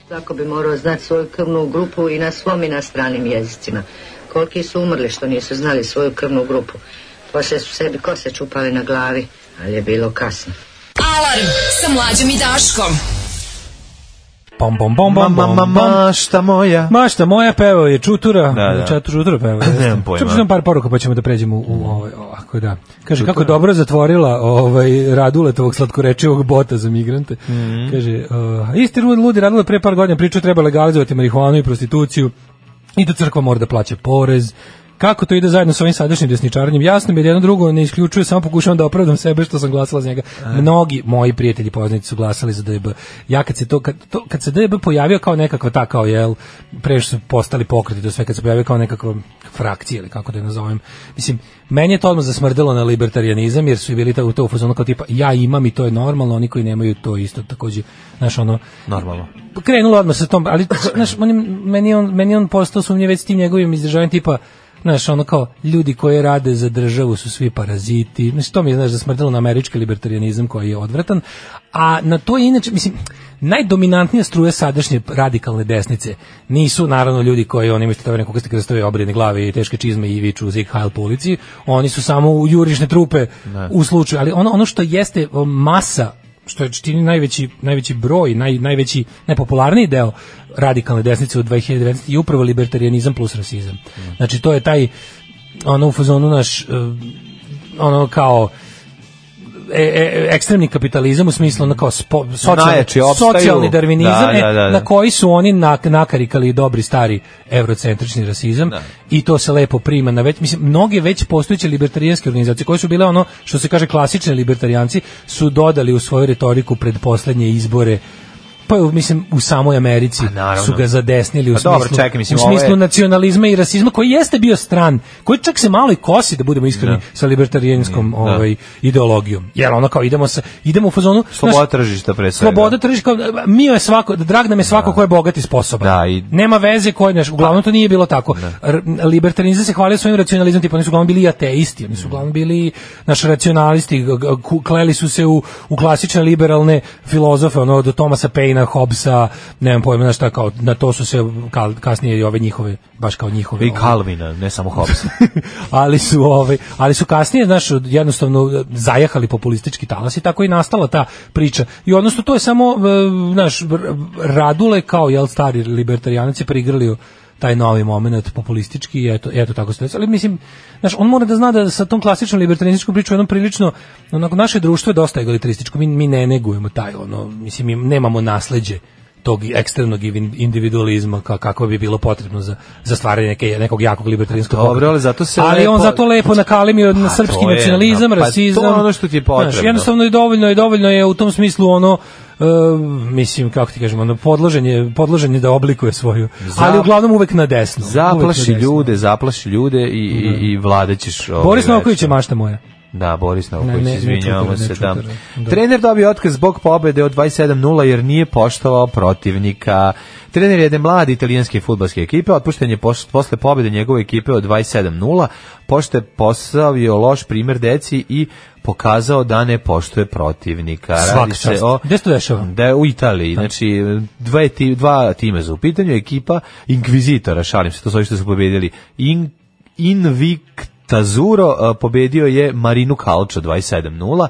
Svako bi morao znati svoju krvnu grupu i na svom i na stranim jezicima. Koliki su umrli što nisu znali svoju krvnu grupu. Poslije su sebi kose čupali na glavi, ali je bilo kasno. Alarm sa mlađom i Daškom. Bom, bom, bom, Ma, bom, ma, bom, ma, bom. mašta moja. Mašta moja pevao je Čutura, Da, da. Čatu Čutura pevao. Nemam pojma. Mm. Čutura par poruka pa ćemo da pređemo u, u ovaj, ovako da. Kaže, kako dobro zatvorila ovaj, Raduletovog slatkorečivog bota za migrante. Mm. Kaže, uh, isti lud- ludi Radule pre par godina priču treba legalizovati marihuanu i prostituciju i da crkva mora da plaća porez. Kako to ide zajedno sa ovim sadašnjim desničarenjem? Jasno mi je da jedno drugo ne isključuje, samo pokušavam da opravdam sebe što sam glasala za njega. Mnogi moji prijatelji i poznanici su glasali za DB. Ja kad se to kad, to, kad se DB pojavio kao nekakva ta kao jel pre što su postali pokreti do sve kad se pojavio kao nekakva frakcija ili kako da je nazovem. Mislim meni je to odmah zasmrdelo na libertarijanizam jer su i bili ta, u to u fazonu kao tipa ja imam i to je normalno, oni koji nemaju to je isto takođe znaš ono Normalno. krenulo odmah sa tom, ali znaš, on, je- meni, je on, meni je on postao sumnje već s tim njegovim izdržavanjem tipa, znaš, ono kao, ljudi koji rade za državu su svi paraziti, znaš, to mi je, znaš, zasmrdilo na američki libertarianizam koji je odvratan, a na to je inače, mislim, najdominantnija struja sadašnje radikalne desnice nisu naravno ljudi koji oni imaju što tebe nekog ste krstove obredne glave i teške čizme i viču zig hajl po ulici, oni su samo u jurišne trupe u slučaju, ali ono, ono što jeste o, masa što je čini najveći, najveći broj, naj, najveći, najpopularniji deo radikalne desnice u 2019. je upravo libertarianizam plus rasizam. Znači, to je taj, ono, u fazonu naš, eh, ono, kao, e, e, ekstremni kapitalizam u smislu ono kao spo, socijalni, Najjači opstaju. socijalni darvinizam Da, e, da, da, da. na koji su oni nak, nakarikali dobri stari eurocentrični rasizam Da. i to se lepo prima na već mislim mnoge već postojeće libertarijanske organizacije koje su bile ono što se kaže klasične libertarijanci su dodali u svoju retoriku pred poslednje izbore Pa mislim u samoj Americi su ga zadesnili u Pa smislu, dobro, čekaj, mislim, u ovo je- smislu nacionalizma i rasizma koji jeste bio stran, koji čak se malo i kosi da budemo iskreni sa libertarijanskom da. ovaj ideologijom. Jer ono kao idemo sa idemo u fazonu znaš, Sloboda tržišta pre svega. Sloboda tržišta, kao, mi je svako, drag nam je svako ko je bogat i sposoban. Da, i- Da. Nema veze ko je, znaš, uglavnom to nije bilo tako. R- Libertarianizam se hvalio svojim racionalizmom, tipa oni su uglavnom bili i ateisti, oni Mm. su uglavnom bili naš racionalisti, g- g- ku- kleli su se u, u klasične liberalne filozofe, ono, do Tomasa Paina, Hobbesa, nemam pojma, znaš, šta, kao, na to su se kal- kasnije i ove njihove, baš kao njihove. I ove- Kalvina, ne samo Hobbesa. ali su ovaj ali su kasnije znaš jednostavno eh, zajahali populistički talas i tako i nastala ta priča i odnosno to je samo e, znaš r- radule kao jel stari libertarijanac je prigrlio taj novi moment populistički i eto, eto tako se desilo. ali mislim znaš on mora da zna da sa tom klasičnom libertarianističkom pričom jednom prilično onako naše društvo je dosta egalitarističko mi, mi ne negujemo taj ono mislim mi nemamo nasleđe tog ekstremnog invin- individualizma ka, kako bi bilo potrebno za, za stvaranje neke, nekog jakog libertarinskog Dobro, pokreta. ali zato se Ali on lepo- Pa zato lepo nakalemio na to srpski je, nacionalizam, pa to je rasizam. ono što ti je potrebno. Znaš, jednostavno je dovoljno, je dovoljno je u tom smislu ono e, mislim, kako ti kažemo, ono, podložen je, podložen je da oblikuje svoju. ali uglavnom uvek na desno. Uvek na Zaplaši desno. ljude, zaplaši ljude i, i, i vladaćeš. ovaj, Boris Novković je večno. mašta moja. Da, Boris Ne, Novković, ne, ne izvinjavamo čutara, ne se. Da. čutara, da. Trener dobio otkaz zbog pobede od 27-0 jer nije poštovao protivnika. Trener jedne mlade italijanske futbalske ekipe otpušten je poš- posle pobede njegove ekipe od 27-0, pošto je postavio loš primer deci i pokazao da ne poštuje protivnika. Svaka Radi se čast. o Gde se to dešava? da je u Italiji, znači dva, ti, dva tima su u pitanju, ekipa Inkvizitora, šalim se, to su ovi što su pobedili. In, Invictazuro a, pobedio je Marinu Kalčo 27-0,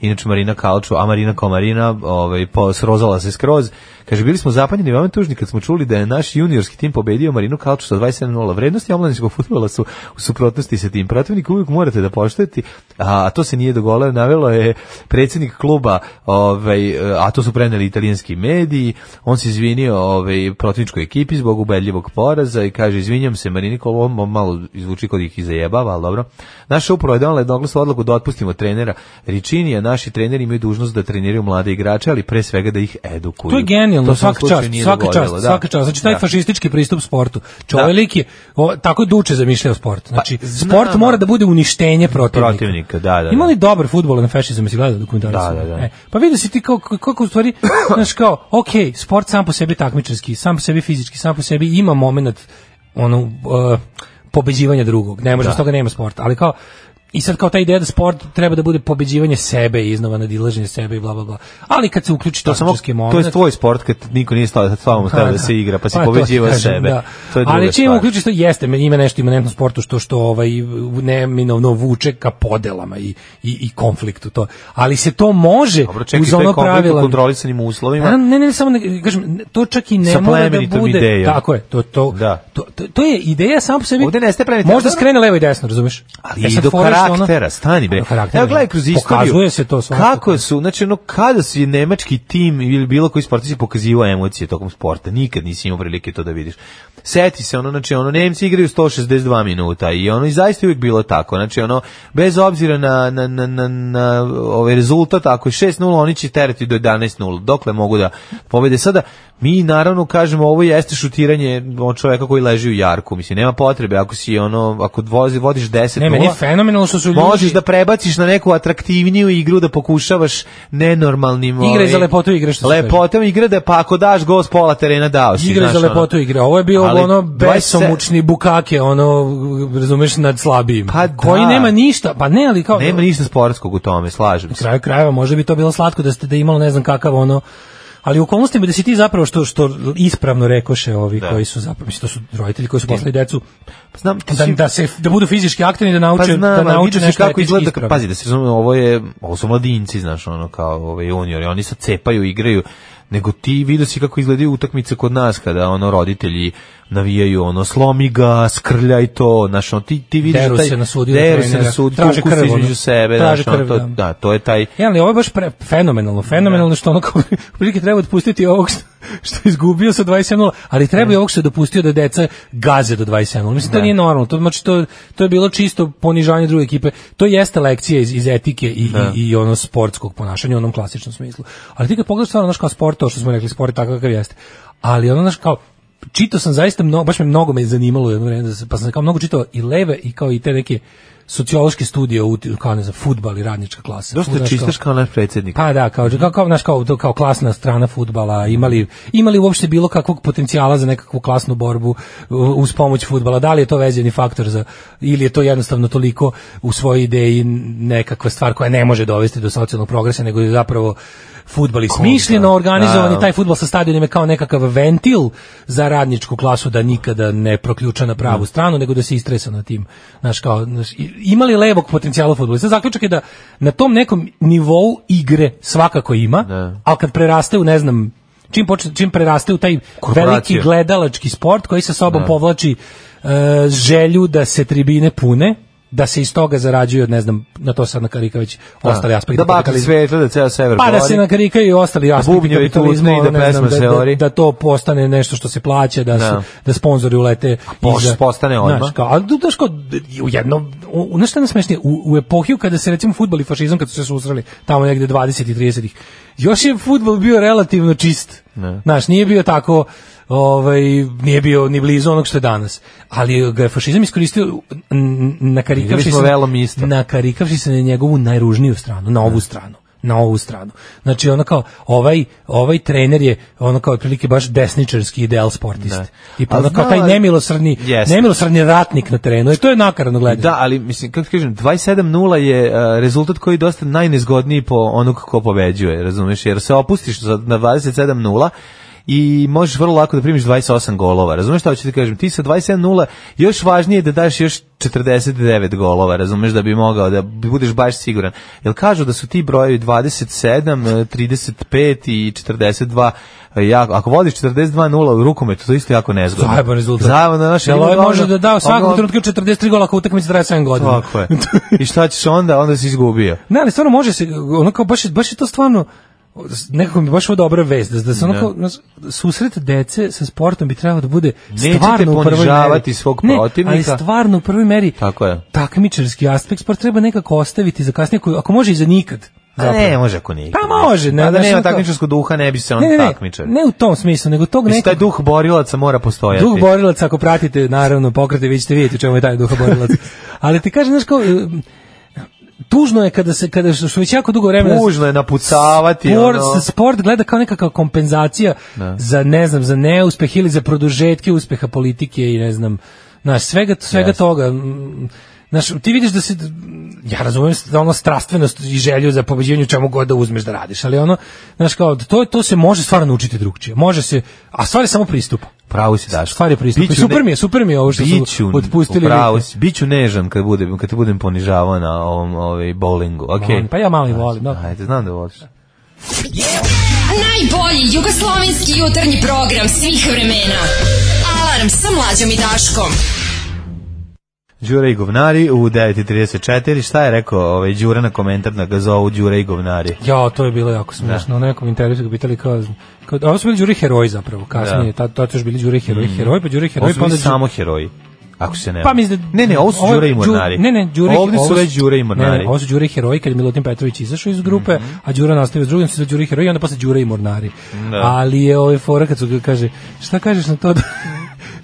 Inače Marina Kalču, a Marina kao Marina ovaj, po- srozala se skroz. Kaže, bili smo zapanjeni veoma tužni kad smo čuli da je naš juniorski tim pobedio Marinu Kalču sa 27-0. Vrednosti omladinskog futbola su u suprotnosti sa tim. Protivnik uvijek morate da poštujete, a, a to se nije dogovorilo. Navelo je predsjednik kluba, ovaj, a to su preneli italijanski mediji. On se izvinio ovaj, protivničkoj ekipi zbog ubedljivog poraza i kaže, izvinjam se Marini Kolombo, malo izvuči kod ih i zajebava, ali dobro. Naša uprava je donala jednoglasnu odluku da otpustimo trenera Ričinija. Naši treneri imaju dužnost da treniraju mlade igrače, ali pre svega da ih edukuju. To je genijalno, To se u svaka slučaju čast, nije svaka dogodilo, čast, da. svaka čast. Znači taj Da. fašistički pristup sportu. Čovjek je o, tako duče zamišljao sport. Znači Pa, znam. sport mora da bude uništenje protivnika. protivnika, da, da. da. Ima li dobar fudbal na fašizam, si gledao dokumentarac? Da, da, da. E, pa vidi si ti kako, kako u stvari, znaš kao, ok, sport sam po sebi takmičarski, sam po sebi fizički, sam po sebi ima moment ono, uh, pobeđivanja drugog. Ne može, da. toga nema sporta. Ali kao, I sad kao ta ideja da sport treba da bude pobeđivanje sebe i iznova nadilaženje sebe i bla bla bla. Ali kad se uključi to samo takmičarski moment... to je tvoj sport kad niko nije stao stao stao da se igra pa se pobeđiva to ti kažem, sebe da. to je druga Ali čim stvar. uključiš to jeste, meni ima nešto imanentno u sportu što što ovaj neminovno vuče ka podelama i, i, i konfliktu to. Ali se to može Dobro, čekaj, uz to je ono konflikt u pravilo kontrolisanim uslovima. Ne, ne, ne, samo ne, kažem, to čak i ne Sa mora da plemenitom bude. idejom. Tako je, to to, Da. to, to, to je ideja sama po sebi. Ovde nestaje plemenita- Možda skrene levo i desno, razumeš? Da, ali E i sad do fora je što ona- karaktera, stani bre. Do karaktera, Evo gledaj da. kroz istoriju. Pokazuje se to svakako. Kako su, znači ono, kada su je nemački tim ili bilo koji sportist pokazivao emocije tokom sporta, nikad nisi imao prilike to da vidiš. Seti se, ono, znači ono, Nemci igraju 162 minuta i ono, i zaista je uvijek bilo tako, znači ono, bez obzira na, na, na, na, na ovaj rezultat, ako je 6-0, oni će terati do 11-0, dokle mogu da pobede. Sada, mi naravno kažemo ovo jeste šutiranje od čoveka koji leži u jarku, mislim nema potrebe ako si ono ako vozi vodiš 10 Ne, meni je fenomenalno što su ljudi... Možeš da prebaciš na neku atraktivniju igru da pokušavaš nenormalnim... Igraj ovaj, za lepotu igre, što se kaže. Lepotom igre da pa ako daš gol s pola terena dao si. Igre znaš, za ono. lepotu igre. Ovo je bio Ali ono 27 besomučni bukake, ono, razumeš, nad slabijim. Pa da. Koji nema ništa, pa ne, ali kao... Nema ništa sportskog u tome, slažem Na se. kraju krajeva možda bi to bilo slatko da ste da je imalo ne znam kakav ono Ali u okolnostima da si ti zapravo što što ispravno rekoše ovi Da. koji su zapravo mislim to su roditelji koji su poslali decu Pa Znam, ti da, si- da se da budu fizički aktivni da nauče pa znam, da ali nauče vidiš i nešto kako etički izgleda, ispravno. pazi da se razume, ovo je, ovo su mladinci, znaš, ono kao ove juniori, oni sad cepaju, igraju, nego ti vidio si kako izgledaju utakmice kod nas kada ono roditelji navijaju ono slomi ga, skrljaj to, znaš, ono, ti, ti vidiš Deru taj, se na sudu ili deru se na trenera, sudu, traže tuku se krv, između ono. sebe, Traže znaš, ono, krv, to, da. da, to je taj, Ja, ali ovo je baš pre, fenomenalno, fenomenalno što ono kao prilike treba otpustiti ovog što- što je izgubio sa 27 ali treba i ovog što je dopustio da deca gaze do 27 Mislim, to nije normalno. To, znači, to, to je bilo čisto ponižanje druge ekipe. To jeste lekcija iz, iz etike i, Da. i, i ono sportskog ponašanja u onom klasičnom smislu. Ali ti kad pogledaš stvarno, znaš, kao sport, to što smo rekli, sport je takav kakav jeste. Ali ono, znaš, kao, čitao sam zaista mnogo, baš me mnogo me zanimalo jedno vreme, da se- pa sam kao mnogo čitao i leve i kao i te neke sociološke studije u kao ne znam fudbal i radnička klasa. Dosta Znaš, kao- čistaš kao naš predsjednik. pa da, kao kao kao naš kao to kao klasna strana fudbala, imali imali uopšte bilo kakvog potencijala za nekakvu klasnu borbu u- uz pomoć fudbala. Da li je to vezani faktor za ili je to jednostavno toliko u svojoj ideji nekakva stvar koja ne može dovesti do socijalnog progresa, nego je zapravo fudbal i smišljeno organizovan Da. i taj fudbal sa stadionima je kao nekakav ventil za radničku klasu da nikada ne proključa na pravu stranu, nego da se istresa na tim. Znaš, kao, znaš, i- ima li levog potencijala u fudbalu? Sad zaključak je da na tom nekom nivou igre svakako ima, Da. ali kad preraste u, ne znam, čim, počne, čim preraste u taj veliki Korporacije. gledalački sport koji sa sobom Da. povlači e, želju da se tribine pune, da se iz toga zarađuju, od, ne znam, na to sad na Karika već ostali aspekti Da bakli kapitalizma. svetlo, da ceo sever Pa da gori. se nakarikaju i ostali aspekti bubnjevi tutne kapitalizma, i da ono, ne znam, pesma se da, da, ori. da to postane nešto što se plaća, da, Da. su, da sponzori ulete. poš- iza- postane odmah. Znaš, kao, a du- znaš kao, d- u jednom, u, u- znaš šta je najsmešnije? u, u epohiju kada se recimo futbol i fašizam, kada su se susreli tamo negde 20 i 30 još je futbol bio relativno čist. Znaš, nije bio tako ovaj nije bio ni blizu onog što je danas ali ga je fašizam iskoristio na Vidjeli smo velom isto. Da. nakarikavši se na njegovu najružniju stranu, na ovu stranu na ovu stranu. Znači ono kao ovaj ovaj trener je ono kao otprilike baš desničarski ideal sportist. Da. I pa Ali ono kao zna- taj nemilosrdni Jeste. nemilosrdni ratnik na terenu. I to je nakaradno gledanje. Da, ali mislim, kako ti kažem, 27-0 je e, rezultat koji je dosta najnezgodniji po onog ko pobeđuje, razumeš, jer se opustiš za- na 27-0 i možeš vrlo lako da primiš 28 golova, razumeš šta hoću ti kažem, ti sa 27-0 još važnije je da daš još 49 golova, razumeš, da bi mogao da budeš baš siguran, jer kažu da su ti brojevi 27, e, 35 i 42 e, jako, ako vodiš 42-0 u rukometu, to je isto jako nezgodno. Zajeban rezultat. Zajeban, znaš, Jel ima ovaj ga može ono- pa da da u svakom ono- trenutku 43 gola ako utakmica traje 7 godina. tako je. I šta ćeš onda? Onda si izgubio. Ne, ali stvarno može se, ono kao baš, je- baš je to stvarno, nekako mi je baš ovo dobra vest, da, da se ono Ne. kao, znaš, susret dece sa sportom bi trebalo da bude Nećete stvarno u prvoj meri. ponižavati svog ne, ali protivnika. stvarno u prvoj meri Tako je. takmičarski aspekt sport treba nekako ostaviti za kasnije, ako- ako može i za nikad. A zapravo. ne, može ako nije. Pa može, ne, A da znaš, nema ono kao- takmičarskog duha, ne bi se on Ne, ne, ne, takmičar. ne u tom smislu, nego tog Mislim, nekog taj duh borilaca mora postojati. Duh borilac, ako pratite, naravno, pokrete, vi ćete vidjeti u čemu je taj duh borilac. Ali ti kažem, znaš kao, e, tužno je kada se, kada, što već jako dugo vremena... Tužno je napucavati, Sport, ono. Da. sport gleda kao nekakva kompenzacija za, ne znam, za neuspeh ili za produžetke uspeha politike i ne znam, znaš, svega, svega toga. Mm, Znaš, ti vidiš da se, ja razumijem da ono strastvenost i želju za pobeđivanje u čemu god da uzmeš da radiš, ali ono, znaš, kao, to, to se može stvarno naučiti drugčije. Može se, a stvar je samo pristup. Pravo si daš. Da, Stvar je pristup. Biću Super ne- mi je, super mi je ovo što su Biću, otpustili Pravo ljude. si. Biću nežan kad, budem, kad te budem ponižavao na ovom ovaj, bowlingu. Okay. Pa ja malo i volim, da. Ajde, znam da voliš. Najbolji jugoslovenski jutarnji program svih vremena. Alarm sa mlađom i Daškom. Đura i govnari u 9.34. Šta je rekao ovaj, Đura na komentar na gazovu Đura i govnari? Ja, to je bilo jako Da. smiješno. U nekom intervju su ga pitali kao, kao a ovo su bili đuri heroji zapravo, kasnije. Tad tad su još bili đuri heroji, heroji, pa đuri Da. heroji, Mhm. Ovo pa su onda bili Đu- samo heroji. Ako se ne... Pa mislim da, ne, ne, ovo su je Đura i Đu- Mornari. Ne, ne, Đure, Ovdje su već Đura i Mornari. Mhm. Ne, ne, ovo su Đure i heroji kad je Milutin Petrović izašao iz grupe, a Đura nastavio s drugim, su Đure i heroji, onda posle Đure i Mornari. Da. Ali je ovaj fora kad su ga kaže, šta kažeš na to da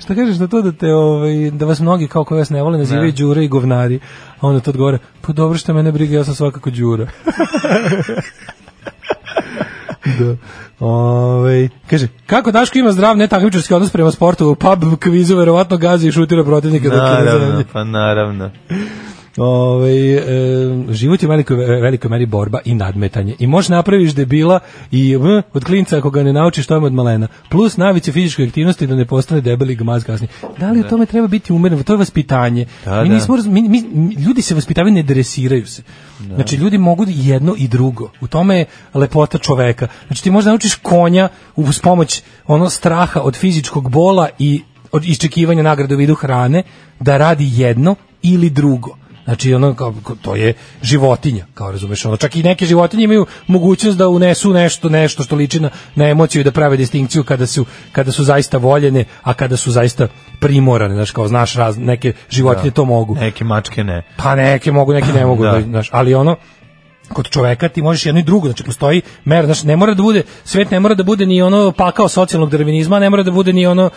Šta kažeš na to da te ovaj da vas mnogi kao koji vas ne vole nazivaju Đure i govnari, a onda to odgovara, pa dobro što mene briga, ja sam svakako Đura. da. Ovaj, kaže, kako Daško ima zdrav netakmičarski odnos prema sportu, u pub kvizu verovatno gazi i šutira protivnika dok je na Naravno, zemlji. pa naravno. Ovaj, e, život je u velikoj, velikoj meri borba i nadmetanje. I možeš napraviš debila i v, od klinca ako ga ne naučiš to je od malena. Plus navice fizičkoj aktivnosti da ne postane debeli gmaz kasnije. Da li u tome treba biti umeren? To je vaspitanje. Da, mi da. nismo raz- mi- mi- mi- ljudi se vaspitavaju, ne dresiraju se. Znači, ljudi mogu jedno i drugo. U tome je lepota čoveka. Znači, ti možda naučiš konja uz pomoć ono straha od fizičkog bola i od iščekivanja nagrade u vidu hrane da radi jedno ili drugo. Znači ono kao, ko- to je životinja, kao razumeš, ono čak i neke životinje imaju mogućnost da unesu nešto nešto što liči na, na emociju i da prave distinkciju kada su kada su zaista voljene, a kada su zaista primorane, znaš, kao znaš raz, neke životinje to mogu. Neke mačke ne. Pa neke mogu, neke ne mogu, Da. da. znaš, ali ono kod čoveka ti možeš jedno i drugo, znači postoji mera, znači ne mora da bude, svet ne mora da bude ni ono pakao socijalnog darvinizma, ne mora da bude ni ono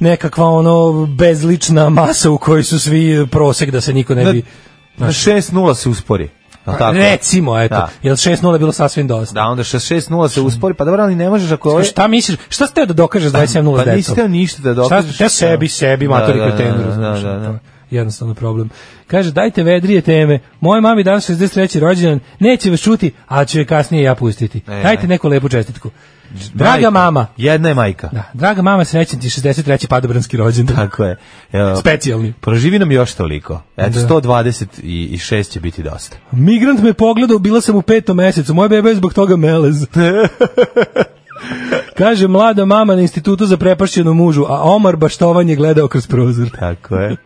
nekakva ono bezlična masa u kojoj su svi prosek da se niko ne Na- bi... Na 6-0 se uspori. je li Pa, Tako? recimo, eto, Da. jel 6-0 bilo sasvim dosta. Da, onda 6-0 se uspori, pa dobro, ali ne možeš ako je... Šta misliš, šta ste da dokažeš 27-0 Pa s decom? nisi teo ništa da dokažeš. Šta te sebi, sebi, matori da, da, kretenu, da, razumeš, da, da. to je Jednostavno problem. Kaže, dajte vedrije teme. Moje mami danas 63. rođendan, neće vas čuti, ali ću je kasnije ja pustiti. E, dajte e. neku lepu čestitku. Draga Majka. mama, Jedna je majka. da, draga mama, srećen ti 63. padobranski rođendan. Tako je. Evo, Specijalni. Proživi nam još toliko. Eto, Da. 126 će biti dosta. Migrant me pogledao, bila sam u petom mesecu. Moja beba je zbog toga melez. Kaže mlada mama na institutu za prepašćenu mužu, a Omar baštovan je gledao kroz prozor. Tako je.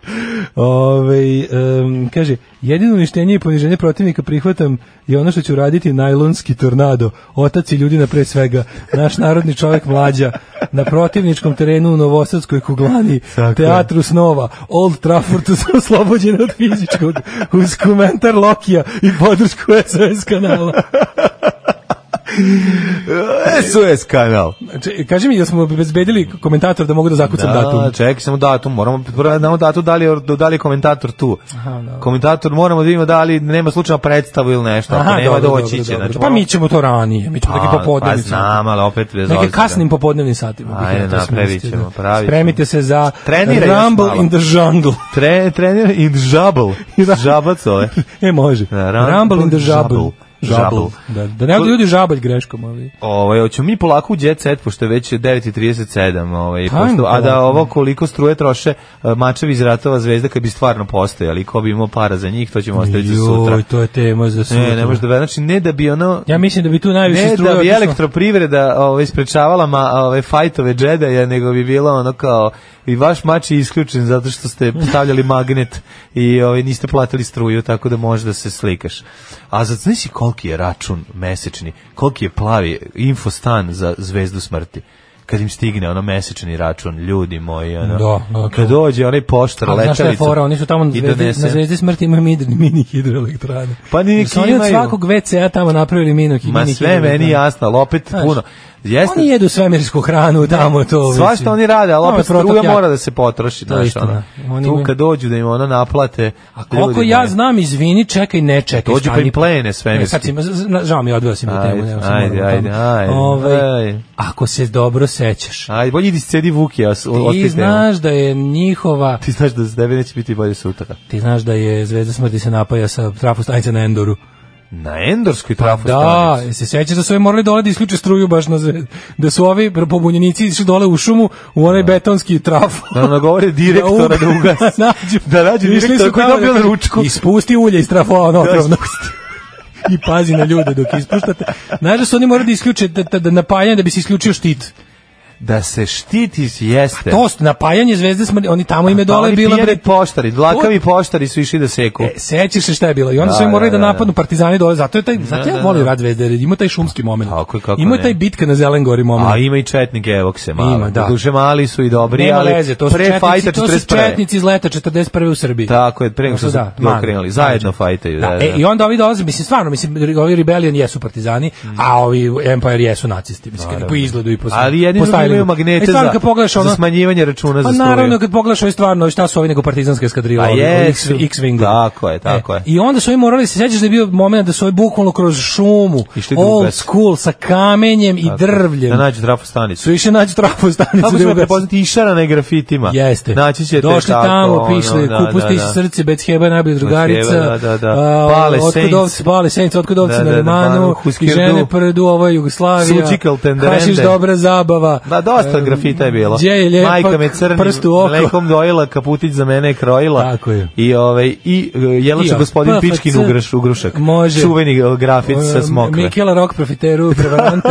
Ove, em, kaže, jedino uništenje i poniženje protivnika prihvatam je ono što ću raditi najlonski tornado. Otac i ljudina pre svega. Naš narodni čovjek mlađa. Na protivničkom terenu u Novosadskoj kuglani. Tako je. teatru snova. Old Traffordu su oslobođeni od fizičkog. Uz komentar Lokija i podršku SOS kanala. SOS kanal. Če- Znači, Kaži mi, jel smo obezbedili komentator da mogu da zakucam datum? čekaj, samo datum. Moramo prvo da znamo datum, da li, je- da li je komentator tu. Komentator moramo da vidimo da li nema slučajno predstavu ili nešto. Ako pa nema, dobro, doći dobro, će. dobro. Znači, pa moramo- mi ćemo to ranije, mi ćemo da Pa, neki popodnevni pa znam, ali opet bez Neke obzira. kasnim popodnevnim satima. bih da. Ajde, ja to napravit smestio, ćemo, da. pravit ćemo. Spremite se za Treniraj da još Rumble malo. in the Jungle. Tre, trener in žabl. da. Žabac ove. e, može. Da, Rumble, Rumble in the in Jungle. Jungle. Žabl. Da, da ne odu ljudi žabalj greškom, ali... Ovaj hoćemo mi polako u jet set pošto je već 9:37, ovaj Ajmo pošto a da polako. ovo koliko struje troše e, mačevi iz ratova zvezda kad bi stvarno postojali, ko bi imao para za njih, to ćemo ostaviti za sutra. Joj, to je tema za sutra. Ne, ne može da znači ne da bi ono Ja mislim da bi tu najviše ne struje da bi otišlo. elektroprivreda ovaj sprečavala ma ovaj fajtove džedaja, nego bi bilo ono kao i vaš mač je isključen zato što ste stavljali magnet i ovaj niste platili struju, tako da može da se slikaš. A za znaš li koliki je račun mesečni, koliki je plavi infostan za zvezdu smrti? kad im stigne ono mesečni račun ljudi moji ono Da, da, kad to. dođe onaj poštar Ali znaš šta je letelica fora, oni su tamo na i zvezdi, na donese. zvezdi smrti imaju mini, mini hidroelektrane. Pa ni Jer su oni od imaju. svakog WC-a tamo napravili mini, mini ma sve hidroelektrane. meni jasno ali opet da- Znaš, puno jeste Oni jedu svemirsku hranu, tamo to. Sva mislim. što oni rade, ali Ovo je opet struja protok mora jak. da se potroši. To je Znaš, istina. ono, Oni tu imaju- kad dođu da im ono naplate... A koliko ljudi ja moji. znam, izvini, čekaj, ne čekaj. Dođu pa stani. im plene svemirski. Ne, Sad si, z- z- žao mi, je, odveo si mi Ajde, temu. ne, sam ajde, moram tamo. ajde, ajde, Ovaj, ajde. Ako se dobro sećaš, Ajde, bolje idi scedi Vuki, ja ti otpite. znaš da je njihova, Ti znaš da za tebe neće biti bolje sutra. ti znaš da je Zvezda smrti se napaja sa trafostanice na Endoru. Na Endorskoj Pa trafu da, jel se sećaš da su ovi morali dole da isključe struju baš na zvezdu. Da su ovi pobunjenici išli dole u šumu u onaj betonski trafo. Da nam nagovore direktora da ugasi. nađu. Da nađu Išli direktora su koji je tamo dobio da- na ručku. Ispusti ulje iz trafoa, ono Da, otrovno. I pazi na ljude dok ispuštate. Znaš da su oni morali da isključe da, da, da napajanje da bi se isključio štit. Da se štitiš jeste. To su napajanje zvezde smrti, oni tamo ime Pa dole oni bila pijani bre. poštari, dlakavi poštari su išli da seku. E, sećaš se šta je bilo? I onda Da, su im morali da, da, da, da. napadnu partizani dole. Zato je taj, zato da, ja da. volim rad zvezde, jer ima taj šumski moment. Tako je, kako ima ne. taj bitka na Zelengori moment. A ima i četnike, evo se malo. Ima, da. Doduše mali su i dobri, Nema ali veze, to su, pre četnici, fajta to su 41.. četnici iz leta 41. u Srbiji. Tako je, pre nego To što su, su da, to manje. krenuli. Zajedno fajtaju. Da, Da, da. E, I onda ovi dolaze, mislim, stvarno, mislim, ri- ovi Rebellion jesu partizani, Mm. a ovi Empire jesu nacisti, mislim, kad po izgledu i po svemu. Ali jedni po drugi imaju stylingu. magnete E, stvarno, za, kad pogledaš, ono, za smanjivanje računa Pa za struju. naravno, kad pogledaš ovi stvarno, šta su ovi nego partizanske eskadrile, Pa ovi, ovi X- jesu. X-Wing. Tako je, tako je. I onda su ovi morali, se sjećaš da je bio moment da su ovi bukvalno kroz šumu, Išli drugu old vezu. school, sa kamenjem i Tako je. drvljem. Da nađu trafu stanicu. su išli naći trafu stanicu. Kako da ćemo ugase. prepoznati išarane grafitima? Jeste. Naći ćete Došli tako, tamo, ono, pišli, da, kupu da, stići da. srce, bez heba je najbolja drugarica. Heba, da, da, da. a, Pale otkudovci, Saints. Pale Saints, otkudovci Da, da, na da, Limanu, Pale Husker i žene Du. prdu, ovo je Jugoslavija. Sučikal tenderende. Hašiš dobra zabava. Da, dosta grafita je bilo. Gdje je ljepak, Majka me crni, prst u oko. mlekom dojela, kaputić za mene je krojila. Tako je. I, ovaj, i e, jela će I, gospodin PFC. Pičkin ugraš, ugrušak. Može. Čuveni e, grafit sa E, smokve. Mikela Rock profiteru, prevarante.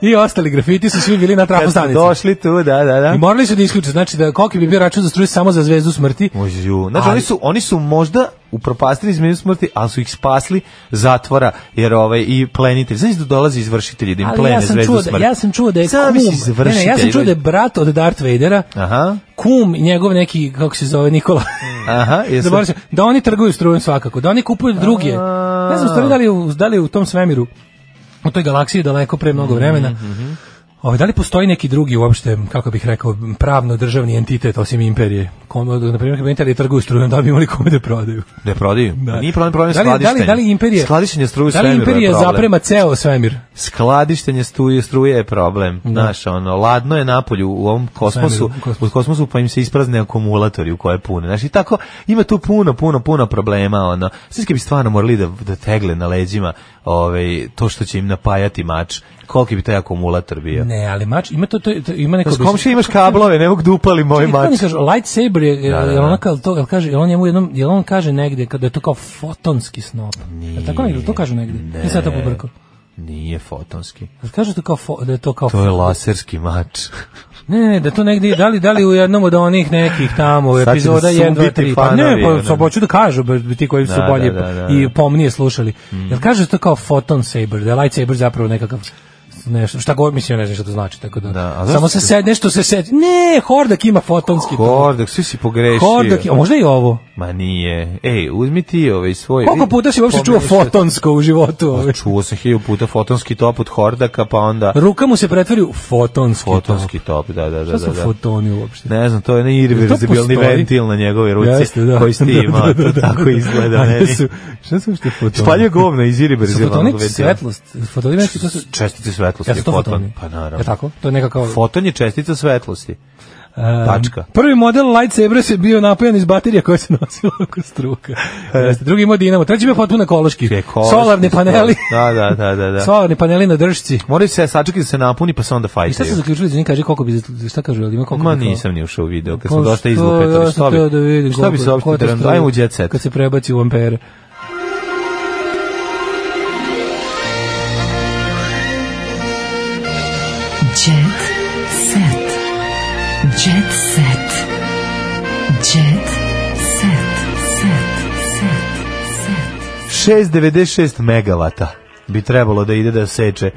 I ostali grafiti su svi bili na trafu Kad smo stanice. došli tu, da, da, da. I morali su da isključe, znači da koliki bi bio račun za struju samo za zvezdu smrti. Ju, Znači, Ali- oni, su, oni su možda upropastili zmenu smrti, ali su ih spasli zatvora, jer ovaj, i plenitelj. Znači da dolazi izvršitelji, da im Ali plene ja sam, zvezdu čuo da, smrti. ja sam čuo da je kum, Zamisli ne, ne, ja sam izvršitelj, čuo da je ljudi. brat od Darth Vadera, Aha, kum i njegov neki, kako se zove, Nikola. aha, jesam. Zaboravio sam, da oni trguju strujom svakako, da oni kupuju druge. Ne znam stvari da li, u- da li u tom svemiru, u toj galaksiji daleko pre mnogo Mhm, vremena, Ovaj, da li postoji neki drugi uopšte, kako bih rekao, pravno državni entitet osim imperije? Kom, na primjer, kad bi imperije trguju strujom, da li bi imali kome da prodaju? Ne prodaju. Pa Da. Nije problem, problem je Da li- da li- skladištenje. da li imperije- Skladištenje struje u Da li svemiru je imperija problem. zaprema ceo svemir? Skladištenje struje, struje je problem. Znaš, ono, ladno je napolju u ovom kosmosu, Da. Svemiru, u u kosmosu pa im se isprazne akumulatori u koje pune. Znaš, i tako ima tu puno, puno, puno problema. Ono. Svijeski bi stvarno morali da, da tegle na leđima ovaj, to što će im napajati mač. Koliki bi taj akumulator bio? Ne, ali mač, ima to, to, to ima neko... S komši imaš kablove, ne mogu da upali moj Čekaj, kako mač. oni kažu, lightsaber je, Da, da, jel da. ono kao to, jel kaže, jel on njemu jednom, jel on kaže negde, kada je to kao fotonski snop. Jel tako negde, to kažu negde? Ne. I sad to pobrko. Nije fotonski. Jel kažu to kao, fo, da je to kao... To je laserski mač. Ne, ne, ne, da to negde, da li, da li u jednom od onih nekih tamo, Sad će epizoda da 1, 2, suditi 3, pa ne, fanovi, pa ono. sad hoću da kažu, ba- ti koji su Da, bolje da, da, da. Mm. i pomnije slušali. Jel kaže to kao foton saber, da je lightsaber zapravo nekakav nešto, šta god mislim, ja ne znam šta to znači, tako da, Da, a zašto samo se se- sed, nešto se sed, ne, Hordak ima fotonski, Kordak, svi si pogrešio. Hordak, a možda i ovo, Ma nije. Ej, uzmi ti ovaj svoj... Koliko puta si uopšte čuo Pomeni što- fotonsko u životu? Pa, ovaj? Čuo sam hilju puta fotonski top od Hordaka, pa onda Ruka mu se pretvori u fotonski. fotonski top, da, da, da. Šta su da, da. fotoni uopšte? Ne znam, to je ne postoji? da. irreverzibilni ventil na njegove ruci koji si ti imao, to tako izgleda. A meni. jesu- Šta su uopšte fotoni? Spaljuje govna iz Su irreverzibilnog fotoni ventila. svetlost. Fotoni nešto to su... Čestice svetlosti. Ja su to foton. fotoni? Pa naravno. Je tako? To je nekakav... Foton je čestica svetlosti. Tačka. Prvi model lightsabera se bio napojen iz baterija koja se nosila oko struka. Jeste, drugi imao dinamo. Treći bio potpuno ekološki. E. Je ekološki Solarni paneli. Da, da, da, da. da. Solarni paneli na držici. Moraju se sačekati da se napuni, pa se onda I šta ste fajtaju. zaključili? Izvini, kaži koliko bi... Šta kažu? jel Ima koliko Ma bi kao- nisam ni ušao u video, kad Pa smo dosta što, ja izlupetali. sam Šta bi, teo da vidim šta bi koliko- se uopšte ko to da nam stoji dajemo u jet set? Kad se prebaci u ampere. Jet set. Jet set. Jet set. Set. Set. 696 megavata bi trebalo da ide da seče.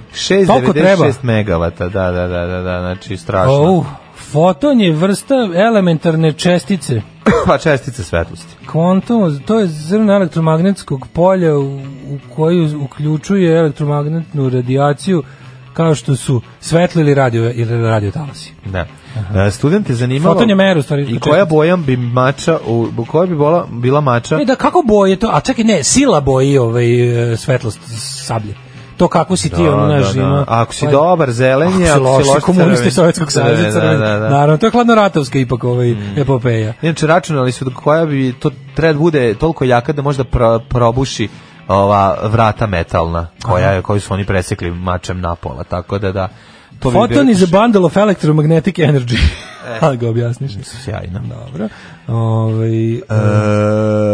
Toliko treba? 696 megavata, da, da, da, da, da, znači strašno. Au, foton je vrsta elementarne čestice. Pa čestice svetlosti. Kvantum, to je zrno elektromagnetskog polja u, u koju uključuje elektromagnetnu radijaciju kao što su svetli ili radio ili radio talasi. Da. E, student je zanimalo... Foton je mera, u stvari, I čestice. koja boja bi mača, u, bu- koja bi bola, bila mača? E da kako boje to? A čekaj, ne, sila boji ovaj e, svetlost sablje. To kako si ti ono naš ima- Da, Ako si pa- dobar, zelen je, Ako si loš, komunisti crven. Sovjetskog saveza, Da, crveni. Da, Mm. da, da. Naravno, to je hladnoratovska ipak ovaj epopeja. Inače, računali su da koja bi to treba da bude toliko jaka da možda pro- probuši ova vrata metalna koja je, koju su oni presekli mačem napola, tako da da. To bi Foton bilo- Eh. is a bundle of electromagnetic energy. Ali ga objasniš. Sjajno. Dobro. Ovaj, Eh.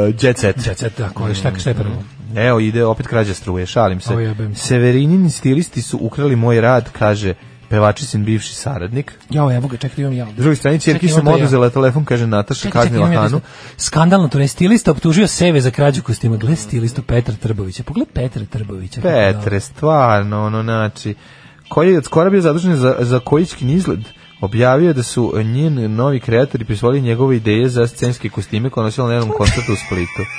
E, jet set. Jet set, tako, ali šta, šta je prvo? Evo ide opet krađa struje, šalim se. O, jebem. Severinini stilisti su ukrali moj rad, kaže pevačicin bivši saradnik. Jao, evo ga, čekaj, imam jao. S druge strane, čerki Čekaj, sam onda ja. oduzela telefon, kaže Nataša, Čekaj, čekaj, kaznila imam ja Hanu. desno. Skandalno, to je stilista optužio seve za krađu kostima. Gle stilistu Petra Trbovića. Pogled Petra Trbovića. kako je dobro. Petre, stvarno, ono, znači, koji je od skora bio zadužen za, za kojički nizgled, objavio je da su njen novi kreatori prisvojili njegove ideje za scenske kostime koje je nosila na jednom koncertu u Splitu.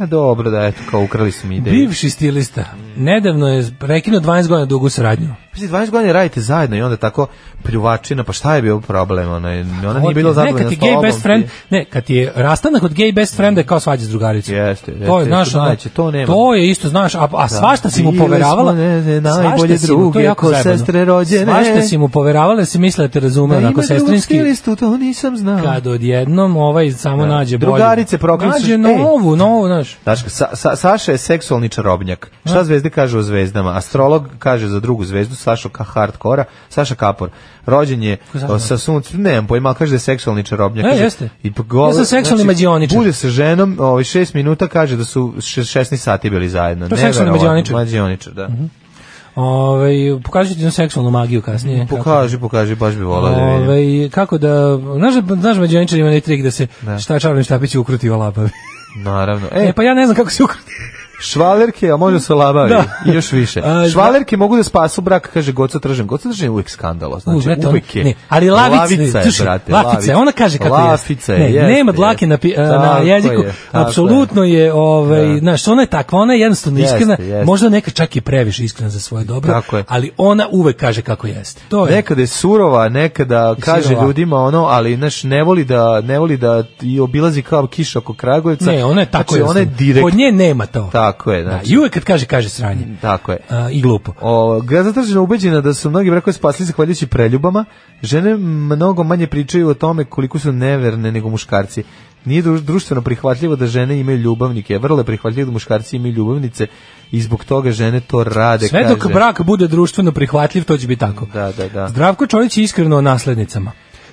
A dobro, da, eto, kao ukrali smo ideje. Bivši stilista. Nedavno je prekinuo 12 godina dugu saradnju. Biv... 12 godina radite zajedno i onda tako pljuvačina, pa šta je bio problem? Ona, ona Odlično. nije bila Ne, zadovoljna kad ti s je gay tobom. best friend, ne, kad ti je rastanak od gay best frienda je kao svađa s drugaricom. Jeste, jeste, to je, jeste, znaš, ono, najče, to nema. to je isto, znaš, a, a svašta si mu bile poveravala. smo, ne, ne, svašta najbolje si mu, to je druge, jako ko zajebano. sestre rođene. Svašta si mu poveravala, jer si misle da te razume, Da, onako ima drugog sestrinski. stilistu, to nisam znao. Kad odjednom ovaj samo nađe bolje. Da. Drugarice e. proklincu- Nađe Ej. novu, novu, znaš. Daška, sa, sa, Saša je seksualni čarobnjak. Da. Šta zvezde kaže o zvezdama? Astrolog kaže za drugu zvezdu, Sašo ka hardkora, Saša Kapor. Rođen je Zašto? o, sa suncem, nemam pojma, ali kaže da je seksualni čarobnjak. E, Kaže, jeste. I pa gole- Ja sam seksualni mađioničar. Bude se ženom, ovaj, šest minuta kaže da su še- 16 sati bili zajedno. To je seksualni Neverovatno, mađioničar. Mhm. Mađioničar, da. Ove, pokažu ovaj, ti na seksualnu magiju kasnije. Pokaži, pokaži, baš bi volao da vidim. Ove, kako da, znaš, znaš međaničar ima ne trik da se šta čarobni štapić ukruti o labavi. Naravno. E, e, pa ja ne znam kako se ukruti. Švalerke, a može se labavi Da. i još više. A, Švalerke mogu da spasu brak, kaže Goca Tržan. Goca Tržan je uvijek skandalo. Znači, brate, on- uvijek je. ne, ali lavica, lavica je, slušaj, brate. lafica je, ona kaže kako je. Lafica je, Ne, jeste, nema dlake na, pi- jeste. na Tako jeziku, je, tako apsolutno je, ovaj, znaš, ona je takva, ona je jednostavno Jeste, iskrena, jeste. možda neka čak i previše iskrena za svoje dobro, Tako je. ali ona uvek kaže kako jeste. To je. Nekada je surova, nekada kaže sirova. ljudima ono, ali znaš, ne voli da ne voli da i obilazi kao kiša oko Kragujevca. Ne, ona je tako znači, ona je jednostavno. direkt. Kod nje nema to. Tako je, znači. Da. Da, I uvek kad kaže, kaže sranje. Tako je. A, I glupo. O, Gaza Tržina ubeđena da su mnogi brakove spasili zahvaljujući preljubama. Žene mnogo manje pričaju o tome koliko su neverne nego muškarci. Nije dru- društveno prihvatljivo da žene imaju ljubavnike. Vrlo je prihvatljivo da muškarci imaju ljubavnice i zbog toga žene to rade. Sve dok kaže. brak bude društveno prihvatljiv, to će biti tako. Da, da, da. Zdravko Čolić je iskreno o naslednicama.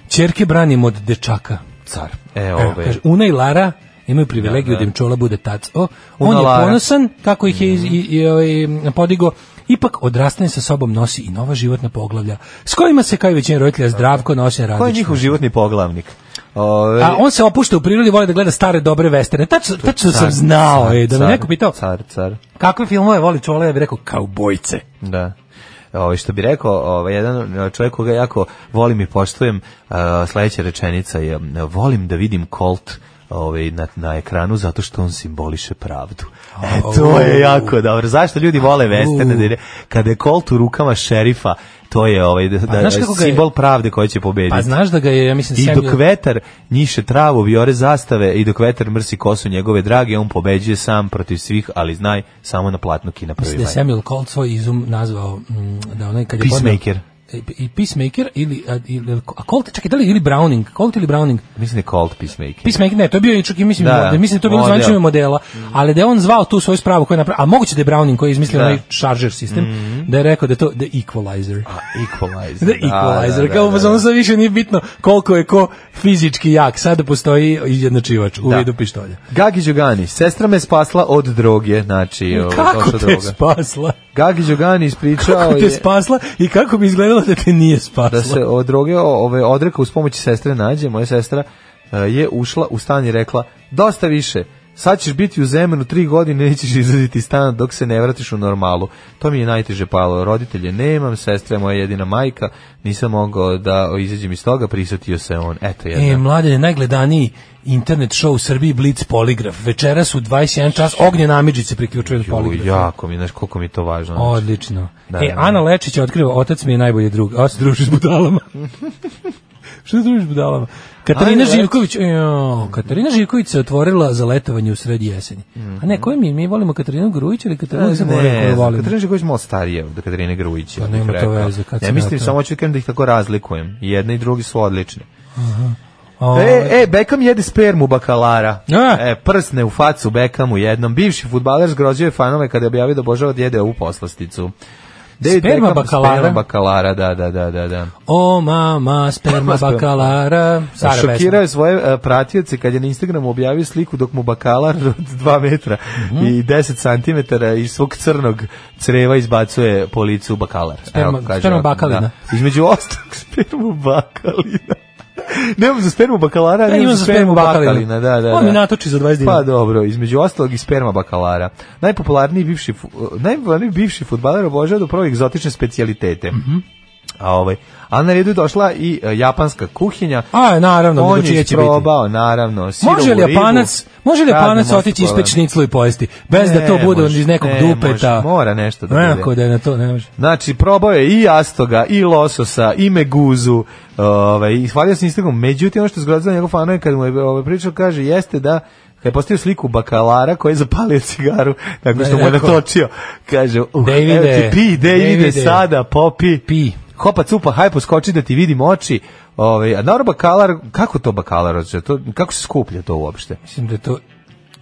Čerke branimo od dečaka. Car. E, Evo, ovo je. kaže, Una i Lara imaju privilegiju da, im čola bude tac. O, on Una je Lara. Mhm. ponosan kako ih je iz- i, i, ovaj, podigo. Ipak odrastanje sa sobom nosi i nova životna poglavlja s kojima se kao i većina Da, roditelja zdravko nosi Ko je različno. njihov životni poglavnik? Ove, A on se opušta u prirodi, voli da gleda stare dobre vesterne. Tačno, tačno sam znao, car, e, da me car, neko pitao Car, car. kakve filmove voli čola, ja bih rekao kaubojce. Da. Ovo, što bi rekao, ovaj, jedan e, čovjek koga jako volim i poštujem, e, sledeća rečenica je, e, volim da vidim Colt ovaj, na, na ekranu zato što on simboliše pravdu. E, to je jako dobro. Zašto ljudi vole westerne? Da je- Kada je Colt u rukama šerifa, to je ovaj, da, da, Pa znaš kako ga je- simbol pravde koji će pobediti. Pa znaš da ga je, ja mislim, I Samuel- dok vetar njiše travu, vijore zastave, i dok vetar mrsi kosu njegove drage, on pobeđuje sam protiv svih, ali znaj, samo na platnu kina prvi Mislim da je maj. Samuel Colt svoj izum nazvao mm, da onaj kad je podneo- Peacemaker. E, i Peacemaker ili, a, ili a Colt, čekaj, da li ili Browning, Colt ili Browning, Mislim da je Colt Peacemaker. Peacemaker, ne, to je bio i čak i mislim, Da, da, da, mislim da je to bilo model. Mm. zvančanje modela, ali da je on zvao tu svoju spravu koju je napravio, a moguće da je Browning koji je izmislio Da. Mm-hmm. onaj charger sistem, da je rekao da je to the equalizer. Da, Equalizer. The equalizer, kao da, sad više nije bitno koliko je ko fizički jak, sada postoji izjednačivač u Da. vidu pištolja. Gagi Đogani, sestra me spasla od droge, znači... ovo, Kako došla te droga. spasla? Gagi Đogani ispričao Kako te je spasla i kako bi izgledalo da te nije spasla? da se od droge o- ove, odreka uz pomoć sestre nađe. Moja sestra e, je ušla u stan i rekla, dosta više, sad ćeš biti u zemenu tri godine, nećeš izraditi stana dok se ne vratiš u normalu. To mi je najteže palo. Roditelje nemam, sestra je moja jedina majka, nisam mogao da izađem iz toga, prisjetio se on. Eto jedna. E, mladen je najgledaniji internet show u Srbiji Blitz Poligraf. Večeras u 21 čas Ognjen Amidžić se priključuje na Ju, Poligraf. jako mi, znaš, koliko mi je to važno. Odlično. Da, e, da. Ana Lečić je otkriva, otac mi je najbolji drug. A se druži s budalama. Što se družiš s budalama? Katarina Ana Živković, jo, Katarina Živković se otvorila za letovanje u sred jeseni. A ne, koji mi, mi volimo Katarinu Grujić ili Katarinu Mhm. Ne, Crnogoru koju volimo? Katarina Žiković je malo starije od Katarine Grujića. Pa nema bih rekao. to veze, kad Ne sam mislim, ja to- samo hoću da kažem da ih tako razlikujem. Jedna i drugi su odlični. O, E, e, Beckham jede spermu bakalara. A. E, prsne u facu Beckhamu jednom. Bivši futbaler zgrozio je fanove kada je objavio da obožava da jede ovu poslasticu. David Sperma Beckham, bakalara? Sperma bakalara, da, da, da, da. da. o mama, sperma bakalara. Stara pesma. Šokirao je svoje e, pratioce kad je na Instagramu objavio sliku dok mu bakalar od 2 metra Mhm. i 10 cm iz svog crnog creva izbacuje po licu bakalar. Sperma- Evo, kaže sperma ovako, bakalina. Da. Između ostalog spermu bakalina. Nemam za spermu bakalara, Ja nemam imam Pa za spermu bakalina. Da, da, On mi da. natoči za 20 dinara. Pa dobro, između ostalog i sperma bakalara. Najpopularniji bivši, fu- e, najpopularniji bivši futbaler obožava da prvo egzotične specijalitete. Mhm. A ovaj, a na redu je došla i e, japanska kuhinja. A, naravno, On nego je čije će biti. isprobao, naravno, sirovu Može li ribu. Japanac, može li Razne Japanac možete otići probati. ispeć šniclu i pojesti? Bez da to da- Ne bude može, iz nekog ne dupeta. može, mora nešto da Ne, bude. ako da je na to, ne može. Znači, probao je i jastoga, i lososa, i meguzu, ovaj, i hvalio se Instagram. Međutim, ono što je zgrozilo njegov fanove kad mu je ovaj, pričao, kaže, jeste da kad je postavio sliku bakalara koji je zapalio cigaru tako Da, što mu je rekao. natočio. Kaže, uh, Davide, evo ti pi, Davide, Davide. sada, popi. Pi. Hopa cupa, haj poskoči da ti vidim oči. Ovaj, a naravno bakalar, kako to bakalar? hoće? To, kako se skuplja to uopšte? Mislim da je to...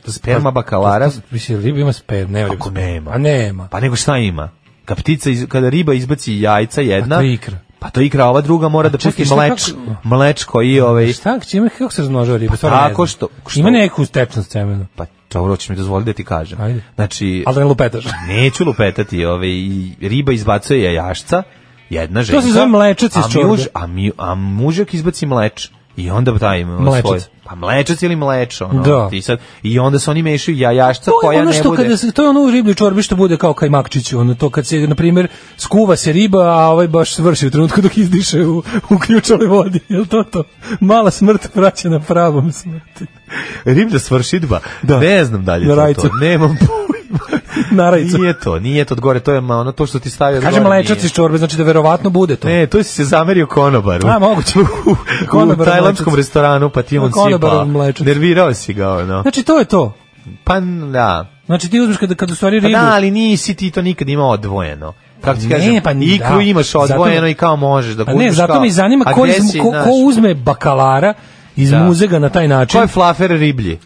Sperma bakalara? Mislim, riba ima sperm, ne riba. Ako nema. A nema. Pa nego šta ima? Kad ptica iz, kada riba izbaci jajca jedna, Pa to je ikra. Pa to je ikra, a ova druga mora da čekaj, pusti šta mleč, kako- mlečko i ovaj Šta, čime, kako se razmnožava riba? Pa Stvarno ne tako znam. što- što- Ima neku stečnost semena. pa Čavro, ćeš mi dozvoliti da ti kažem. Ajde. Znači, Ali da ne lupetaš. neću lupetati, ovaj, i riba izbacuje jajašca, jedna žena. se zove mlečac iz čorbe. a, mi, a mužak izbaci mleč. I onda taj Mlečac. svoj. Pa mlečac ili mleč, ono. Da. Ti sad, I onda se oni mešaju jajašca To je koja ono ne što bude... kada se to je ono u riblju čorbi što bude kao kajmakčiću, ono to kad se na primjer skuva se riba, a ovaj baš svrši u trenutku dok izdiše u, u ključaloj vodi. Jel to to? Mala smrt vraća na pravom smrti. Riblja svršidba. da Da. Ne znam dalje. Na to je rajcu. to. Nemam pojma. Narajcu. Nije to, nije to od gore, to je ma- ono to što ti stavio od Kaže gore, mlečac nije. iz čorbe, znači da verovatno bude to. Ne, to si se zamerio konobaru. A, moguće. E, u, u Konobaru tajlandskom mlečac. restoranu, pa ti on Konobaru sipa. mlečac. Nervirao si ga, ono. Znači to je to. Pa, da. Znači ti uzmeš kada, kada u stvari Pa ribu... da, ali nisi ti to nikad imao odvojeno. Kako ti Ne, kažem, pa ni- ikru da. imaš Zato- odvojeno i kao možeš da A ne, kupiš zato kao- me zanima A ko, gde iz, si, ko, znaš, ko uzme bakalara iz Da. muzega na taj način. ko je flafer riblji?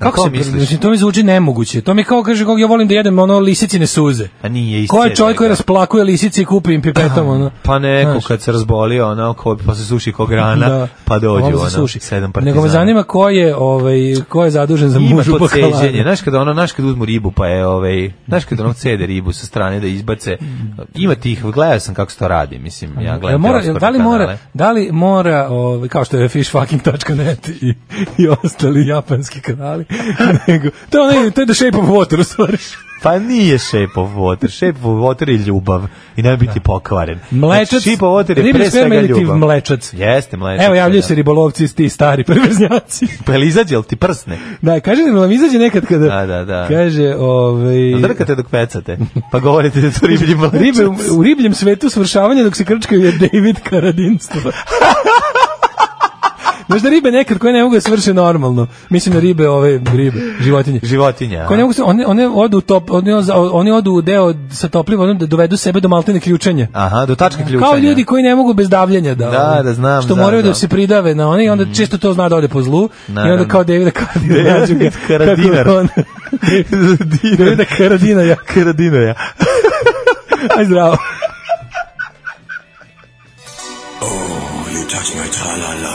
Na Kako ko se misliš? Znači, to mi zvuči nemoguće. To mi kao kaže kako ja volim da jedem ono lisicine suze. A Pa nije Ko je iscijedio čovjek koji ga. rasplakuje lisice i kupi im pipetom ono? Pa neko Znaš. kad se razbolio, ono, ko, pa se suši ko grana, Da. pa dođe Ovo se ono, suši. Pa sedam partizana. Nego me zanima ko je, ovaj, ko je zadužen za Ima mužu to bakalara. ceđenje, znaš kada ono, znaš kada uzmu ribu, pa je, ovaj, znaš kada ono cede ribu sa strane da izbace, ima tih, gledao sam kako se to radi, mislim, ja Jel gledam mora, te jel da li kanale. mora, da li mora, ovaj, kao što je fishfucking.net i, i ostali japanski kanali, nego, to je, onaj- to je the shape of water, u stvari. Pa nije Shape of Water, Shape of Water je ljubav i ne biti pokvaren. Da. Mlečac, Znači, shape of Water je riblji pre sperma svega ili ti ljubav. mlečac? Jeste mlečac. Evo, javljaju da. se ribolovci, ti stari perverznjaci. Pa jel izađe, jel ti prsne? Da, kaže da vam izađe nekad kada... Da, da, da. Kaže, ovaj... Jel Pa drkate dok pecate? Pa govorite da je to riblji mlečac. Ribe, u- u ribljem svetu svršavanje dok se krčkaju je David Karadinstvo. Znaš da ribe nekad koje ne mogu da svrše normalno. Mislim na ribe, ove ribe, životinje. Životinja. Koje ne mogu se, one, one odu u top, one, oni odu u deo sa toplivom, ono da dovedu sebe do maltene ključanja. Aha, do tačke ključanja. Kao ljudi koji ne mogu bez davljenja da. Da, ono, da, znam, Što znam, moraju znam. da se pridave na one i onda često to zna da ode po zlu. I onda Naravno. kao Davida Karadina David nađu ga. Karadinar. kako je on- Da Davida Karadina ja. Karadinoja. Aj zdravo.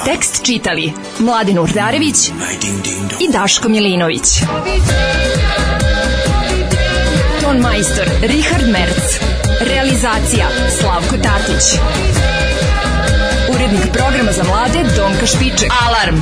Tekst čitali Mladin Urdarević i Daško Milinović. Ton majstor Richard Merc. Realizacija Slavko Tatić. Urednik programa za mlade Donka Špiček. Alarm!